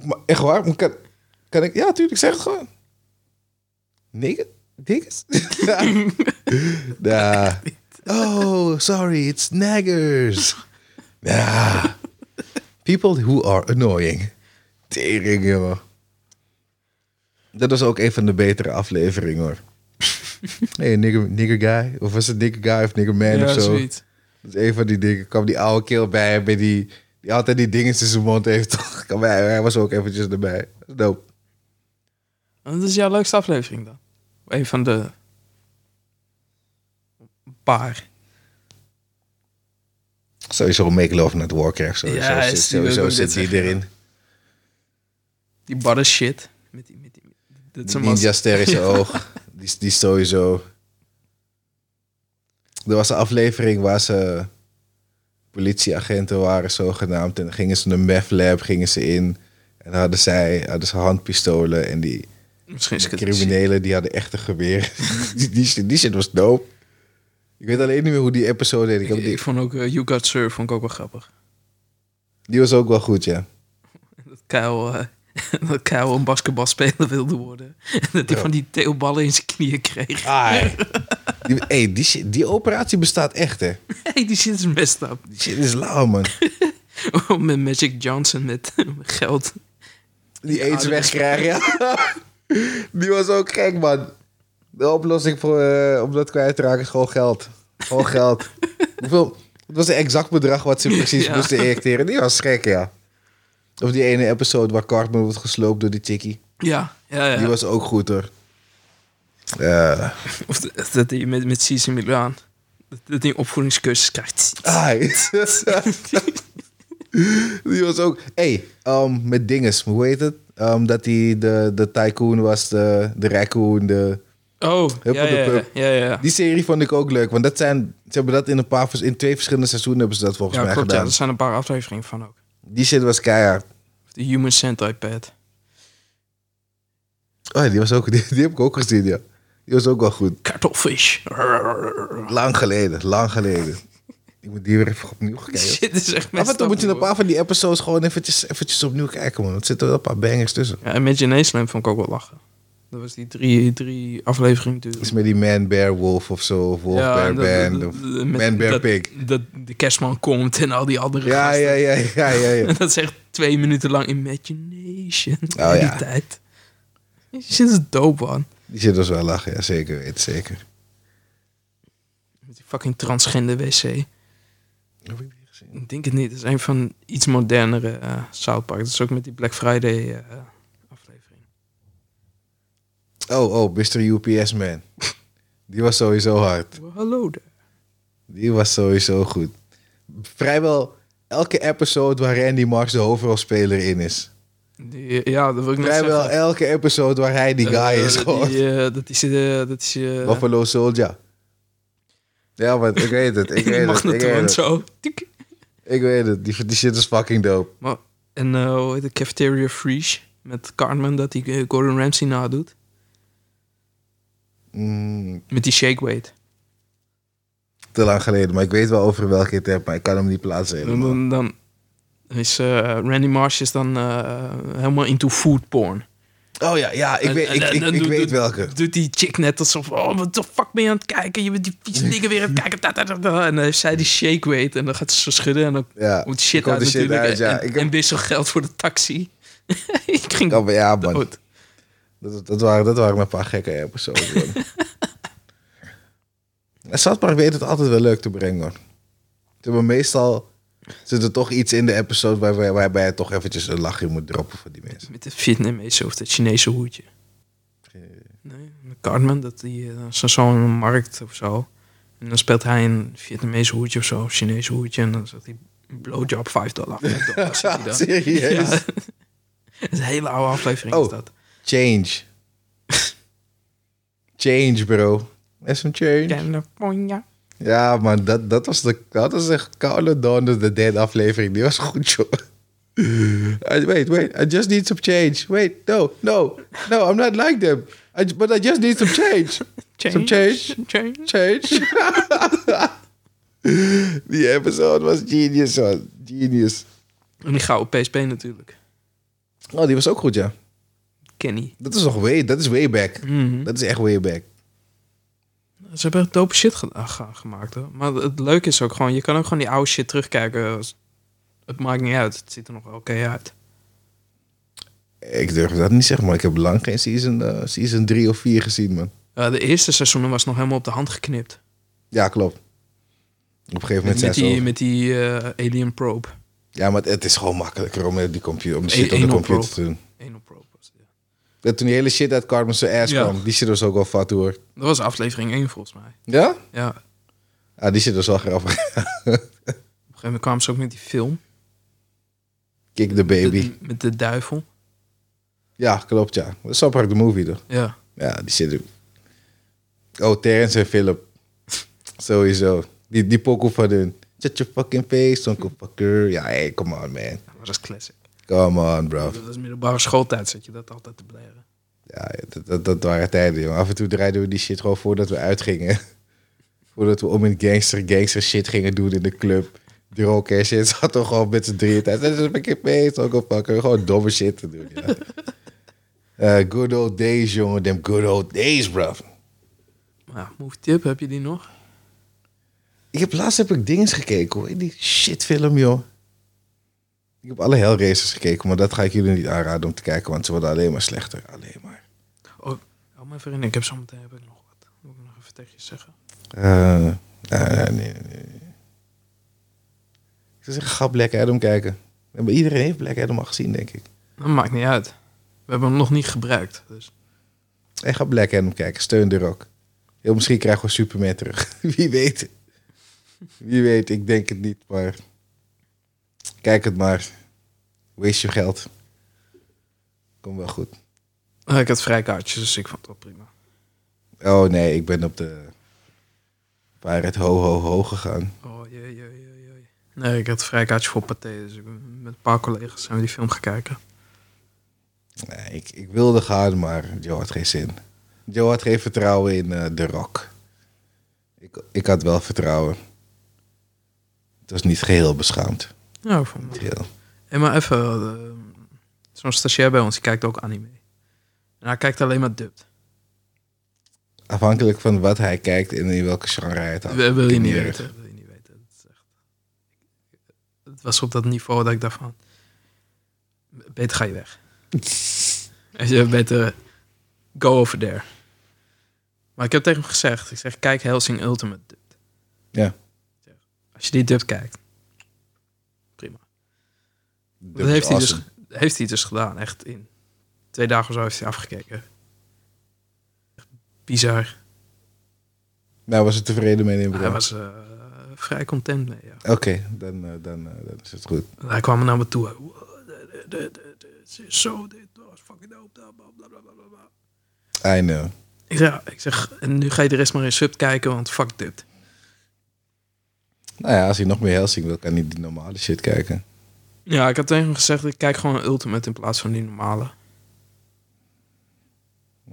maar echt waar? Moet ik het- kan ik? Ja, tuurlijk, zeg het gewoon. Nigga? Diggers? nah. Oh, sorry, it's naggers. Nah. People who are annoying. Tering, jongen. Dat was ook een van de betere afleveringen hoor. hey, nigger, nigger guy. Of was het nigger guy of nigger man ja, of zo. zoiets. Dat is een van die dingen. Kwam die oude keel bij hem. en Die, die altijd die dingen in zijn mond heeft. toch? Kwam hij, hij was ook eventjes erbij. Dat is dope. Dat is jouw leukste aflevering dan? Een van de... Een paar. Sowieso Make Love Not Warcraft. Sowieso, Ja, zit, is die- wil sowieso ik ook zit net die erin. Die barre shit. Met die... Met die dat is Die een mas- ninja ster in zijn Ja. oog. Die, die sowieso. Er was een aflevering waar ze politieagenten waren zogenaamd. En dan gingen ze naar een meth lab, gingen ze in. En dan hadden zij hadden ze handpistolen. En die Misschien is het criminelen die hadden echte geweren. die, die, shit- die shit was dope. Ik weet alleen niet meer hoe die episode heet. Ik heb Ik, die, ik vond ook eh, You Got Surf vond ik ook wel grappig. die was ook wel goed, ja. Dat Kyle, eh, dat Kyle een basketbalspeler wilde worden. En dat hij Ja. van die teelballen in zijn knieën kreeg. Ah, die, hey, die, shit- die operatie bestaat echt, hè. Hey, die shit is messed up. Die shit is lauw, man. Oh, met Magic Johnson met geld. Die aids oude- wegkrijgen. ja. Die was ook gek, man. De oplossing voor, eh, om dat kwijt te raken is gewoon geld. Gewoon geld. Hoeveel, het was een exact bedrag wat ze precies Ja. moesten injecteren. Die was gek, ja. Of die ene episode waar Cartman wordt gesloopt door die chickie. Ja, ja, ja. Die was ook goed, hoor. Eh, Of dat- dat hij met, met Cece Milan. Dat- Dat hij een opvoedingscursus krijgt. ai. die was ook... hey, ehm, met dinges, hoe heet het? Ehm, dat hij de, de tycoon was, de, de raccoon, de... Oh, ja, ja, ja, Huppeldepup. ja, ja. Die serie vond ik ook leuk, want dat zijn, ze hebben dat in een paar, vers- in twee verschillende seizoenen hebben ze dat volgens Ja, mij klopt. Ja, gedaan. er zijn een paar afleveringen van ook. Die shit was keihard. De Human Centipede. Pad. Oh, ja, die was ook, die, die heb ik ook gezien, ja. Die was ook wel goed. Kartoffish. Lang geleden, lang geleden. Ik moet die weer even opnieuw Die kijken. shit is echt Af messed en toe up, moet je een hoor. paar van die episodes gewoon eventjes, eventjes opnieuw kijken, man. Er zitten wel een paar bangers tussen. Ja, Imagination vond ik ook wel lachen. Dat was die drie, drie afleveringen Iets natuurlijk. met die Man Bear Wolf of zo, of Wolf Bear en dat- dat- Band. dat- Of... dat- met- Man Bear dat- Pig. Dat de kerstman komt en al die andere Ja, gasten. ja, ja, ja, ja, ja. En dat is echt twee minuten lang Imagination. Oh, in die ja. tijd. Die shit is dope, man. Die shit was wel lachen, ja, zeker weten, zeker. Met die fucking transgender wc. Heb ik die gezien? Ik denk het niet. Dat is een van iets modernere eh South Park. Dat is ook met die Black Friday eh, aflevering. Oh, oh, Mr. UPS Man. Die was sowieso hard. Oh, Hallo daar. Die was sowieso goed. Vrijwel elke episode waar Randy Marks de hoofdrolspeler in is. Die, eh, ja, dat wil ik net Vrijwel zeggen. elke episode waar hij die guy Eh, is. dat Gewoon. Die, eh, dat is... eh, dat is eh, Buffalo Soldier. Ja, want ik weet het. Ik in de weet het. Ik weet magnetron het. zo. Tik. Ik weet het. Die, die shit is fucking dope. Maar, en eh, hoe heet het? Cafeteria Freeze. Met Cartman dat hij eh, Gordon Ramsay nadoet. Mm, Met die shake weight. te lang geleden. Maar ik weet wel over welke het hebt. Maar ik kan hem niet plaatsen Dan, helemaal. dan, dan is eh, Randy Marsh is dan eh, helemaal into food porn. Oh ja, ja. Ik En- weet, en- ik, en ik, dan ik doet- weet doet- welke. Doet die chick net alsof, oh, wat de fuck ben je aan het kijken? Je bent die vieze dingen weer aan het kijken. Ta, ta, ta, ta. En dan heeft zij die shake weight en dan gaat ze zo schudden en dan Ja. moet shit komt uit de shit natuurlijk. uit, ja. En, Ik ik heb- en wissel geld voor de taxi. ik ging Oh, ja, man. dood. Dat, dat, waren, dat waren een paar gekke episodes. man. En Southpark weet het altijd wel leuk te brengen hoor. Ze hebben meestal zit er toch iets in de episode waar, waar- waarbij je toch eventjes een lachje moet droppen voor die mensen. Met de Vietnamese of dat Chinese hoedje. Nee, met Cartman, dat die, eh, zijn zoon een markt of zo. En dan speelt hij een Vietnamese hoedje of zo, of Chinese hoedje. En dan zegt hij, blowjob 5 dollar. 5 dollar zegt hij dan. Serieus? Ja. dat is een hele oude aflevering Oh. is dat. Change. Change, bro. Is some change. California. Ja, man, dat, dat, was de, dat was echt koude donder, de derde aflevering. Die was goed, joh. I- wait, wait, I just need some change. Wait, no, no, no, I'm not like them. I, but I just need some change. Some change. Change. Change. die episode was genius, man. Genius. En die gouden PSP natuurlijk. Oh, die was ook goed, ja. Kenny. Dat is nog way, dat is way back. Mhm. Dat is echt way back. Ze hebben echt dope shit ge- ge- gemaakt. Hoor. Maar het leuke is ook gewoon, je kan ook gewoon die oude shit terugkijken. Het maakt niet uit. Het ziet er nog wel oké uit. Ik durf dat niet zeggen, maar ik heb lang geen season, eh, season 3 of 4 gezien, man. Ja, Eh, de eerste seizoenen was nog helemaal op de hand geknipt. Ja, klopt. Op een gegeven moment Met, zijn ze die, over. met die eh, Alien Probe. Ja, maar het is gewoon makkelijker om, eh, die computer, om de E- shit op de anal computer probe. te doen. Alien Probe was het, ja. Dat toen die hele shit uit Carmen zijn ass Ja. kwam, die shit was ook wel fat hoor. Dat was aflevering 1 volgens mij. Ja? Ja, op een gegeven Ah, die shit was wel grappig. moment kwamen ze ook met die film. Kick the baby. Met, met de duivel. Ja, klopt ja. Dat is zo de movie toch? Ja. Ja, die shit. Oh, Terrence en Philip. Sowieso. Die, die pokoe van hun. Shut your fucking face, uncle fucker. Ja, hey, come on man. Dat was classic. Come on bro. Dat was middelbare schooltijd, zat je dat altijd te blaren. Ja, dat, dat, dat waren tijden, jongen. Af en toe draaiden we die shit gewoon voordat we uitgingen. voordat we om in gangster, gangster shit gingen doen in de club. Droken en shit. Zat toch gewoon met z'n drieën thuis. Dat is een keer mee. Ook al pakken. Gewoon domme shit te doen, ja. Eh, good old days, jongen. Them good old days, bro. Maar ja, Move Tip, heb je die nog? Ik heb laatst heb ik dingen gekeken, hoor. Die shitfilm, joh. Ik heb alle Hellraisers gekeken, maar dat ga ik jullie niet aanraden om te kijken, want ze worden alleen maar slechter. Alleen maar. Oh, hou me even in. Ik heb zometeen heb ik nog wat. Moet ik nog even tegen je zeggen? Eh, nee, nee, nee, nee. Ik zou zeggen, ga Black Adam kijken. Maar Iedereen heeft Black Adam al gezien, denk ik. Dat maakt niet uit. We hebben hem nog niet gebruikt. Dus. Hey, ga Black Adam kijken, steun de rock. Heel misschien krijgen we Superman terug. Wie weet. Wie weet, ik denk het niet, maar... Kijk het maar. Waste je geld. Kom wel goed. Ah, Ik had vrij kaartjes, dus ik vond het wel prima. Oh nee, ik ben op de... Pirate ho ho ho gegaan. Oh, jee, jee, jee, jee. Nee, ik had vrij kaartje voor Pathé, dus ik ben- met een paar collega's zijn we die film gaan kijken. Nee, Eh, ik, ik wilde gaan, maar Joe had geen zin. Joe had geen vertrouwen in eh The Rock. Ik, ik had wel vertrouwen. Het was niet geheel beschaamd. Nou, voor mij. Niet Geheel. Hé, maar even, eh, zo'n stagiair bij ons, die kijkt ook anime. En hij kijkt alleen maar dubbed. Afhankelijk van wat hij kijkt en in welke genre hij het had. wil, wil je niet kinderen. weten. Wil je niet weten. Het, is echt... het was op dat niveau dat ik dacht van... Beter ga je weg. Weet je, beter go over there. Maar ik heb tegen hem gezegd. Ik zeg, kijk Helsing Ultimate dubbed. Ja. Ik zeg, Als je die dubbed kijkt. Prima. Dat Dat heeft, is hij awesome. dus, heeft hij dus gedaan. Echt in twee dagen of zo heeft hij afgekeken. Echt Bizar. Nou, was het tevreden mee in het Hij begin? was eh, vrij content mee, ja. Oké, dan, eh, dan, eh, dan is het goed. Hij kwam naar me toe. Hij, "Wow, dit- dit- dit- dit is Zo, dit oh, was fucking dope. bla, bla, bla, bla, bla, bla." I know. Ik zeg, ja, ik zeg, en nu ga je de rest maar in sub kijken, want fuck dit. Nou ja, als hij nog meer Helsing wil, kan hij die normale shit kijken. Ja, ik had tegen hem gezegd, ik kijk gewoon Ultimate in plaats van die normale.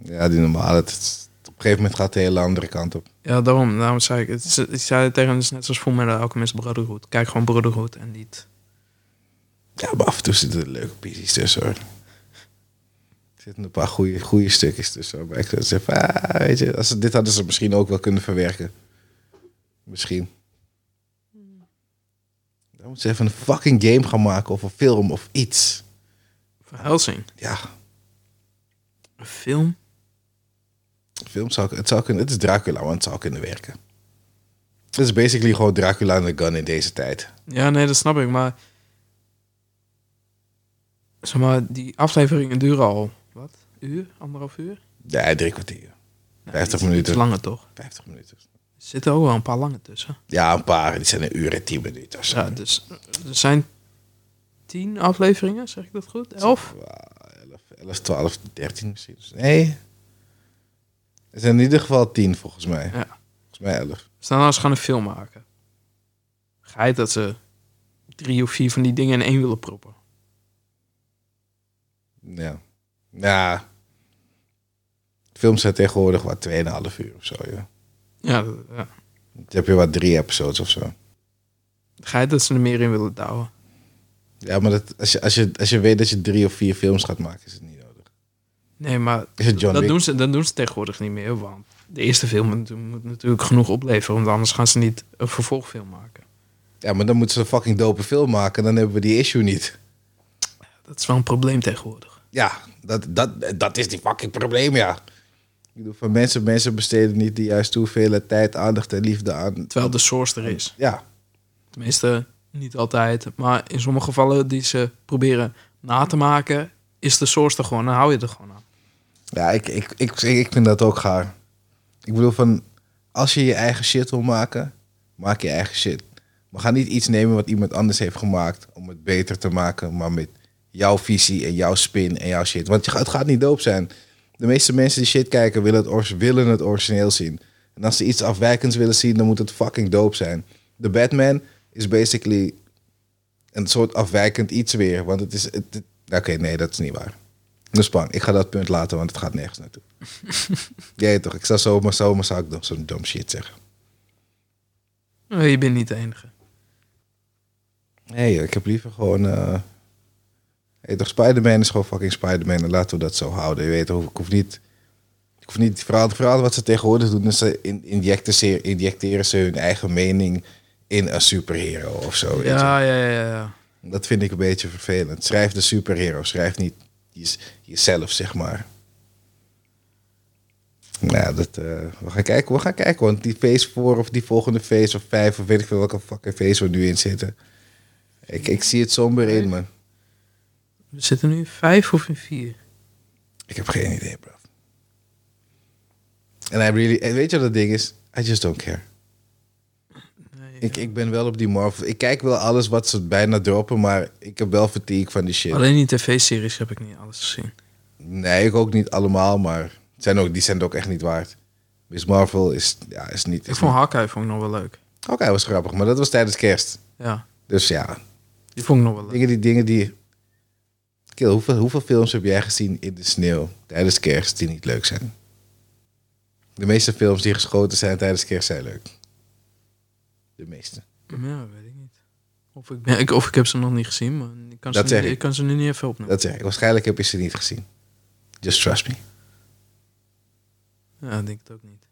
Ja, die normale. het is- op een gegeven moment gaat hij de hele andere kant op. Ja, daarom, daarom zei ik, het is- ik zei het tegen hem, het is net zoals voor mij de Alchemist Brotherhood. Kijk gewoon Brotherhood en niet. Ja, maar af en toe zitten er leuke pieces tussen hoor. Er zitten een paar goede, goede stukjes tussen. hoor. Maar ik zou zeggen, ah, weet je, als ze, dit hadden ze misschien ook wel kunnen verwerken. Misschien. Dan moeten ze even een fucking game gaan maken of een film of iets. Van Helsing, Ja, een film? een film zou, het zou kunnen. Het is Dracula, maar het zou kunnen werken. Het is basically gewoon Dracula en de Gun in deze tijd. Ja, nee, dat snap ik, maar... Zeg maar, die afleveringen duren al, wat, uur? Anderhalf uur? Ja, drie kwartier. Nou, 50 iets- minuten. Iets langer, toch? 50 minuten. Er zitten ook wel een paar lange tussen. Ja, een paar. Die zijn een uur en tien minuten. of zo. Ja, dus er zijn tien afleveringen, zeg ik dat goed? Elf? 11, 11, 12, 13 misschien. Nee. Er zijn in ieder geval 10 volgens mij. Ja. Volgens mij 11. Dus dan als ze gaan een film maken. Ga je dat ze drie of vier van die dingen in één willen proppen? Ja. Ja. Films zijn tegenwoordig wat 2,5 uur of zo. Ja. Ja, dat- ja. Dan heb je wat drie episodes of zo. Ga je dat ze er meer in willen douwen? Ja, maar dat, als, je, als, je, als je weet dat je drie of vier films gaat maken, is het niet nodig. Nee, maar Is het John dat Wick? doen, ze, dat doen ze tegenwoordig niet meer. Want de eerste film moet, moet natuurlijk genoeg opleveren. Want anders gaan ze niet een vervolgfilm maken. Ja, maar dan moeten ze een fucking dope film maken. Dan hebben we die issue niet. Dat is wel een probleem tegenwoordig. ja, dat, dat, dat is die fucking probleem, ja. Ik bedoel, van mensen, mensen besteden niet de juiste hoeveelheid tijd, aandacht en liefde aan. Terwijl de source er is. Ja, Tenminste, niet altijd. Maar in sommige gevallen die ze proberen na te maken, is de source er gewoon. Dan hou je er gewoon aan. ja ik, ik, ik, ik vind dat ook gaar. Ik bedoel, van, als je je eigen shit wil maken, maak je eigen shit. Maar ga niet iets nemen wat iemand anders heeft gemaakt om het beter te maken, maar met jouw visie en jouw spin en jouw shit. Want je, gaat- het gaat niet doop zijn. De meeste mensen die shit kijken willen het, ors- willen het origineel zien. En als ze iets afwijkends willen zien, dan moet het fucking doop zijn. De Batman is basically een soort afwijkend iets weer. Want het is. het- het- Oké, nee, dat is niet waar. Dus bang, ik ga dat punt laten, want het gaat nergens naartoe. Jij toch, ik zou zomaar, zomaar zou ik nog zo'n dom shit zeggen. Eh, Je bent niet de enige. Nee, joh, ik heb liever gewoon. eh Hey, toch, Spider-Man is gewoon fucking Spider-Man. En laten we dat zo houden. Je weet toch, ik hoef niet. Ik hoef niet. Vooral, vooral wat ze tegenwoordig doen, is ze in, injecten, ze, injecteren ze hun eigen mening in een superhero of Oh, zo. weet je. Ja, ja, ja, ja, ja. Dat vind ik een beetje vervelend. Schrijf de superhero, schrijf niet je- jezelf, zeg maar. Nou, dat, eh, we gaan kijken, we gaan kijken. Want die face 4 of die volgende face of 5 of weet ik veel welke fucking face we nu in zitten. Ik, ik zie het somber in, man. We zitten nu in vijf of in vier. Ik heb geen idee, bro. En I really, en weet je wat het ding is? I just don't care. Nee, Ik, ik ben wel op die Marvel. Ik kijk wel alles wat ze bijna droppen, maar ik heb wel fatigue van die shit. Alleen die tv-series heb ik niet alles gezien. Nee, ik ook niet allemaal, maar het zijn ook, die zijn het ook echt niet waard. Miss Marvel is, ja, is niet... Ik Is vond Hawkeye vond ik nog wel leuk. niet- Oké, hij was grappig, maar dat was tijdens kerst. Ja, Dus ja, die vond ik nog wel leuk. dingen die... Dingen die Kill, hoeveel, hoeveel films heb jij gezien in de sneeuw tijdens kerst die niet leuk zijn? De meeste films die geschoten zijn tijdens kerst zijn leuk. De meeste. Ja, weet ik niet. Of ik, ben, ik, of ik heb ze nog niet gezien, maar ik kan, Dat ze, zeg nu, ik. ik kan ze nu niet even opnemen. Dat zeg ik. Waarschijnlijk heb je ze niet gezien. Just trust me. Ja, ik denk het ook niet.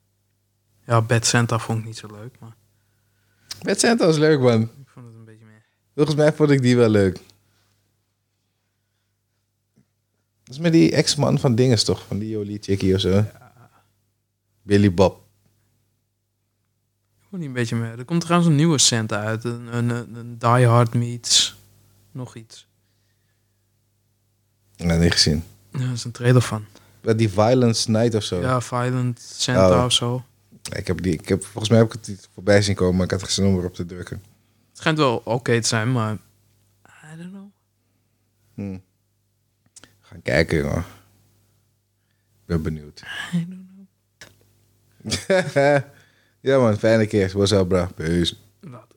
Ja, Bad Santa vond ik niet zo leuk, maar Bad Santa was leuk, man. ik vond het een beetje meer. Volgens mij vond ik die wel leuk. Dat is met die ex-man van dinges toch? Van die Jolie Chickie of zo. Billy Bob. Ik vond die een beetje meer. Er komt trouwens een nieuwe Santa uit. Een, een, een, een Die Hard Meets. Nog iets. Nou, niet gezien. Ja, dat is een trailer van. Maar die Violence Night of zo. Ja, Violent Santa Oh. of zo. Ik heb die, ik heb, volgens mij heb ik het niet voorbij zien komen, maar ik had geen zin om erop te drukken. Het schijnt wel oké te zijn, maar... I don't know. Hm. Gaan kijken, jongen. Ik ben benieuwd. I don't know. ja, man. Fijne kerst. What's up, bro? Peace. Later.